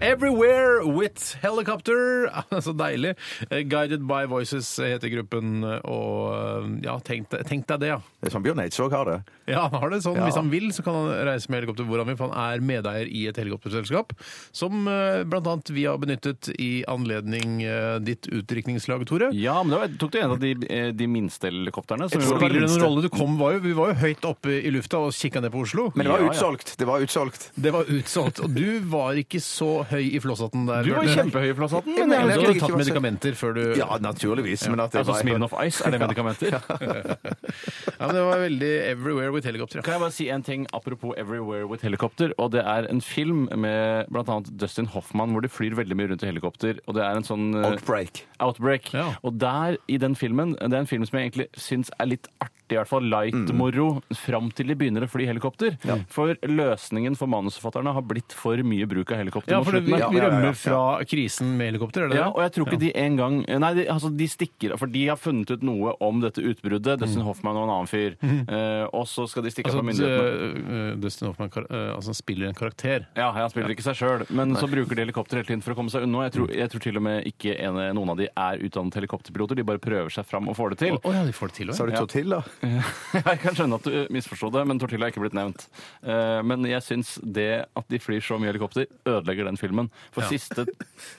[SPEAKER 2] Everywhere with helicopter. Så deilig. Eh, Guided by Voices heter gruppen. Og eh, ja, tenk, deg- tenk deg det, ja.
[SPEAKER 3] Det er sånn Bjørn Eidsvåg har det.
[SPEAKER 2] Ja, han har det sånn.
[SPEAKER 3] Ja.
[SPEAKER 2] Hvis han vil, så kan han reise med helikopter hvor han vil, for han er medeier i et helikopterselskap. Som eh, blant annet vi har benyttet i anledning eh, ditt utdrikningslag, Tore.
[SPEAKER 4] Ja, men det var, tok du en av de, eh, de minste helikopterne? Som jo-
[SPEAKER 2] Spiller det noen rolle? Du kom, var jo, vi var jo høyt oppe i lufta og kikka ned på Oslo.
[SPEAKER 3] Men det var
[SPEAKER 4] Ja, ja.
[SPEAKER 3] utsolgt. Det var utsolgt.
[SPEAKER 2] Det var utsolgt. Og du var ikke så høy i flosshatten der.
[SPEAKER 4] Du var
[SPEAKER 2] Bjørte.
[SPEAKER 4] kjempehøy i flosshatten.
[SPEAKER 2] Men
[SPEAKER 4] men jeg-
[SPEAKER 2] jeg
[SPEAKER 3] egentlig
[SPEAKER 2] hadde
[SPEAKER 3] ikke
[SPEAKER 2] tatt
[SPEAKER 3] var så-
[SPEAKER 2] medikamenter før du
[SPEAKER 3] Ja, naturligvis. Men at det
[SPEAKER 4] Altså
[SPEAKER 3] var-
[SPEAKER 4] Smirnoff Ice, er det medikamenter?
[SPEAKER 2] Ja, men det var veldig everywhere with helikopter.
[SPEAKER 4] Kan jeg bare si en ting apropos Everywhere with helikopter? Og det er en film med bl.a. Dustin Hoffman hvor de flyr veldig mye rundt i helikopter. Og det er en sånn eh,
[SPEAKER 3] Outbreak.
[SPEAKER 4] Outbreak.
[SPEAKER 2] Ja.
[SPEAKER 4] Og der, i den filmen, det er en film som jeg egentlig syns er litt artig. artig, i hvert fall light-moro, fram til de begynner å fly helikopter. For løsningen for manusforfatterne har blitt for mye bruk av helikopter.
[SPEAKER 2] Ja,
[SPEAKER 4] mot
[SPEAKER 2] for det,
[SPEAKER 4] slutten
[SPEAKER 2] vi,
[SPEAKER 4] her.
[SPEAKER 2] vi rømmer fra krisen med helikopter, er det
[SPEAKER 4] Ja,
[SPEAKER 2] det?
[SPEAKER 4] Eh, og jeg tror ikke de en gang Nei, de, altså, de stikker av, for de har funnet ut noe om dette utbruddet.
[SPEAKER 3] Mm.
[SPEAKER 4] Dustin Hoffman og en annen fyr. Eh, og så skal de stikke av
[SPEAKER 2] Altså,
[SPEAKER 4] fra myndighetene.
[SPEAKER 2] d- øh, Dustin Hoffman kar- øh, altså, spiller en karakter.
[SPEAKER 4] Ja, han spiller ikke seg sjøl, men så bruker de helikopter hele tiden for å komme seg unna. Jeg
[SPEAKER 3] Mm.
[SPEAKER 4] tror, jeg tror til og med ikke en, noen av de er utdannet helikopterpiloter, de bare prøver seg fram og får det til.
[SPEAKER 2] Å ja, de får det til
[SPEAKER 3] Sa
[SPEAKER 2] òg.
[SPEAKER 3] du tortilla?
[SPEAKER 4] Jeg kan skjønne at du misforsto det, men Tortilla er ikke blitt nevnt. Eh, Men jeg syns det at de flyr så mye helikopter, ødelegger den filmen. For siste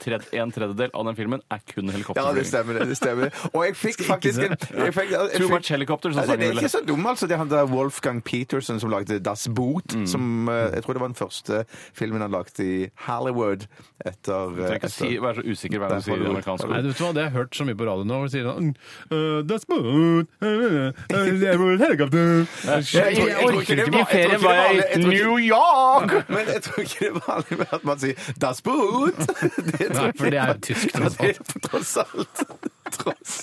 [SPEAKER 4] tred en tredjedel av den filmen er kun
[SPEAKER 3] Ja, det
[SPEAKER 4] helikopterflyging.
[SPEAKER 3] stemmer. det, det stemmer. Og jeg fikk faktisk en jeg fikk, jeg
[SPEAKER 4] Too
[SPEAKER 3] fikk-
[SPEAKER 4] much
[SPEAKER 2] sånn
[SPEAKER 4] helicopter, som
[SPEAKER 3] Nei,
[SPEAKER 4] sangen
[SPEAKER 3] Det er
[SPEAKER 4] ville.
[SPEAKER 3] ikke så dum, altså. Det er han der Wolfgang Peterson som lagde Das Boot,
[SPEAKER 2] Mm.
[SPEAKER 3] som eh, jeg tror det var den første filmen han lagde i Hollywood etter,
[SPEAKER 4] Du
[SPEAKER 3] eh,
[SPEAKER 4] trenger ikke si,
[SPEAKER 3] etter
[SPEAKER 4] være så usikker hver gang du
[SPEAKER 3] Derfor
[SPEAKER 4] sier
[SPEAKER 3] du-
[SPEAKER 4] amerikansk
[SPEAKER 2] Nei,
[SPEAKER 4] ord.
[SPEAKER 2] du vet hva, Det har jeg hørt så mye på radio nå. hvor de Sier sånn, «Øh, that's good, øh, øh, det er vel helikopter».
[SPEAKER 3] Jeg tror- jeg tror ikke det var- jeg tror ikke det var- jeg tror ikke- York! Men jeg tror ikke det er vanlig med at man sier Das Boot. Det tror
[SPEAKER 2] Nei, for det er jo
[SPEAKER 3] jeg-
[SPEAKER 2] tysk,
[SPEAKER 3] Ja,
[SPEAKER 2] tross
[SPEAKER 3] det er Tross alt. Tross alt.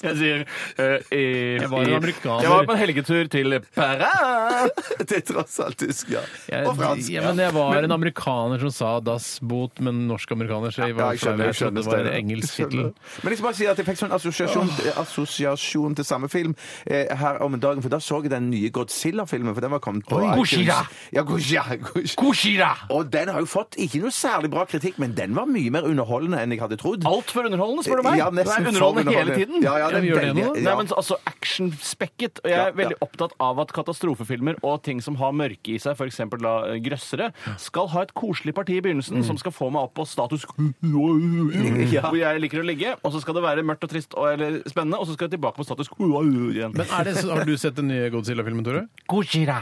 [SPEAKER 4] Jeg sier eh,
[SPEAKER 2] Jeg var en amerikaner.
[SPEAKER 4] Jeg var på en helgetur til Paris.
[SPEAKER 3] Det er tross alt tysk, ja.
[SPEAKER 2] Jeg,
[SPEAKER 3] Og fransk.
[SPEAKER 2] ja, men jeg var en amerikaner som sa 'das boot', men norsk-amerikaner. Så jeg
[SPEAKER 3] Ja,
[SPEAKER 2] var
[SPEAKER 3] jeg skjønner,
[SPEAKER 2] flau.
[SPEAKER 3] jeg
[SPEAKER 2] Jeg trodde
[SPEAKER 3] skjønner
[SPEAKER 2] det var en
[SPEAKER 3] Steiner.
[SPEAKER 2] engelsk
[SPEAKER 3] Jeg skjønner.
[SPEAKER 2] tittel.
[SPEAKER 3] Men jeg skal bare si at jeg fikk sånn assosiasjon, assosiasjon til samme film eh, her om dagen, for da så jeg den nye Godzilla-filmen, for den var kommet på iTunes.
[SPEAKER 6] Godzilla!
[SPEAKER 3] Ja, Godzilla! Godzilla.
[SPEAKER 6] Koshira!
[SPEAKER 3] Og den har jo fått ikke noe særlig bra kritikk, men den var mye mer underholdende enn jeg hadde trodd.
[SPEAKER 4] Altfor underholdende, spør du meg.
[SPEAKER 3] Ja,
[SPEAKER 4] Den
[SPEAKER 3] nesten for
[SPEAKER 4] er underholdende hele
[SPEAKER 3] underholdende.
[SPEAKER 4] tiden.
[SPEAKER 3] Ja, ja,
[SPEAKER 2] Ja,
[SPEAKER 3] den
[SPEAKER 2] vi gjør det
[SPEAKER 3] veldig-
[SPEAKER 2] nå, da.
[SPEAKER 4] Nei,
[SPEAKER 3] ja.
[SPEAKER 4] men altså actionspekket. Og jeg
[SPEAKER 3] Ja,
[SPEAKER 4] er veldig
[SPEAKER 3] ja.
[SPEAKER 4] opptatt av at katastrofefilmer og ting som har mørke i seg, f.eks. da eh, grøssere, skal ha et koselig parti i begynnelsen
[SPEAKER 3] Mm.
[SPEAKER 4] som skal få meg opp på status hvor jeg liker å ligge, og så skal det være mørkt og trist og eller spennende, og så skal jeg tilbake på status igjen.
[SPEAKER 2] Men er det, så- har du sett den nye Godzilla-filmen, Tore?
[SPEAKER 4] Koshira!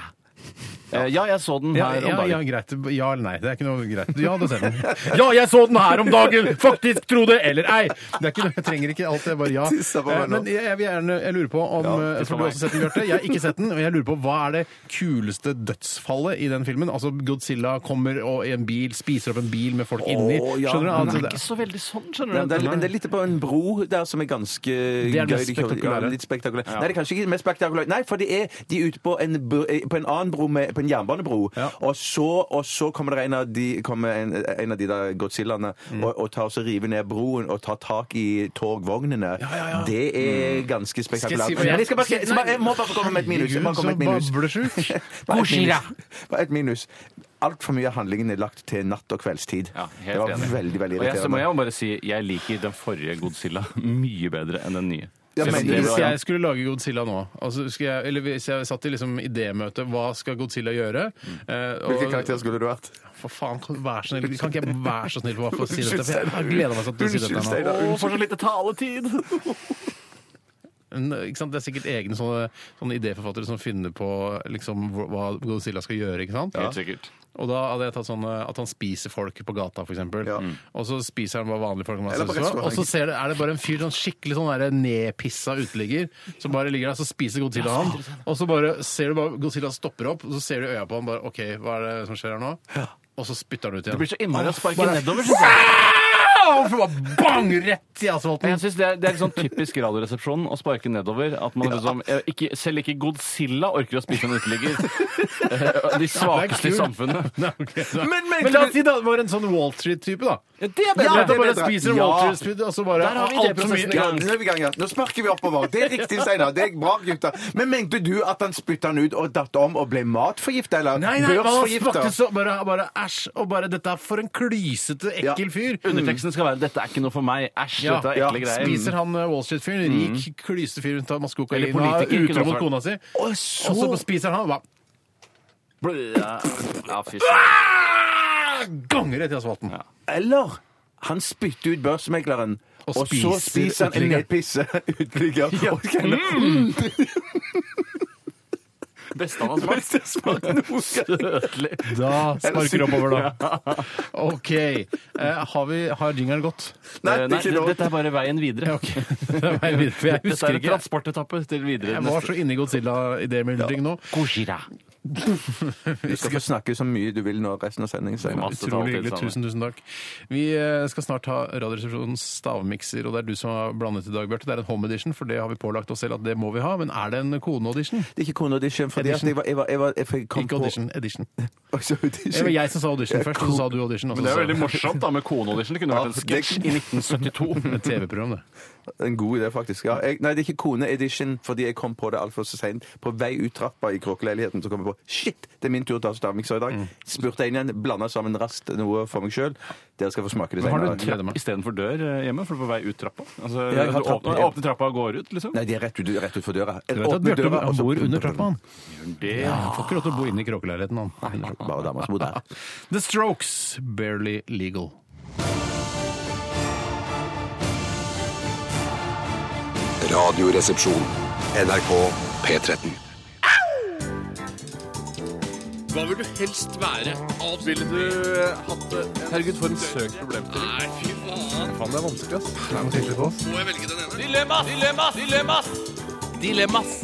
[SPEAKER 4] Eh, Ja, jeg så den
[SPEAKER 2] Ja,
[SPEAKER 4] her om
[SPEAKER 2] ja, ja,
[SPEAKER 4] dagen.
[SPEAKER 2] greit. Ja eller nei. Det er ikke noe greit. Ja, det ser den. Ja, jeg så den her om dagen! Faktisk, tro det eller ei! Det er ikke noe, Jeg trenger ikke alt, det er bare ja.
[SPEAKER 3] Tissa på meg
[SPEAKER 2] Eh, Men
[SPEAKER 3] nå.
[SPEAKER 2] jeg, jeg, vil gjerne, jeg lurer på om
[SPEAKER 3] Ja,
[SPEAKER 2] eh,
[SPEAKER 4] tissa på
[SPEAKER 2] For du har
[SPEAKER 4] meg.
[SPEAKER 2] også sett den, Bjarte. Jeg har ikke sett den. Og jeg lurer på hva er det kuleste dødsfallet i den filmen? Altså Godzilla kommer og i en bil spiser opp en bil med folk inni.
[SPEAKER 3] Å, ja.
[SPEAKER 2] Skjønner du?
[SPEAKER 4] Den
[SPEAKER 2] Altså,
[SPEAKER 4] er
[SPEAKER 2] det-
[SPEAKER 4] ikke så veldig sånn,
[SPEAKER 3] Ja,
[SPEAKER 4] skjønner
[SPEAKER 3] men
[SPEAKER 4] du.
[SPEAKER 3] det, er, men det er litt på en bro der som er ganske gøy.
[SPEAKER 2] er det mest
[SPEAKER 3] De kjører-
[SPEAKER 2] spektakulære.
[SPEAKER 3] Ja, litt spektakulært. Nei, det er kanskje ikke det mest spektakulære. Nei, for det er de er ute på en, bro, eh, på en annen bro, med, på en jernbanebro,
[SPEAKER 2] Ja.
[SPEAKER 3] og, så, og så kommer det en av de, kommer en, en av de der Godzillaene og, og tar så river ned broen og tar tak i togvognene. Det er ganske spektakulært.
[SPEAKER 2] si hva
[SPEAKER 3] Men
[SPEAKER 2] jeg-
[SPEAKER 3] jeg, skal bare, jeg, skal bare- jeg må bare få komme med et minus. Jeg
[SPEAKER 2] Herregud,
[SPEAKER 3] må komme
[SPEAKER 2] så
[SPEAKER 3] med et minus.
[SPEAKER 2] bablesjuk.
[SPEAKER 3] Bare et minus. Bare et minus. Altfor mye av handlingen er lagt til natt- og kveldstid.
[SPEAKER 4] Ja,
[SPEAKER 3] det
[SPEAKER 4] helt
[SPEAKER 3] var
[SPEAKER 4] enig.
[SPEAKER 3] veldig, veldig
[SPEAKER 4] Og jeg, så må
[SPEAKER 3] irriterende.
[SPEAKER 4] jeg bare si jeg liker den forrige Godzilla mye bedre enn den nye.
[SPEAKER 3] Ja,
[SPEAKER 4] Selv om
[SPEAKER 3] men-
[SPEAKER 4] det
[SPEAKER 2] Hvis
[SPEAKER 4] var-
[SPEAKER 2] jeg skulle lage Godzilla nå, altså skulle jeg, eller hvis jeg satt i liksom idémøte Hva skal Godzilla gjøre? Eh, og-
[SPEAKER 3] Mm. Hvilken karakter skulle du vært?
[SPEAKER 2] For faen, kan, vær så snill. kan ikke jeg være så snill for å si dette? For jeg har gleda meg sånn til å si dette nå.
[SPEAKER 4] Å, for så lite taletid!
[SPEAKER 2] Men, Ikke sant? Det er sikkert egne sånne, sånne idéforfattere som finner på liksom, hva hva Godzilla skal gjøre. ikke sant?
[SPEAKER 4] Helt sikkert.
[SPEAKER 2] Og da hadde jeg tatt sånn eh, at han spiser folk på gata, f.eks.
[SPEAKER 3] Ja.
[SPEAKER 4] Mm.
[SPEAKER 2] eksempel Og så spiser han bare vanlige folk. om han
[SPEAKER 3] Eller på
[SPEAKER 2] synes det var.
[SPEAKER 3] restaurant.
[SPEAKER 2] Og så ser det, er det bare en fyr, sånn skikkelig sånn der nedpissa uteligger, som bare ligger der, så spiser Godzilla han. Og så bare ser du bare Godzilla stopper opp, og så ser du i øya på han bare OK, hva er det som skjer her nå? Og så spytter han ut igjen.
[SPEAKER 4] Det blir så innmari å sparke nedover. Synes jeg.
[SPEAKER 2] Au! For bare bang rett i asfalten.
[SPEAKER 4] Jeg synes det, altså, er, det er litt sånn typisk Radioresepsjonen å sparke nedover. At man liksom, eh, ikke, selv ikke Godzilla orker å spise en uteligger. Eh, De svakeste i
[SPEAKER 2] kult.
[SPEAKER 4] samfunnet.
[SPEAKER 2] Nei, ok, nei.
[SPEAKER 3] Men- men-
[SPEAKER 2] la oss si det var en sånn Wall Street-type, da.
[SPEAKER 4] Ja, det er
[SPEAKER 2] Ja,
[SPEAKER 4] bedre!
[SPEAKER 2] det bare
[SPEAKER 3] bedre.
[SPEAKER 2] spiser
[SPEAKER 3] Ja.
[SPEAKER 2] Wall Street, og så bare
[SPEAKER 4] Der har vi
[SPEAKER 2] alt for
[SPEAKER 4] idéprosessen
[SPEAKER 2] mye-
[SPEAKER 4] i
[SPEAKER 3] Ja,
[SPEAKER 4] gang.
[SPEAKER 3] nå er vi i gang, ja. Nå sparker vi oppover. Det er riktig, Steinar. Det er bra, gutter. Men mente du at han spytta han ut og datt om og ble matforgifta, eller
[SPEAKER 2] Nei, nei, man smakte
[SPEAKER 3] børsforgifta?
[SPEAKER 2] så bare, bare æsj, og bare dette er for en klysete, ekkel fyr.
[SPEAKER 3] Mm.
[SPEAKER 4] Mm. Underteksten skal være 'Dette er ikke noe for meg'. Æsj,
[SPEAKER 2] Ja,
[SPEAKER 4] dette er
[SPEAKER 2] ja.
[SPEAKER 4] ekle greier.
[SPEAKER 2] Spiser han eh, Wall Street-fyren, rik, klysete fyr, tar masse kokain,
[SPEAKER 4] Eller
[SPEAKER 2] og er
[SPEAKER 4] politiker, kunne
[SPEAKER 2] utro mot
[SPEAKER 4] også vært.
[SPEAKER 2] kona si,
[SPEAKER 3] Og
[SPEAKER 2] og så
[SPEAKER 3] så
[SPEAKER 2] spiser han, og bare
[SPEAKER 4] Blø, Ja, Mm. Ja, fy søren.
[SPEAKER 2] ah, ganger rett i asfalten.
[SPEAKER 3] Eller han spytter ut børsmegleren.
[SPEAKER 2] Og
[SPEAKER 3] Og, så
[SPEAKER 2] spiser
[SPEAKER 3] spiser han en
[SPEAKER 2] uteligger.
[SPEAKER 3] nedpisse uteligger. Og-
[SPEAKER 4] beste han har smakt. Søtlig.
[SPEAKER 2] Da sparker oppover, da. OK. Eh, har, vi, har jingeren gått?
[SPEAKER 4] Nei,
[SPEAKER 3] det er ikke lov.
[SPEAKER 4] dette er bare veien videre.
[SPEAKER 2] Ok. Det er meg videre, for jeg
[SPEAKER 4] Dette
[SPEAKER 2] husker
[SPEAKER 4] er en
[SPEAKER 2] ikke.
[SPEAKER 4] transportetappe til videre.
[SPEAKER 2] Jeg var så inne i Godzilla i det med ting nå.
[SPEAKER 3] Du skal få snakke så mye du vil nå resten av sendingen. Steinar.
[SPEAKER 4] Masse tall
[SPEAKER 2] Utrolig
[SPEAKER 4] til
[SPEAKER 2] hyggelig.
[SPEAKER 4] sammen.
[SPEAKER 2] Tusen, tusen takk. Vi eh, skal snart ha Radioresepsjonens stavmikser, og det er du som har blandet i dag, Bjarte. Det er en home edition, for det har vi pålagt oss selv at det må vi ha. Men er det en koneaudition?
[SPEAKER 3] Det er ikke koneaudition, fordi at jeg var, jeg var, jeg var jeg kom
[SPEAKER 2] Ikke audition, edition.
[SPEAKER 3] på Også audition.
[SPEAKER 2] Det var jeg som sa audition først, og så sa du audition. og så
[SPEAKER 4] Men det er
[SPEAKER 2] sa-
[SPEAKER 4] veldig morsomt da med koneaudition. Det kunne vært en sketsj i 1972.
[SPEAKER 2] Et TV-program, det.
[SPEAKER 3] En god idé, faktisk. Ja, jeg, nei, det er ikke koneedition, fordi jeg kom på det altfor seint. På vei ut trappa i kråkeleiligheten så kom jeg på shit, det er min tur til å ha stavmikser i dag.
[SPEAKER 2] Mm.
[SPEAKER 3] Spurte jeg inn igjen, blanda sammen raskt noe for meg sjøl. Dere skal få smake det
[SPEAKER 2] har du
[SPEAKER 3] senere.
[SPEAKER 2] tre- Gleder meg.
[SPEAKER 4] Istedenfor dør eh, hjemme, for du er på vei ut trappa. Altså,
[SPEAKER 3] Ja, jeg
[SPEAKER 4] du
[SPEAKER 3] har trapp-
[SPEAKER 4] åpner, åpner trappa og går ut, liksom.
[SPEAKER 3] Nei, de er rett ut, rett ut for døra.
[SPEAKER 2] Du vet at
[SPEAKER 3] Åpne
[SPEAKER 2] Bjarte
[SPEAKER 3] døra, og
[SPEAKER 2] han
[SPEAKER 3] så-
[SPEAKER 2] bor under trappa, han.
[SPEAKER 4] Det
[SPEAKER 2] Han får ikke lov til å bo inne i kråkeleiligheten, han.
[SPEAKER 3] Bare damer som bor der.
[SPEAKER 2] The Strokes, barely legal.
[SPEAKER 5] Radioresepsjon. NRK P13.
[SPEAKER 6] Hva vil du helst være? Ville du hatt det? Herregud, for en søk problemstilling. Nei, fy faen. Faen, det er vanskelig, ass. Nei, må tenke litt på oss. Må jeg velge den ene? Dilemmas! Dilemmas! Dilemmas! Dilemmas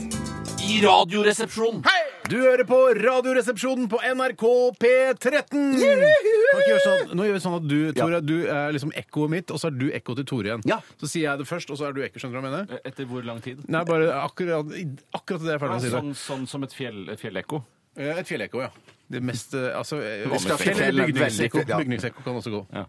[SPEAKER 6] i Radioresepsjonen.
[SPEAKER 2] Du hører på Radioresepsjonen på NRK P13! Kan ikke gjøre sånn. Nå gjør vi sånn at du, Tore, du er liksom ekkoet mitt, og så er du ekko til Tore igjen.
[SPEAKER 3] Ja.
[SPEAKER 2] Så sier jeg det først, og så er du ekko, skjønner du hva jeg mener?
[SPEAKER 4] Etter hvor lang tid?
[SPEAKER 2] Nei, bare akkurat, akkurat det jeg er ferdig med å si.
[SPEAKER 4] Sånn, sånn som et fjell, et fjellekko.
[SPEAKER 2] det. Eh, Et fjellekko, ja. Det mest eh, Altså eh,
[SPEAKER 3] Vi skal
[SPEAKER 2] fjell-
[SPEAKER 3] til fjellet,
[SPEAKER 2] Bygningsekko
[SPEAKER 3] veldig- ja.
[SPEAKER 2] Bygningsekko kan også gå.
[SPEAKER 4] Ja.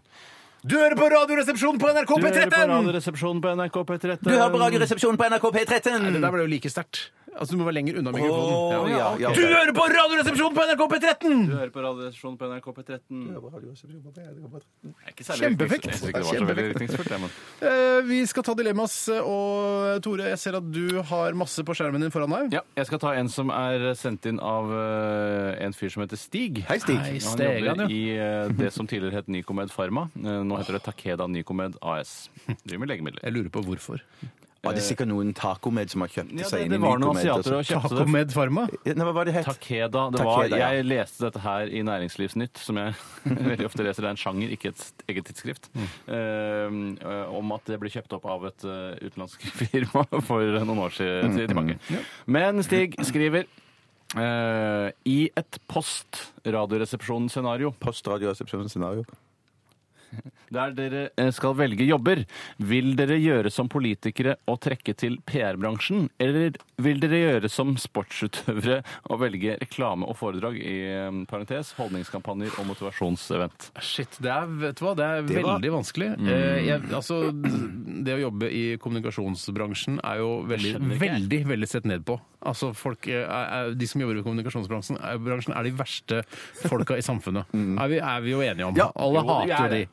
[SPEAKER 2] Du hører på Radioresepsjonen på NRK
[SPEAKER 4] Du hører på
[SPEAKER 2] P13!
[SPEAKER 4] Radioresepsjonen på NRK P13.
[SPEAKER 3] Du hører på Radioresepsjonen på NRK
[SPEAKER 2] Det
[SPEAKER 3] P13!
[SPEAKER 2] der ble jo like sterkt. Altså, du må være lenger unna mikrofonen.
[SPEAKER 3] Å,
[SPEAKER 2] Ja.
[SPEAKER 3] ja, ja.
[SPEAKER 2] Du hører på Radioresepsjonen på NRK P13!
[SPEAKER 4] Du hører på Radioresepsjonen på NRK P13. Det er ikke særlig
[SPEAKER 2] Kjempeeffekt.
[SPEAKER 4] virknings- Jeg tror ikke det var så veldig virkningsfullt, jeg, men-
[SPEAKER 2] altså. Eh, Vi skal ta dilemmas, og Tore, jeg ser at du har masse på skjermen din foran deg.
[SPEAKER 4] Ja, jeg skal ta en som er sendt inn av eh, en fyr som heter Stig.
[SPEAKER 3] Hei, Stig.
[SPEAKER 2] Hei,
[SPEAKER 4] Han
[SPEAKER 2] Steg, han, ja.
[SPEAKER 4] jobber i eh, det som tidligere het Nycomed Pharma. Eh, Nå heter det Takeda Nycomed AS. Driver med legemidler.
[SPEAKER 2] Jeg lurer på hvorfor.
[SPEAKER 3] Var det sikkert noen tacomed som har kjøpt
[SPEAKER 4] Ja,
[SPEAKER 3] seg
[SPEAKER 4] det,
[SPEAKER 3] inn i
[SPEAKER 4] det var noen
[SPEAKER 3] Nycomed, altså. og så-
[SPEAKER 4] asiater og kjøpte det.
[SPEAKER 2] Tacomed Pharma?
[SPEAKER 3] Ja, Nei, hva var det het?
[SPEAKER 4] Takeda. Det var,
[SPEAKER 3] Takeda, ja.
[SPEAKER 4] Jeg leste dette her i Næringslivsnytt, som jeg veldig ofte leser. Det er en sjanger, ikke et eget tidsskrift.
[SPEAKER 3] Mm.
[SPEAKER 4] Eh, eh, om at det ble kjøpt opp av et eh, utenlandsk firma for noen år
[SPEAKER 3] Mm,
[SPEAKER 4] siden tilbake. Men Stig skriver eh, I et post-radioresepsjonsscenario
[SPEAKER 3] Postradioresepsjonens scenario.
[SPEAKER 4] der dere eh, skal velge jobber, vil dere gjøre som politikere og trekke til PR-bransjen, eller vil dere gjøre som sportsutøvere og velge reklame og foredrag i eh, parentes, holdningskampanjer og motivasjonsevent?
[SPEAKER 2] Shit, det er, vet du hva, det er
[SPEAKER 3] Det var- Mm.
[SPEAKER 2] veldig vanskelig. Eh, jeg, altså, det å jobbe i kommunikasjonsbransjen er jo veldig, veldig veldig sett ned på. Altså, folk, eh, er, er, De som jobber i kommunikasjonsbransjen, er, bransjen er de verste folka i samfunnet. Er, vi, er vi jo enige om.
[SPEAKER 3] Mm. Ja.
[SPEAKER 2] Alle
[SPEAKER 3] Jo, vi er
[SPEAKER 2] hater jo de.
[SPEAKER 3] det.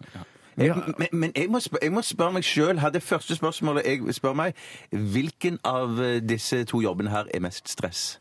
[SPEAKER 3] Jeg, men men jeg, må spørre, jeg må spørre meg sjøl her. Det første spørsmålet jeg spør meg, hvilken av eh, disse to jobbene her er mest stress?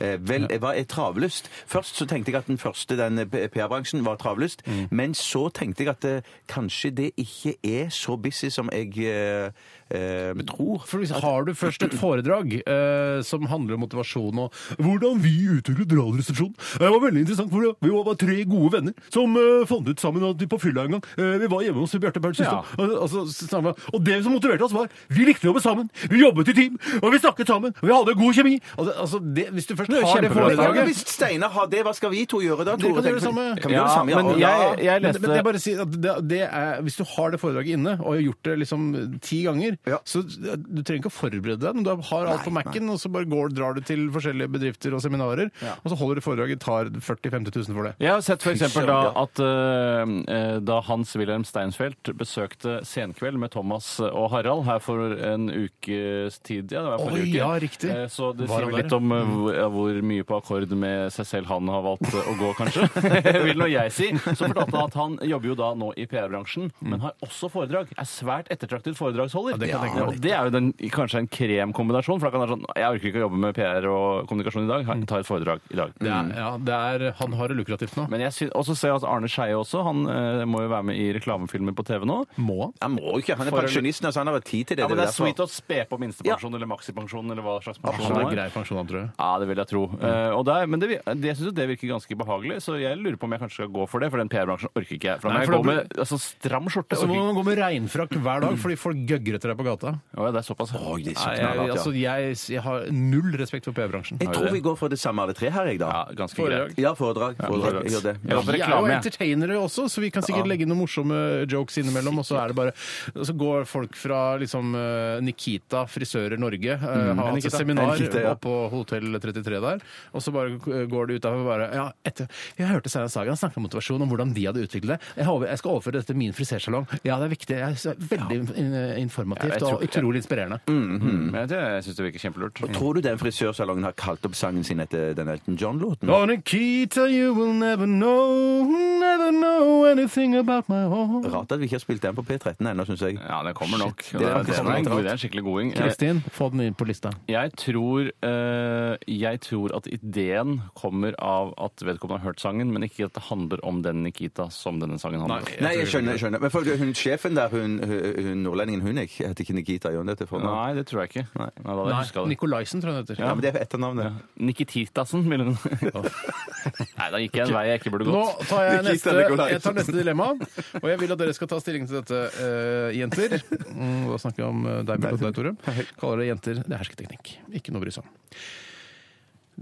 [SPEAKER 3] Eh, Vel, eh, hva er travlyst? Først så tenkte jeg at den første, den eh, P- PR-bransjen, var travlyst.
[SPEAKER 2] Mm.
[SPEAKER 3] Men så tenkte jeg at eh, kanskje det ikke er så busy som jeg eh, eh, tror.
[SPEAKER 2] For hvis, har du først et foredrag eh, som handler om motivasjon og hvordan vi utviklet Radioresepsjonen Eh, Det var veldig interessant, for vi var bare tre gode venner som eh, fant ut sammen at vi på fylla en gang eh, Vi var hjemme hos Bjarte Bernt System.
[SPEAKER 4] Ja.
[SPEAKER 2] Og, altså, sammen- og det som motiverte oss, var vi likte å jobbe sammen, vi jobbet i team, og vi snakket sammen, og vi hadde god kjemi. Altså, altså det, Hvis du først
[SPEAKER 4] er
[SPEAKER 2] har det
[SPEAKER 4] kjempebra.
[SPEAKER 3] Ja, men
[SPEAKER 2] foredraget
[SPEAKER 3] hvis Steinar har det, hva skal vi to gjøre da?
[SPEAKER 2] Dere
[SPEAKER 3] Tore?
[SPEAKER 2] kan gjøre det samme.
[SPEAKER 3] Kan vi gjøre det samme?
[SPEAKER 4] men
[SPEAKER 3] ja.
[SPEAKER 4] jeg, jeg
[SPEAKER 2] men,
[SPEAKER 4] leste
[SPEAKER 2] men jeg bare sier at det, det er, Hvis du har det foredraget inne og har gjort det liksom ti ganger,
[SPEAKER 3] Ja.
[SPEAKER 2] så du trenger ikke å forberede deg. Men du har alt på Mac-en, og så bare går, drar du til forskjellige bedrifter og seminarer, og så holder du foredraget, tar 40 000-50 000 for det.
[SPEAKER 4] Jeg har sett for eksempel da at eh, eh, da Hans Wilhelm Steinsfeld besøkte Senkveld med Thomas og Harald her for en ukes tid ja, det var forrige
[SPEAKER 2] Oi,
[SPEAKER 4] uke.
[SPEAKER 2] ja, riktig.
[SPEAKER 4] Eh, så det
[SPEAKER 2] Var
[SPEAKER 4] sier
[SPEAKER 2] han
[SPEAKER 4] vel litt
[SPEAKER 2] der? Mm.
[SPEAKER 4] om eh, hvor, ja, hvor mye på akkord med seg selv han har valgt eh, å gå, kanskje. Vil nå jeg si. Så fortalte han at han jobber jo da nå i PR-bransjen, men har også foredrag. Er svært ettertraktet foredragsholder.
[SPEAKER 2] Mm. Ja, det kan jeg tenke
[SPEAKER 4] Ja,
[SPEAKER 2] meg.
[SPEAKER 4] og det er jo den, kanskje en kremkombinasjon. For da kan det være sånn Jeg orker ikke å jobbe med PR og kommunikasjon i dag. Jeg tar et foredrag i dag.
[SPEAKER 2] Mm. Det er, ja, det er, han har det lukrativt nå.
[SPEAKER 4] Men jeg sy- også ser jeg at Arne Skeie også. Han eh, må jo være med i reklamefilmer på TV nå.
[SPEAKER 2] Må han?
[SPEAKER 3] Han må jo ikke. Han er
[SPEAKER 4] For-
[SPEAKER 3] pensjonist, altså han har tid til det.
[SPEAKER 4] Ja, men
[SPEAKER 3] er
[SPEAKER 4] Det er
[SPEAKER 3] derfor.
[SPEAKER 4] sweet å spe på minstepensjon eller maksipensjon eller hva slags pensjon
[SPEAKER 2] Han har
[SPEAKER 4] det er.
[SPEAKER 2] grei pensjon, han, tror jeg.
[SPEAKER 4] Ja, det vil jeg tro. Eh, og der, men det, vi- det syns jeg det virker ganske behagelig, så jeg lurer på om jeg kanskje skal gå for det. For den PR-bransjen orker ikke jeg. For da må
[SPEAKER 2] Nei,
[SPEAKER 4] jeg
[SPEAKER 2] for da
[SPEAKER 4] gå
[SPEAKER 2] blir-
[SPEAKER 4] med altså, stram skjorte.
[SPEAKER 2] Så
[SPEAKER 4] orker
[SPEAKER 2] må
[SPEAKER 4] ikke-
[SPEAKER 2] man gå med regnfrakk hver dag fordi folk gøgger etter deg på gata.
[SPEAKER 4] Å, ja, det er såpass.
[SPEAKER 3] Oi, det er så
[SPEAKER 2] Nei,
[SPEAKER 3] knallhardt,
[SPEAKER 2] jeg,
[SPEAKER 3] ja.
[SPEAKER 2] altså, jeg, jeg har null respekt for PR-bransjen.
[SPEAKER 3] Jeg tror vi går for det samme alle tre her, jeg, da.
[SPEAKER 4] Ja, ganske
[SPEAKER 2] Foredrag.
[SPEAKER 4] greit.
[SPEAKER 3] Ja, foredrag. foredrag. Jeg gjør det.
[SPEAKER 4] Ja, for
[SPEAKER 2] Vi er jo
[SPEAKER 4] reklame.
[SPEAKER 2] entertainere også, så vi kan sikkert legge noen morsomme jokes innimellom. Og så er det bare og Så går folk fra liksom eh, Nikita Frisører Norge, eh, har hatt et
[SPEAKER 4] Mm, Nikita.
[SPEAKER 2] seminar
[SPEAKER 3] Nikita, ja.
[SPEAKER 2] på Hotell 33 der, og så bare eh, går de ut der og bare Ja, etter Jeg hørte Seinan Sagan snakke om motivasjon, om hvordan de hadde utviklet det. Jeg, håper, jeg skal overføre dette til min frisersalong. Ja, det er viktig. Jeg synes det er veldig in-
[SPEAKER 4] Ja, jeg
[SPEAKER 2] informativt
[SPEAKER 4] tror- Mm.
[SPEAKER 2] og utrolig inspirerende.
[SPEAKER 4] Men jeg, jeg syns det virker kjempelurt.
[SPEAKER 3] Og tror du den frisørsalongen har kalt opp sangen sin etter den Elton John-låten?
[SPEAKER 2] Oh, Nikita, you will never know, never know anything about my home.
[SPEAKER 3] Rart at vi ikke har spilt den på P13 ennå, syns jeg.
[SPEAKER 4] Ja, det kommer nok.
[SPEAKER 3] det er
[SPEAKER 4] det,
[SPEAKER 3] faktisk
[SPEAKER 4] er en
[SPEAKER 3] litt rart.
[SPEAKER 4] god idé, en skikkelig goding. Jeg,
[SPEAKER 2] Kristin, få den inn på lista.
[SPEAKER 4] jeg, tror, eh, jeg tror at ideen kommer av at vedkommende har hørt sangen, men ikke at det handler om den Nikita som denne sangen handler om.
[SPEAKER 3] Nei, jeg skjønner. jeg skjønner. Men for, hun sjefen der, hun, hun, hun nordlendingen, hun jeg heter ikke Nikita, gjør hun det til fornavn?
[SPEAKER 4] Nei, det tror jeg ikke. Nei, da hadde jeg husket
[SPEAKER 2] Nei,
[SPEAKER 4] det.
[SPEAKER 2] Nikolaisen, tror jeg den heter.
[SPEAKER 3] Ja, men det er etternavnet.
[SPEAKER 4] Nikititasen, ville hun Nei, da gikk jeg en vei jeg ikke burde
[SPEAKER 2] Nå
[SPEAKER 4] gått.
[SPEAKER 2] tar jeg
[SPEAKER 3] Nikita
[SPEAKER 2] neste,
[SPEAKER 3] Nikolaisen.
[SPEAKER 2] jeg tar neste dilemma, og jeg vil at dere skal ta stilling til dette, eh, jenter. Mm, da snakker jeg om eh, deg, Bjørn, og deg, Tore. Kaller det jenter. Det er hersketeknikk. Ikke noe å bry seg om.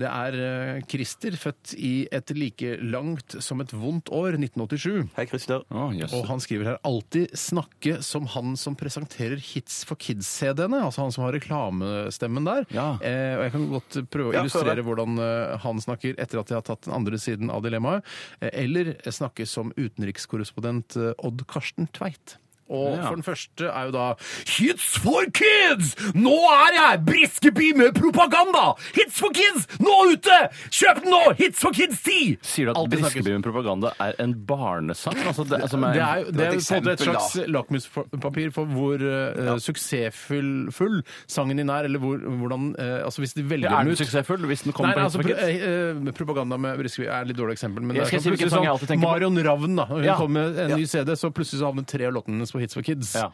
[SPEAKER 2] Det er eh, Christer, født i et like langt som et vondt år, 1987.
[SPEAKER 3] Hei, Christer.
[SPEAKER 4] Å, jøss.
[SPEAKER 2] Og han skriver her alltid snakke som han som presenterer hits for kids-CD-ene. Altså han som har reklamestemmen der.
[SPEAKER 4] Ja.
[SPEAKER 2] Eh, og jeg kan godt prøve å
[SPEAKER 3] Ja, prøv
[SPEAKER 2] illustrere
[SPEAKER 3] det.
[SPEAKER 2] hvordan eh, han snakker etter at jeg har tatt den andre siden av dilemmaet. Eh, eller snakke som utenrikskorrespondent eh, Odd Karsten Tveit. Og
[SPEAKER 4] Ja.
[SPEAKER 2] for den første er jo da Hits for kids! Nå er jeg! Briskeby med propaganda! Hits for kids! Nå ute! Kjøp den nå! Hits for kids 10!
[SPEAKER 4] Sier du at
[SPEAKER 2] Alltid snakkes-
[SPEAKER 4] Briskeby med propaganda er en barnesang? Altså, det, som
[SPEAKER 2] det er, jo- det er jo på
[SPEAKER 3] var et
[SPEAKER 2] en måte et
[SPEAKER 3] eksempel,
[SPEAKER 2] slags lakmuspapir for hvor eh, suksessfull full sangen din er, eller hvor, hvordan eh, Altså hvis de velger
[SPEAKER 4] er
[SPEAKER 2] den
[SPEAKER 4] den
[SPEAKER 2] ut
[SPEAKER 4] suksessfull hvis den
[SPEAKER 2] Nei,
[SPEAKER 4] kommer på
[SPEAKER 2] altså,
[SPEAKER 4] Hits for
[SPEAKER 2] pro
[SPEAKER 4] Kids?
[SPEAKER 2] eh, eh, Propaganda med Briskeby er et litt dårlig eksempel. Men
[SPEAKER 4] Jeg
[SPEAKER 2] det
[SPEAKER 4] skal
[SPEAKER 2] er sånn
[SPEAKER 4] si hvilken
[SPEAKER 2] plutselig
[SPEAKER 4] sang jeg alltid tenker på.
[SPEAKER 2] Marion Ravn, da. Når hun
[SPEAKER 4] Ja.
[SPEAKER 2] kom med en ny CD, så plutselig så havnet tre av låtene hennes på Hits for Kids.
[SPEAKER 4] Ja.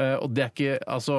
[SPEAKER 2] Eh, og det er ikke Altså,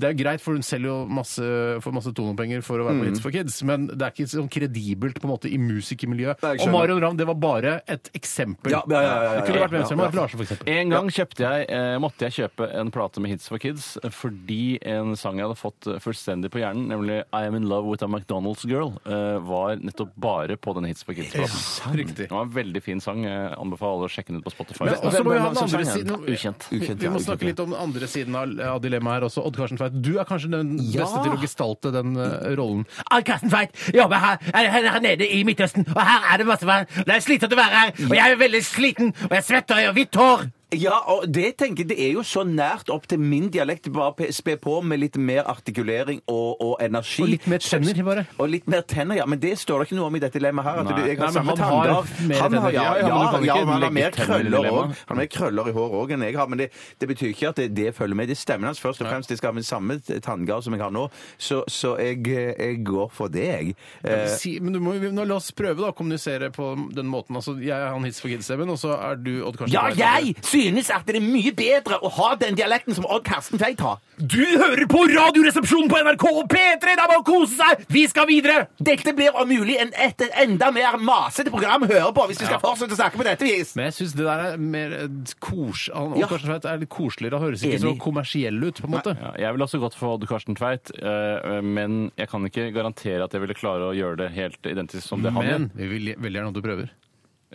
[SPEAKER 2] det er jo greit, for hun selger jo masse, får masse tonopenger for å være på Hits for Kids, men det er ikke sånn kredibelt på en måte i musikermiljøet.
[SPEAKER 3] Nei, jeg
[SPEAKER 2] Og
[SPEAKER 3] skjønner.
[SPEAKER 2] Marion Ravn, det var bare et eksempel.
[SPEAKER 3] Ja, ja, ja, ja, ja,
[SPEAKER 2] det kunne
[SPEAKER 3] ja,
[SPEAKER 2] vært hvem
[SPEAKER 3] ja,
[SPEAKER 2] som
[SPEAKER 3] ja.
[SPEAKER 2] helst. Larsen, for eksempel.
[SPEAKER 4] En gang kjøpte jeg, eh, måtte jeg kjøpe en plate med Hits for Kids eh, fordi en sang jeg hadde fått eh, fullstendig på hjernen, nemlig I Am In Love With A McDonald's Girl, eh, var nettopp bare på den Hits for Kids-platen. Mm.
[SPEAKER 2] Riktig.
[SPEAKER 4] Det var en veldig fin sang. Jeg anbefaler alle å sjekke den ut på Spotify.
[SPEAKER 2] Men altså, også må vi ha den
[SPEAKER 3] Hvem-
[SPEAKER 2] andre
[SPEAKER 3] hvem-
[SPEAKER 2] siden
[SPEAKER 4] Ukjent.
[SPEAKER 2] Vi,
[SPEAKER 3] Ukjent,
[SPEAKER 2] vi
[SPEAKER 3] ja,
[SPEAKER 2] må
[SPEAKER 3] ukjent,
[SPEAKER 2] snakke
[SPEAKER 3] ja.
[SPEAKER 2] litt om den andre siden av, av dilemmaet her også. Odd Karsten Tveit, du er kanskje den beste til å gestalte den eh, rollen.
[SPEAKER 12] Ann Karsten Tveit jobber her, er her, her nede i Midtøsten, og her er det masse vann. Det er slitsomt å være her, og jeg er veldig sliten, og jeg svetter, og jeg har hvitt hår.
[SPEAKER 3] Ja, og det tenker jeg, det er jo så nært opp til min dialekt. Bare pe- spe på med litt mer artikulering og, og energi.
[SPEAKER 2] Og litt mer tenner, bare.
[SPEAKER 3] Og litt mer tenner, ja. Men det står det ikke noe om i dette dilemmaet her. At
[SPEAKER 4] Nei.
[SPEAKER 3] du, jeg
[SPEAKER 2] Nei,
[SPEAKER 3] har
[SPEAKER 2] men
[SPEAKER 3] samme
[SPEAKER 2] han har
[SPEAKER 3] tanndar.
[SPEAKER 2] mer
[SPEAKER 3] Han
[SPEAKER 2] tenner.
[SPEAKER 3] har, ja,
[SPEAKER 4] Ja,
[SPEAKER 3] ja,
[SPEAKER 4] ja, men du kan
[SPEAKER 3] ja,
[SPEAKER 4] ikke
[SPEAKER 3] han har
[SPEAKER 4] legge
[SPEAKER 3] mer
[SPEAKER 4] tenner i
[SPEAKER 3] krøller
[SPEAKER 4] dilemmaet.
[SPEAKER 3] òg. Han har mer krøller i håret òg enn jeg har. Men det, det betyr ikke at det, det følger med. Det er stemmen hans først og fremst. De skal ha den samme tanngard som jeg har nå. Så, så jeg, eh, jeg går for det, jeg. Eh,
[SPEAKER 2] Si, men du må, jo- nå, la oss prøve da, å kommunisere på den måten. Altså, jeg er han hits for kids-stemmen, og så er du Odd Karsten
[SPEAKER 12] Ja,
[SPEAKER 2] Tveit.
[SPEAKER 12] jeg synes at det er mye bedre å ha den dialekten som Odd Karsten Tveit har.
[SPEAKER 2] Du hører på Radioresepsjonen på NRK P3! Da må kose seg! Vi skal videre!
[SPEAKER 12] Dette blir om mulig en, et enda mer masete program å høre på hvis vi skal fortsette å snakke på dette vis.
[SPEAKER 2] Men jeg syns det der er mer eh, kos... Han, Odd
[SPEAKER 12] Ja.
[SPEAKER 2] Karsten Tveit er litt koseligere. Han høres ikke så
[SPEAKER 12] Enig.
[SPEAKER 2] kommersiell ut, på en måte.
[SPEAKER 4] Ja, jeg ville også gått for Odd Karsten Tveit, eh, men jeg kan ikke garantere at jeg ville klare å gjøre det helt identisk som det han gjør.
[SPEAKER 2] Men vi vil veldig gjerne at du prøver.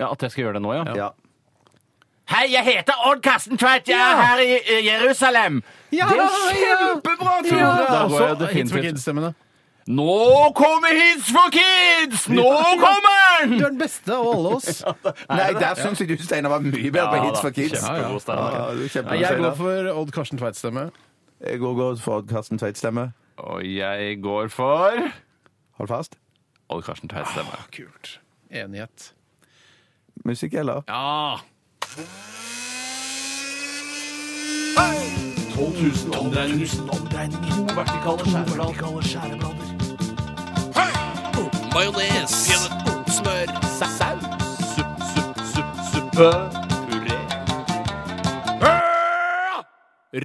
[SPEAKER 4] Ja, at jeg skal gjøre det nå, ja?
[SPEAKER 3] ja.
[SPEAKER 12] Hei, jeg heter Odd Karsten Tveit. Jeg er her i eh, Jerusalem.
[SPEAKER 2] det er
[SPEAKER 12] kjempebra, Tore!
[SPEAKER 4] Da går jeg
[SPEAKER 2] Også Altså, Hits for
[SPEAKER 4] definitivt
[SPEAKER 2] kids-stemmene.
[SPEAKER 4] Nå kommer Hits for Kids! Nå kommer den!
[SPEAKER 2] Du er den beste av alle oss.
[SPEAKER 3] Nei, der syns jeg du, Steinar, var mye bedre på
[SPEAKER 4] Ja,
[SPEAKER 3] Hits
[SPEAKER 4] da.
[SPEAKER 3] for kids.
[SPEAKER 4] Kjempegod stemning.
[SPEAKER 3] Ja, du er kjempegod,
[SPEAKER 2] Jeg går
[SPEAKER 3] Steinar.
[SPEAKER 2] for Odd Karsten Tveit-stemme.
[SPEAKER 3] Jeg går godt for Odd Karsten Tveit stemme.
[SPEAKER 4] Og jeg går for
[SPEAKER 3] Hold fast.
[SPEAKER 4] Odd Karsten Tveits stemme.
[SPEAKER 2] Kult. Enighet.
[SPEAKER 3] Musikk, eller?
[SPEAKER 2] Ja!
[SPEAKER 6] 12 000 omdreininger. To vertikale skjæreblader. Majones. Smør. Saus. Supp, supp, supp, suppe. Puré. Ah!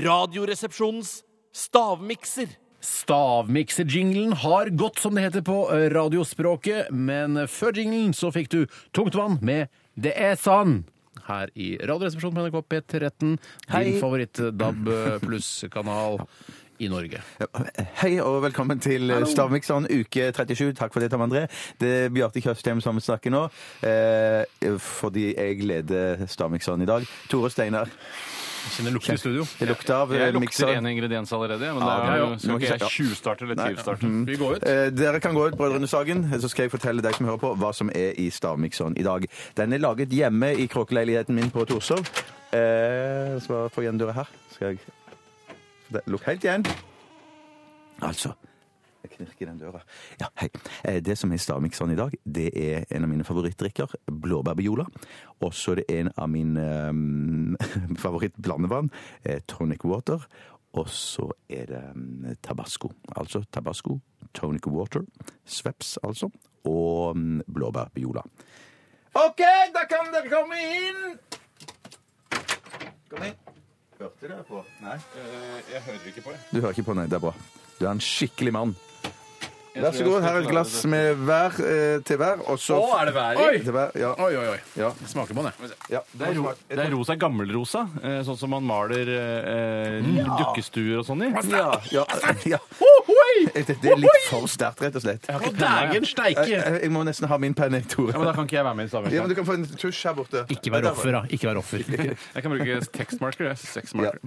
[SPEAKER 6] Radioresepsjonens stavmikser.
[SPEAKER 2] Stavmikser-jinglen har gått, som det heter på eh, radiospråket, men før jinglen så fikk du Tungtvann med Det er sann! Her i Radioresepsjonen på NRK P13, din favoritt-DAB pluss-kanal i Norge.
[SPEAKER 3] Hei og velkommen til Stavmikseren uke 37. Takk for det, Tom André. Det er Bjarte Tjøstheim som snakker nå, eh, fordi jeg leder Stavmikseren i dag. Tore Steinar.
[SPEAKER 2] Jeg Kjenner lukter i studio.
[SPEAKER 3] Det lukter av eh,
[SPEAKER 4] Jeg lukter
[SPEAKER 3] mikseren.
[SPEAKER 4] en ingrediens allerede, men
[SPEAKER 3] Ja,
[SPEAKER 4] da
[SPEAKER 3] ja, ja.
[SPEAKER 4] er- skal ikke jeg tjuvstarte eller tyvstarte.
[SPEAKER 2] Vi går ut.
[SPEAKER 3] Eh, Dere kan gå ut, Brødrene Sagen, så skal jeg fortelle deg som hører på, hva som er i stavmikseren i dag. Den er laget hjemme i kråkeleiligheten min på Torshov. Eh, så bare få igjen døra her. Skal jeg Der, Lukk helt igjen. Altså Jeg knirker i den døra. Ja, hei. Eh, Det som er i stavmikseren i dag, det er en av mine favorittdrikker, blåbærbiola. Og så er det en av mine eh, favorittblandevann, eh, tonic water. Og så er det mm, tabasco. Altså tabasco, tonic water, sveps altså, og mm, blåbærbiola. OK, da kan dere komme inn! Kom inn. Hørte dere på? Nei. Du Eh, hører ikke på, nei. Det er bra. Du er en skikkelig mann. Vær så god. Her er et glass med hver eh, til hver, og så
[SPEAKER 4] er det vær
[SPEAKER 2] Oi!
[SPEAKER 3] til hver, ja,
[SPEAKER 2] Oi, oi, oi.
[SPEAKER 3] ja,
[SPEAKER 2] Smaker man, det.
[SPEAKER 3] ja.
[SPEAKER 4] Det er, ro, det er rosa, gammelrosa, eh, sånn som man maler eh, dukkestuer og sånn i.
[SPEAKER 3] Ja, ja, ja. Det, det er litt for sterkt, rett og slett. Jeg,
[SPEAKER 2] Å, dægen steike!
[SPEAKER 3] jeg jeg må nesten ha min penne, Tore.
[SPEAKER 4] Ja, men Da kan ikke jeg være med i
[SPEAKER 3] Ja,
[SPEAKER 4] stavmikseren.
[SPEAKER 3] men Du kan få en tusj her borte.
[SPEAKER 2] Ikke vær offer, da. Ikke vær offer.
[SPEAKER 4] Jeg kan bruke tekstmarker. jeg. Sexmarker.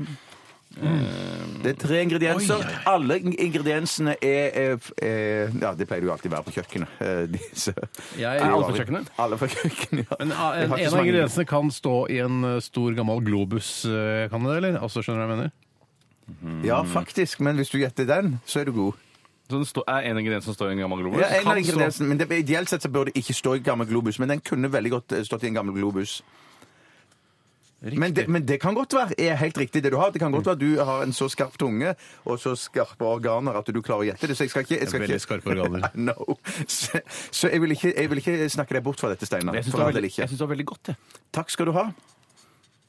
[SPEAKER 3] Det er tre ingredienser. Alle ing- ingrediensene er, er, er Ja, det pleier det jo alltid å være på kjøkkenet. eh, Disse.
[SPEAKER 2] Jeg-
[SPEAKER 3] Det er jo
[SPEAKER 4] alle på
[SPEAKER 3] aldri-
[SPEAKER 4] kjøkkenet?
[SPEAKER 3] Alle på kjøkkenet, ja.
[SPEAKER 2] Men eh, en,
[SPEAKER 3] Jeg har ikke
[SPEAKER 2] en
[SPEAKER 3] så
[SPEAKER 2] av
[SPEAKER 3] mange-
[SPEAKER 2] ingrediensene kan stå i en eh, stor, gammel globus. eh, Kan det det, eller? Altså, skjønner du hva jeg mener?
[SPEAKER 3] Ja, faktisk. Men hvis du gjetter den, så er du god.
[SPEAKER 4] Så det står- er en ingrediens som står i en gammel globus?
[SPEAKER 3] Ja, en av
[SPEAKER 4] Kan stå-
[SPEAKER 3] ingrediensene, men det, Ideelt sett så bør det ikke stå i gammel globus, men den kunne veldig godt eh, stått i en gammel globus. Men det, men det kan godt være er helt riktig det du har. Det kan godt være du har en så skarp tunge og så skarpe organer at du klarer å gjette det. Så jeg skal ikke, jeg skal
[SPEAKER 2] Veldig
[SPEAKER 3] ikke
[SPEAKER 2] skarpe organer.
[SPEAKER 3] No. Så, så jeg, vil ikke, jeg vil ikke snakke deg bort fra dette, Steinar.
[SPEAKER 4] Jeg syns
[SPEAKER 3] For
[SPEAKER 4] det,
[SPEAKER 3] all
[SPEAKER 4] var
[SPEAKER 3] del
[SPEAKER 4] veldig-
[SPEAKER 3] ikke.
[SPEAKER 4] jeg synes det var veldig godt, jeg.
[SPEAKER 3] Takk skal du ha.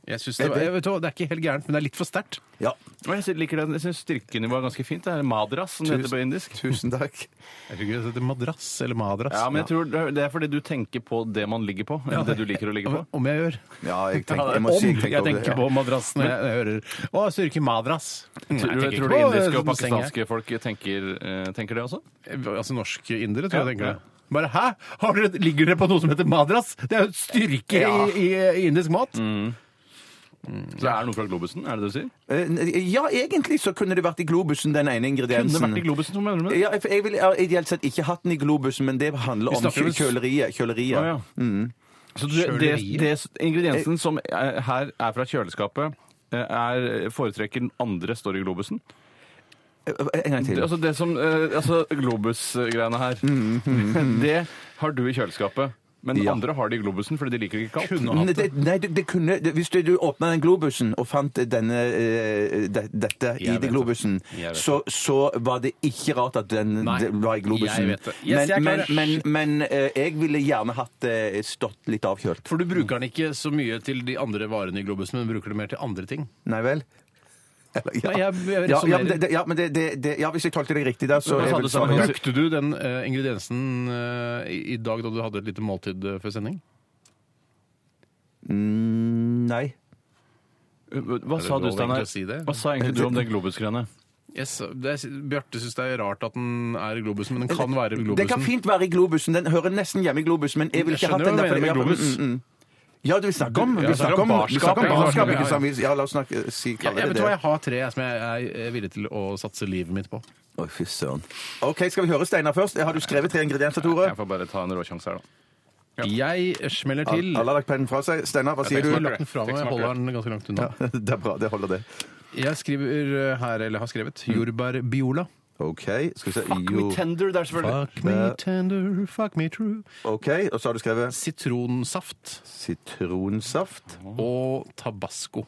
[SPEAKER 2] Jeg synes det, var,
[SPEAKER 3] det-
[SPEAKER 2] jeg vet, hva, det er ikke helt gærent, men det er litt for sterkt.
[SPEAKER 3] Ja,
[SPEAKER 4] Men jeg synes- liker den. Jeg syns styrkenivået er ganske fint. Det er madras, som det heter på indisk.
[SPEAKER 3] tusen takk.
[SPEAKER 2] Jeg tror ikke det heter madrass eller madrass.
[SPEAKER 4] Ja, men jeg tror Det er fordi du tenker på det man ligger på. Eller det du liker å ligge på.
[SPEAKER 2] Om jeg gjør.
[SPEAKER 3] Ja, jeg, tenker, jeg må
[SPEAKER 2] Om jeg
[SPEAKER 3] si over det,
[SPEAKER 2] tenker
[SPEAKER 3] ja.
[SPEAKER 2] på madrass når jeg, jeg hører Å, styrke madrass. Nei,
[SPEAKER 4] Tror,
[SPEAKER 2] jeg
[SPEAKER 4] du-
[SPEAKER 2] tenker
[SPEAKER 4] tror du
[SPEAKER 2] ikke på
[SPEAKER 4] indiske og
[SPEAKER 2] sånn seng, jeg.
[SPEAKER 4] pakistanske folk tenker, eh, tenker det også?
[SPEAKER 2] Altså norske indere, tror jeg
[SPEAKER 4] Ja,
[SPEAKER 2] tenker
[SPEAKER 4] ja.
[SPEAKER 2] det. Bare hæ? Har dere, ligger dere på noe som heter madrass? Det er jo styrke
[SPEAKER 3] Ja.
[SPEAKER 2] i, i, i indisk mat.
[SPEAKER 4] Så det er noe fra globusen? er det det du sier?
[SPEAKER 3] Eh, n- Ja, egentlig så kunne det vært i globusen, den ene ingrediensen.
[SPEAKER 4] Kunne vært i globusen, hva mener du med det?
[SPEAKER 3] Ja, for jeg ville ja, ideelt sett ikke hatt den i globusen, men det handler om
[SPEAKER 2] snakker
[SPEAKER 3] kjø-
[SPEAKER 2] vel-
[SPEAKER 3] kjøleriet. kjøleriet.
[SPEAKER 4] Å, ja.
[SPEAKER 3] Mm.
[SPEAKER 4] Så du, det,
[SPEAKER 2] Kjøleriet?
[SPEAKER 4] det, ingrediensen som er, her er fra kjøleskapet, eh, er, foretrekker den andre står i globusen?
[SPEAKER 3] Eh, En gang
[SPEAKER 4] Det,
[SPEAKER 3] til. Mm,
[SPEAKER 4] altså det som eh, altså Globus-greiene her, det har du i kjøleskapet. Men
[SPEAKER 3] Ja.
[SPEAKER 4] andre har det i globusen fordi de liker det ikke kaldt.
[SPEAKER 3] Nei, det, nei, det, det kunne, det, hvis du, du åpna den globusen og fant denne, eh, de, dette
[SPEAKER 2] vet
[SPEAKER 3] i det
[SPEAKER 2] det.
[SPEAKER 3] globusen,
[SPEAKER 2] Jeg vet
[SPEAKER 3] så, så var det ikke rart at den
[SPEAKER 2] Nei,
[SPEAKER 3] det var i globusen.
[SPEAKER 2] jeg vet det. Yes, jeg
[SPEAKER 3] men men,
[SPEAKER 2] klarer det.
[SPEAKER 3] men, men eh, jeg ville gjerne hatt det stått litt avkjølt.
[SPEAKER 2] For du bruker den ikke så mye til de andre varene i globusen, men du bruker det mer til andre ting.
[SPEAKER 3] Nei vel? Eller, ja.
[SPEAKER 2] Nei, jeg- jeg
[SPEAKER 3] ja, ja,
[SPEAKER 2] resonnerer.
[SPEAKER 3] men, det, det, ja, men det, det, det, ja, hvis jeg tolker deg riktig der, så
[SPEAKER 4] Men
[SPEAKER 3] er
[SPEAKER 4] sa
[SPEAKER 3] vel
[SPEAKER 4] du sammen
[SPEAKER 3] svaret ja.
[SPEAKER 4] med-
[SPEAKER 2] Brukte du den eh, ingrediensen eh, i, i dag da du hadde et lite måltid eh, før sending?
[SPEAKER 3] Nei.
[SPEAKER 4] Eh, Hva sa
[SPEAKER 2] lov
[SPEAKER 4] du,
[SPEAKER 2] egentlig
[SPEAKER 4] Steinar?
[SPEAKER 2] å si det?
[SPEAKER 4] Hva sa egentlig du om det Globus-greiene?
[SPEAKER 2] Yes, det er- Bjarte syns det er rart at den er i globusen, men den kan være i globusen.
[SPEAKER 3] Det kan fint være i globusen. Den hører nesten hjemme i globusen, men jeg vil
[SPEAKER 2] Jeg
[SPEAKER 3] ikke ha
[SPEAKER 2] skjønner
[SPEAKER 3] den
[SPEAKER 2] hva
[SPEAKER 3] der.
[SPEAKER 2] du mener med
[SPEAKER 3] for-
[SPEAKER 2] globus.
[SPEAKER 3] Mm, mm. Ja, du vil snakke om,
[SPEAKER 2] Ja,
[SPEAKER 3] vi snakker om, vi snakker
[SPEAKER 2] barskap,
[SPEAKER 3] om
[SPEAKER 2] ja.
[SPEAKER 3] barskap, ikke
[SPEAKER 2] Ja, ja.
[SPEAKER 3] sant? Ja, la oss snakke, si,
[SPEAKER 2] Ja,
[SPEAKER 3] kalle
[SPEAKER 2] jeg,
[SPEAKER 3] det
[SPEAKER 2] vet
[SPEAKER 3] det.
[SPEAKER 2] du hva, jeg har tre som jeg er er villig til å satse livet mitt på.
[SPEAKER 3] Oi, fy søren. OK, skal vi høre Steinar først? Har du skrevet tre ingredienser, Tore?
[SPEAKER 4] Jeg får bare ta en råsjanse her, da.
[SPEAKER 2] Jeg eh, smeller til.
[SPEAKER 3] Alle har lagt pennen fra seg. Steinar, hva sier
[SPEAKER 2] Jeg har
[SPEAKER 3] du?
[SPEAKER 2] lagt den fra meg, jeg holder den ganske langt unna.
[SPEAKER 3] Det er bra, det holder det.
[SPEAKER 2] Jeg skriver eh, her, eller har skrevet,
[SPEAKER 3] Mm.
[SPEAKER 2] jordbærbiola.
[SPEAKER 3] OK, skal vi se
[SPEAKER 4] Fuck
[SPEAKER 3] Jo.
[SPEAKER 4] me tender der, selvfølgelig.
[SPEAKER 2] Fuck me tender, fuck me true.
[SPEAKER 3] OK, og så har du skrevet
[SPEAKER 2] Sitronsaft
[SPEAKER 3] sitronsaft,
[SPEAKER 2] og tabasco.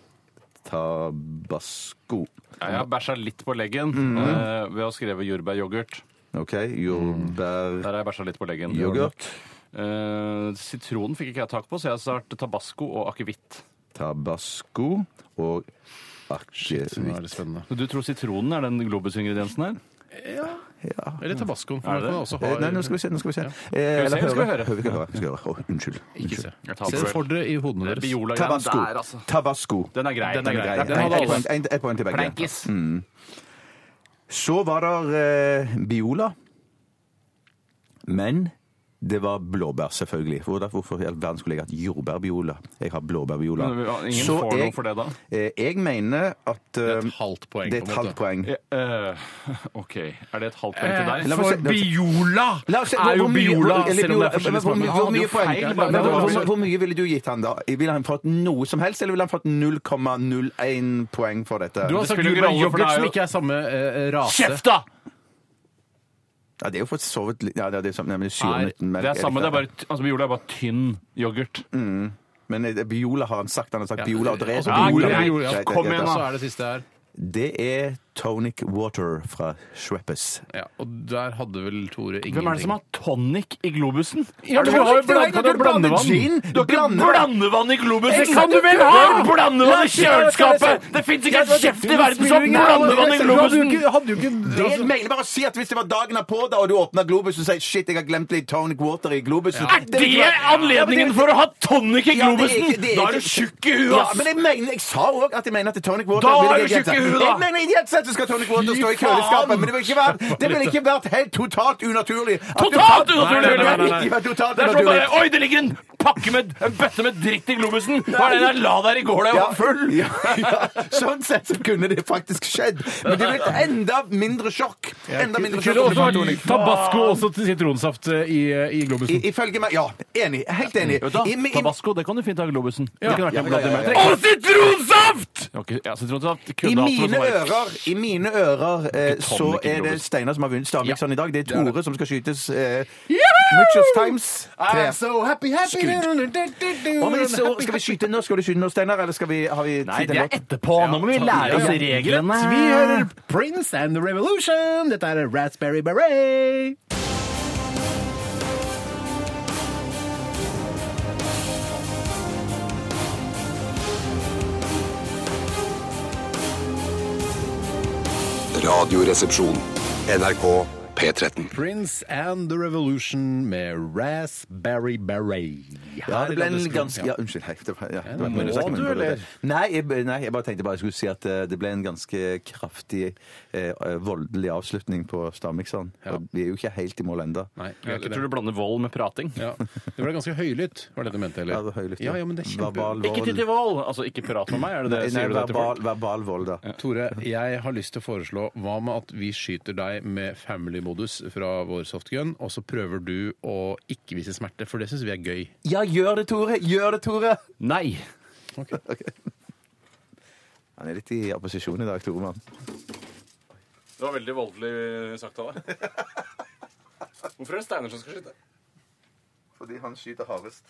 [SPEAKER 3] tabasco.
[SPEAKER 4] Jeg har bæsja litt på leggen
[SPEAKER 3] Mm.
[SPEAKER 4] eh, ved å skrive jordbæryoghurt.
[SPEAKER 3] OK.
[SPEAKER 2] Mm.
[SPEAKER 3] Jordbær...
[SPEAKER 4] Der har jeg bæsja litt på leggen.
[SPEAKER 3] Yoghurt.
[SPEAKER 4] Eh, sitronen fikk ikke jeg tak på, så jeg har sagt tabasco og akevitt.
[SPEAKER 3] Tabasco og Eh,
[SPEAKER 2] Nå er
[SPEAKER 3] akevitt.
[SPEAKER 2] det spennende.
[SPEAKER 4] Du tror sitronen er den globusingrediensen her?
[SPEAKER 2] Eller tabascoen. For
[SPEAKER 4] Er
[SPEAKER 2] man kan
[SPEAKER 4] det det?
[SPEAKER 2] også
[SPEAKER 3] Eh,
[SPEAKER 2] ha
[SPEAKER 3] Nei, nå skal vi se. Nå skal vi se. Eh,
[SPEAKER 4] Skal vi se,
[SPEAKER 3] eller
[SPEAKER 4] eller skal vi
[SPEAKER 3] høre?
[SPEAKER 4] høre?
[SPEAKER 3] Vi skal høre. Vi skal høre. Å, unnskyld.
[SPEAKER 2] Ikke se.
[SPEAKER 4] Jeg tar
[SPEAKER 2] Se
[SPEAKER 4] den.
[SPEAKER 2] for dere i hodene deres.
[SPEAKER 4] Biola igjen
[SPEAKER 3] Tabasco.
[SPEAKER 4] der, altså.
[SPEAKER 3] Tabasco.
[SPEAKER 4] Den er grei.
[SPEAKER 2] Den er grei.
[SPEAKER 4] Den
[SPEAKER 2] Den
[SPEAKER 4] hadde
[SPEAKER 3] Ett
[SPEAKER 4] alle.
[SPEAKER 3] poeng- en- Ett poeng til begge. Mm.
[SPEAKER 6] Plankis.
[SPEAKER 3] Så var det eh, Biola. Men det var blåbær, selvfølgelig. Hvor- Hvorfor i all verden skulle jeg hatt jordbærbiola? Jeg har blåbærbiola.
[SPEAKER 4] Men ingen
[SPEAKER 3] Så
[SPEAKER 4] får noe
[SPEAKER 3] jeg-
[SPEAKER 4] for det, da?
[SPEAKER 3] eh, Jeg mener at eh,
[SPEAKER 2] Et halvt poeng,
[SPEAKER 3] det er et
[SPEAKER 2] på en måte.
[SPEAKER 3] halvt poeng.
[SPEAKER 4] Ja, eh, OK. Er det et halvt poeng til deg?
[SPEAKER 3] la meg se- la meg se-
[SPEAKER 2] Biola
[SPEAKER 3] La oss se,
[SPEAKER 2] er jo
[SPEAKER 3] hvor mye-
[SPEAKER 2] Biola,
[SPEAKER 3] eller
[SPEAKER 2] selv om det er
[SPEAKER 3] Biola,
[SPEAKER 2] forskjellig
[SPEAKER 3] hvor
[SPEAKER 2] smak.
[SPEAKER 3] mye-
[SPEAKER 2] Men
[SPEAKER 3] Hvor
[SPEAKER 2] han hadde
[SPEAKER 3] mye
[SPEAKER 2] jo
[SPEAKER 3] poeng?
[SPEAKER 2] feil.
[SPEAKER 3] Men
[SPEAKER 2] Det
[SPEAKER 3] Hvor
[SPEAKER 2] var
[SPEAKER 3] hvor-
[SPEAKER 2] feil.
[SPEAKER 3] hvor mye ville du gitt han da? Ville han fått noe som helst, eller ville han fått 0,01 poeng for dette?
[SPEAKER 2] Du har
[SPEAKER 4] Det
[SPEAKER 2] sagt
[SPEAKER 4] spiller jo ikke
[SPEAKER 2] jordbær
[SPEAKER 4] rolle, for det
[SPEAKER 2] yoghurt
[SPEAKER 4] er
[SPEAKER 2] som ikke
[SPEAKER 4] jo-
[SPEAKER 2] er samme eh, rase.
[SPEAKER 4] da!
[SPEAKER 3] Ja, det er jo for så vidt litt- Ja, det er det som nemlig
[SPEAKER 4] Nei,
[SPEAKER 3] syremuten
[SPEAKER 4] det er samme, det er bare, t- altså, Biola er bare tynn yoghurt.
[SPEAKER 3] Men eh, Biola har han sagt. Han har sagt Biola og drev
[SPEAKER 2] Altså,
[SPEAKER 4] Ja,
[SPEAKER 2] Biola,
[SPEAKER 4] greit.
[SPEAKER 2] Biola, ja.
[SPEAKER 3] Greit,
[SPEAKER 4] Kom
[SPEAKER 3] greit, greit.
[SPEAKER 4] igjen, da.
[SPEAKER 2] Så er det siste her.
[SPEAKER 3] Det er Tonic Water fra Shreppes.
[SPEAKER 2] Ja, og der hadde vel Tore ingenting.
[SPEAKER 4] Hvem er det som har tonic i globusen?
[SPEAKER 2] Ja, men
[SPEAKER 4] Er
[SPEAKER 2] du
[SPEAKER 4] det-
[SPEAKER 2] har jo
[SPEAKER 4] Det er
[SPEAKER 2] blandet-
[SPEAKER 4] ikke
[SPEAKER 2] du har blandet
[SPEAKER 3] gin,
[SPEAKER 4] Du har ikke
[SPEAKER 3] blandet-
[SPEAKER 4] blandevann i globusen!
[SPEAKER 2] Det kan du vel ha!
[SPEAKER 4] Du har blandevann i kjøleskapet! Det fins ikke en kjeft i verden som har blandevann i globusen!
[SPEAKER 2] Hadde jo ikke
[SPEAKER 3] Det jeg mener bare å si at Hvis det var dagen er på da, og du åpner Globus og sier shit, jeg har glemt litt Tonic Water i Globus
[SPEAKER 4] Er det anledningen for å ha tonic i globusen? Da er du tjukk i huet,
[SPEAKER 3] Ja, men
[SPEAKER 4] ass!
[SPEAKER 3] jeg, mener, jeg sa òg at jeg mener at Tonic Water
[SPEAKER 4] Da
[SPEAKER 3] ville
[SPEAKER 4] er
[SPEAKER 3] jeg
[SPEAKER 4] du tjukk i
[SPEAKER 3] gjette.
[SPEAKER 4] huet, da!
[SPEAKER 3] Jeg mener ideelt sett så skal Tonic Water
[SPEAKER 4] Fy
[SPEAKER 3] stå i
[SPEAKER 4] faen!
[SPEAKER 3] kjøleskapet, men det ville ikke vært Det ville ikke vært helt totalt unaturlig. at du
[SPEAKER 4] Totalt
[SPEAKER 3] fant-
[SPEAKER 4] unaturlig!
[SPEAKER 3] Nei, nei, nei,
[SPEAKER 4] nei.
[SPEAKER 3] ikke vært totalt
[SPEAKER 4] Det er sånn
[SPEAKER 3] unaturlig.
[SPEAKER 4] bare Oi, det ligger en pakke med en bøtte med dritt i globusen! Hva er det der la der i går da jeg var full?
[SPEAKER 3] Ja, ja. Sånn sett så kunne det faktisk skjedd. Men det ble et enda mindre sjokk. Enda mindre sjokk. om det var Tonic.
[SPEAKER 2] Tabasco også til sitronsaft eh, i, i globusen.
[SPEAKER 3] I- Ifølge meg Ja, enig. Helt enig.
[SPEAKER 4] Vet du,
[SPEAKER 3] I-
[SPEAKER 4] hva?
[SPEAKER 3] i-
[SPEAKER 4] Tabasco det kan du fint ha i globusen. Det kunne vært
[SPEAKER 3] Ja, ja,
[SPEAKER 4] en blant de
[SPEAKER 3] ja,
[SPEAKER 4] mer-
[SPEAKER 3] ja,
[SPEAKER 4] Trekk.
[SPEAKER 3] ja.
[SPEAKER 2] Og sitronsaft!
[SPEAKER 4] Ok, ja, sitronsaft
[SPEAKER 3] I
[SPEAKER 4] kunne hatt noe
[SPEAKER 3] mine
[SPEAKER 4] som var-
[SPEAKER 3] ører, i mine ører eh,
[SPEAKER 4] Ikke
[SPEAKER 3] så
[SPEAKER 4] tonic i
[SPEAKER 3] er det
[SPEAKER 4] Globus.
[SPEAKER 3] Steinar som har vunnet Stavmikseren i dag. Det er
[SPEAKER 2] er det.
[SPEAKER 3] Tore som skal skytes. Eh, Muchos times. Tre.
[SPEAKER 12] so happy, happy
[SPEAKER 3] Og men så skal Ah, vi skyte nå, skal du skyte nå, Steinar? Eller skal vi, har vi tid
[SPEAKER 4] Nei,
[SPEAKER 3] til
[SPEAKER 4] det er
[SPEAKER 3] låt?
[SPEAKER 4] etterpå. Nå må vi lære oss reglene.
[SPEAKER 2] Vi hører Prince and the Revolution. Dette er Raspberry Beret.
[SPEAKER 5] Radioresepsjon. NRK P13.
[SPEAKER 2] Prince and the Revolution med Raspberry Beret.
[SPEAKER 3] Ja, det ble en ganske Ja, unnskyld. Hei, det var, ja, det var
[SPEAKER 2] må
[SPEAKER 3] mulig å snakke,
[SPEAKER 2] du,
[SPEAKER 3] men-
[SPEAKER 2] eller?
[SPEAKER 3] Nei jeg, nei, jeg bare tenkte bare jeg skulle si at eh, det ble en ganske kraftig, eh, voldelig avslutning på Stavmikseren. Og vi er jo ikke helt i mål ennå.
[SPEAKER 2] Nei, vi er
[SPEAKER 4] Jeg
[SPEAKER 2] ikke
[SPEAKER 4] tror
[SPEAKER 2] det.
[SPEAKER 4] du blander vold med prating.
[SPEAKER 2] Ja. Det ble ganske høylytt, var det du mente?
[SPEAKER 3] Ja,
[SPEAKER 2] eller?
[SPEAKER 3] det er høylytt,
[SPEAKER 2] Ja, ja, men det er kjempe...
[SPEAKER 3] Verbal
[SPEAKER 4] Ikke
[SPEAKER 3] vold.
[SPEAKER 4] ty
[SPEAKER 3] Eh,
[SPEAKER 4] til vold! Altså, ikke prat med meg, er det det?
[SPEAKER 3] Nei,
[SPEAKER 4] Sier du det til
[SPEAKER 3] verbal,
[SPEAKER 4] folk?
[SPEAKER 3] verbal vold, da.
[SPEAKER 2] Tore, jeg har lyst til å foreslå hva med at vi skyter deg med family-modus fra vår softgun, og så prøver du å ikke vise smerte, for det syns vi er gøy.
[SPEAKER 3] Ja, gjør det, Tore! Gjør det, Tore!
[SPEAKER 4] Nei!
[SPEAKER 3] Han er litt i opposisjon i dag, Toremann.
[SPEAKER 4] Det var veldig voldelig sagt av deg. Hvorfor er det Steinar som skal skyte?
[SPEAKER 3] Fordi han skyter hardest.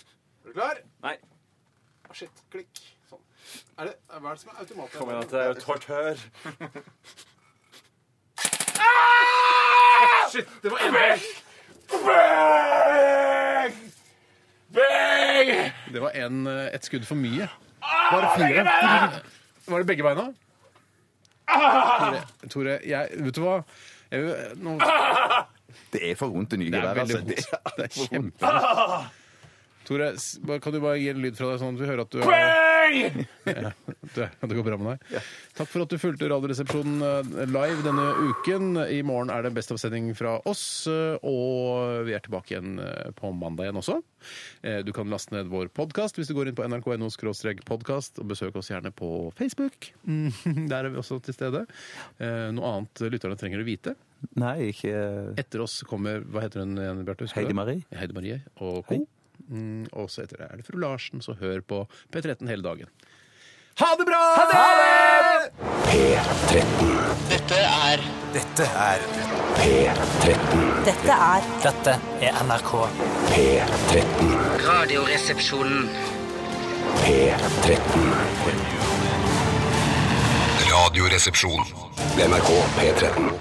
[SPEAKER 4] Er du klar? Nei. Shit. Klikk. Kom igjen, at det er jo tortør.
[SPEAKER 3] Ah!
[SPEAKER 4] Shit, det var Beng! Beng! Beng!
[SPEAKER 2] Det var en, eh, et skudd for mye. Bare fire. Var det begge beina? Tore, Tore jeg, vet du hva? Jeg, vil- nå,
[SPEAKER 3] Det er for vondt det nye
[SPEAKER 2] det er
[SPEAKER 3] geværet.
[SPEAKER 2] veldig
[SPEAKER 3] Altså.
[SPEAKER 2] vondt.
[SPEAKER 3] Det-
[SPEAKER 2] Det er kjempevondt. Tore, s- bare- kan du bare gi en lyd fra deg, sånn at vi hører at du er det, det går bra med deg. Takk for at du fulgte Radioresepsjonen eh, live denne uken. I morgen er det Best of-sending fra oss, eh, og vi er tilbake igjen eh, på mandag igjen også. Eh, Du kan laste ned vår podkast hvis du går inn på nrk.no podkast, og besøk oss gjerne på Facebook. Mm, Der er vi også til stede. Eh, Noe annet lytterne trenger å vite.
[SPEAKER 3] Nei, ikke
[SPEAKER 2] Etter oss kommer Hva heter hun igjen, Bjarte? Husker du
[SPEAKER 3] Heidi
[SPEAKER 2] det?
[SPEAKER 3] Marie.
[SPEAKER 2] Heidi Marie og co. Mm, og så etter det er det fru Larsen, så hør på P13 hele dagen. Ha det bra!
[SPEAKER 10] Dette er
[SPEAKER 11] Dette er
[SPEAKER 10] Dette er
[SPEAKER 11] Dette er NRK.
[SPEAKER 5] P13.
[SPEAKER 10] Radioresepsjonen.
[SPEAKER 5] P13. Radioresepsjon. NRK P13.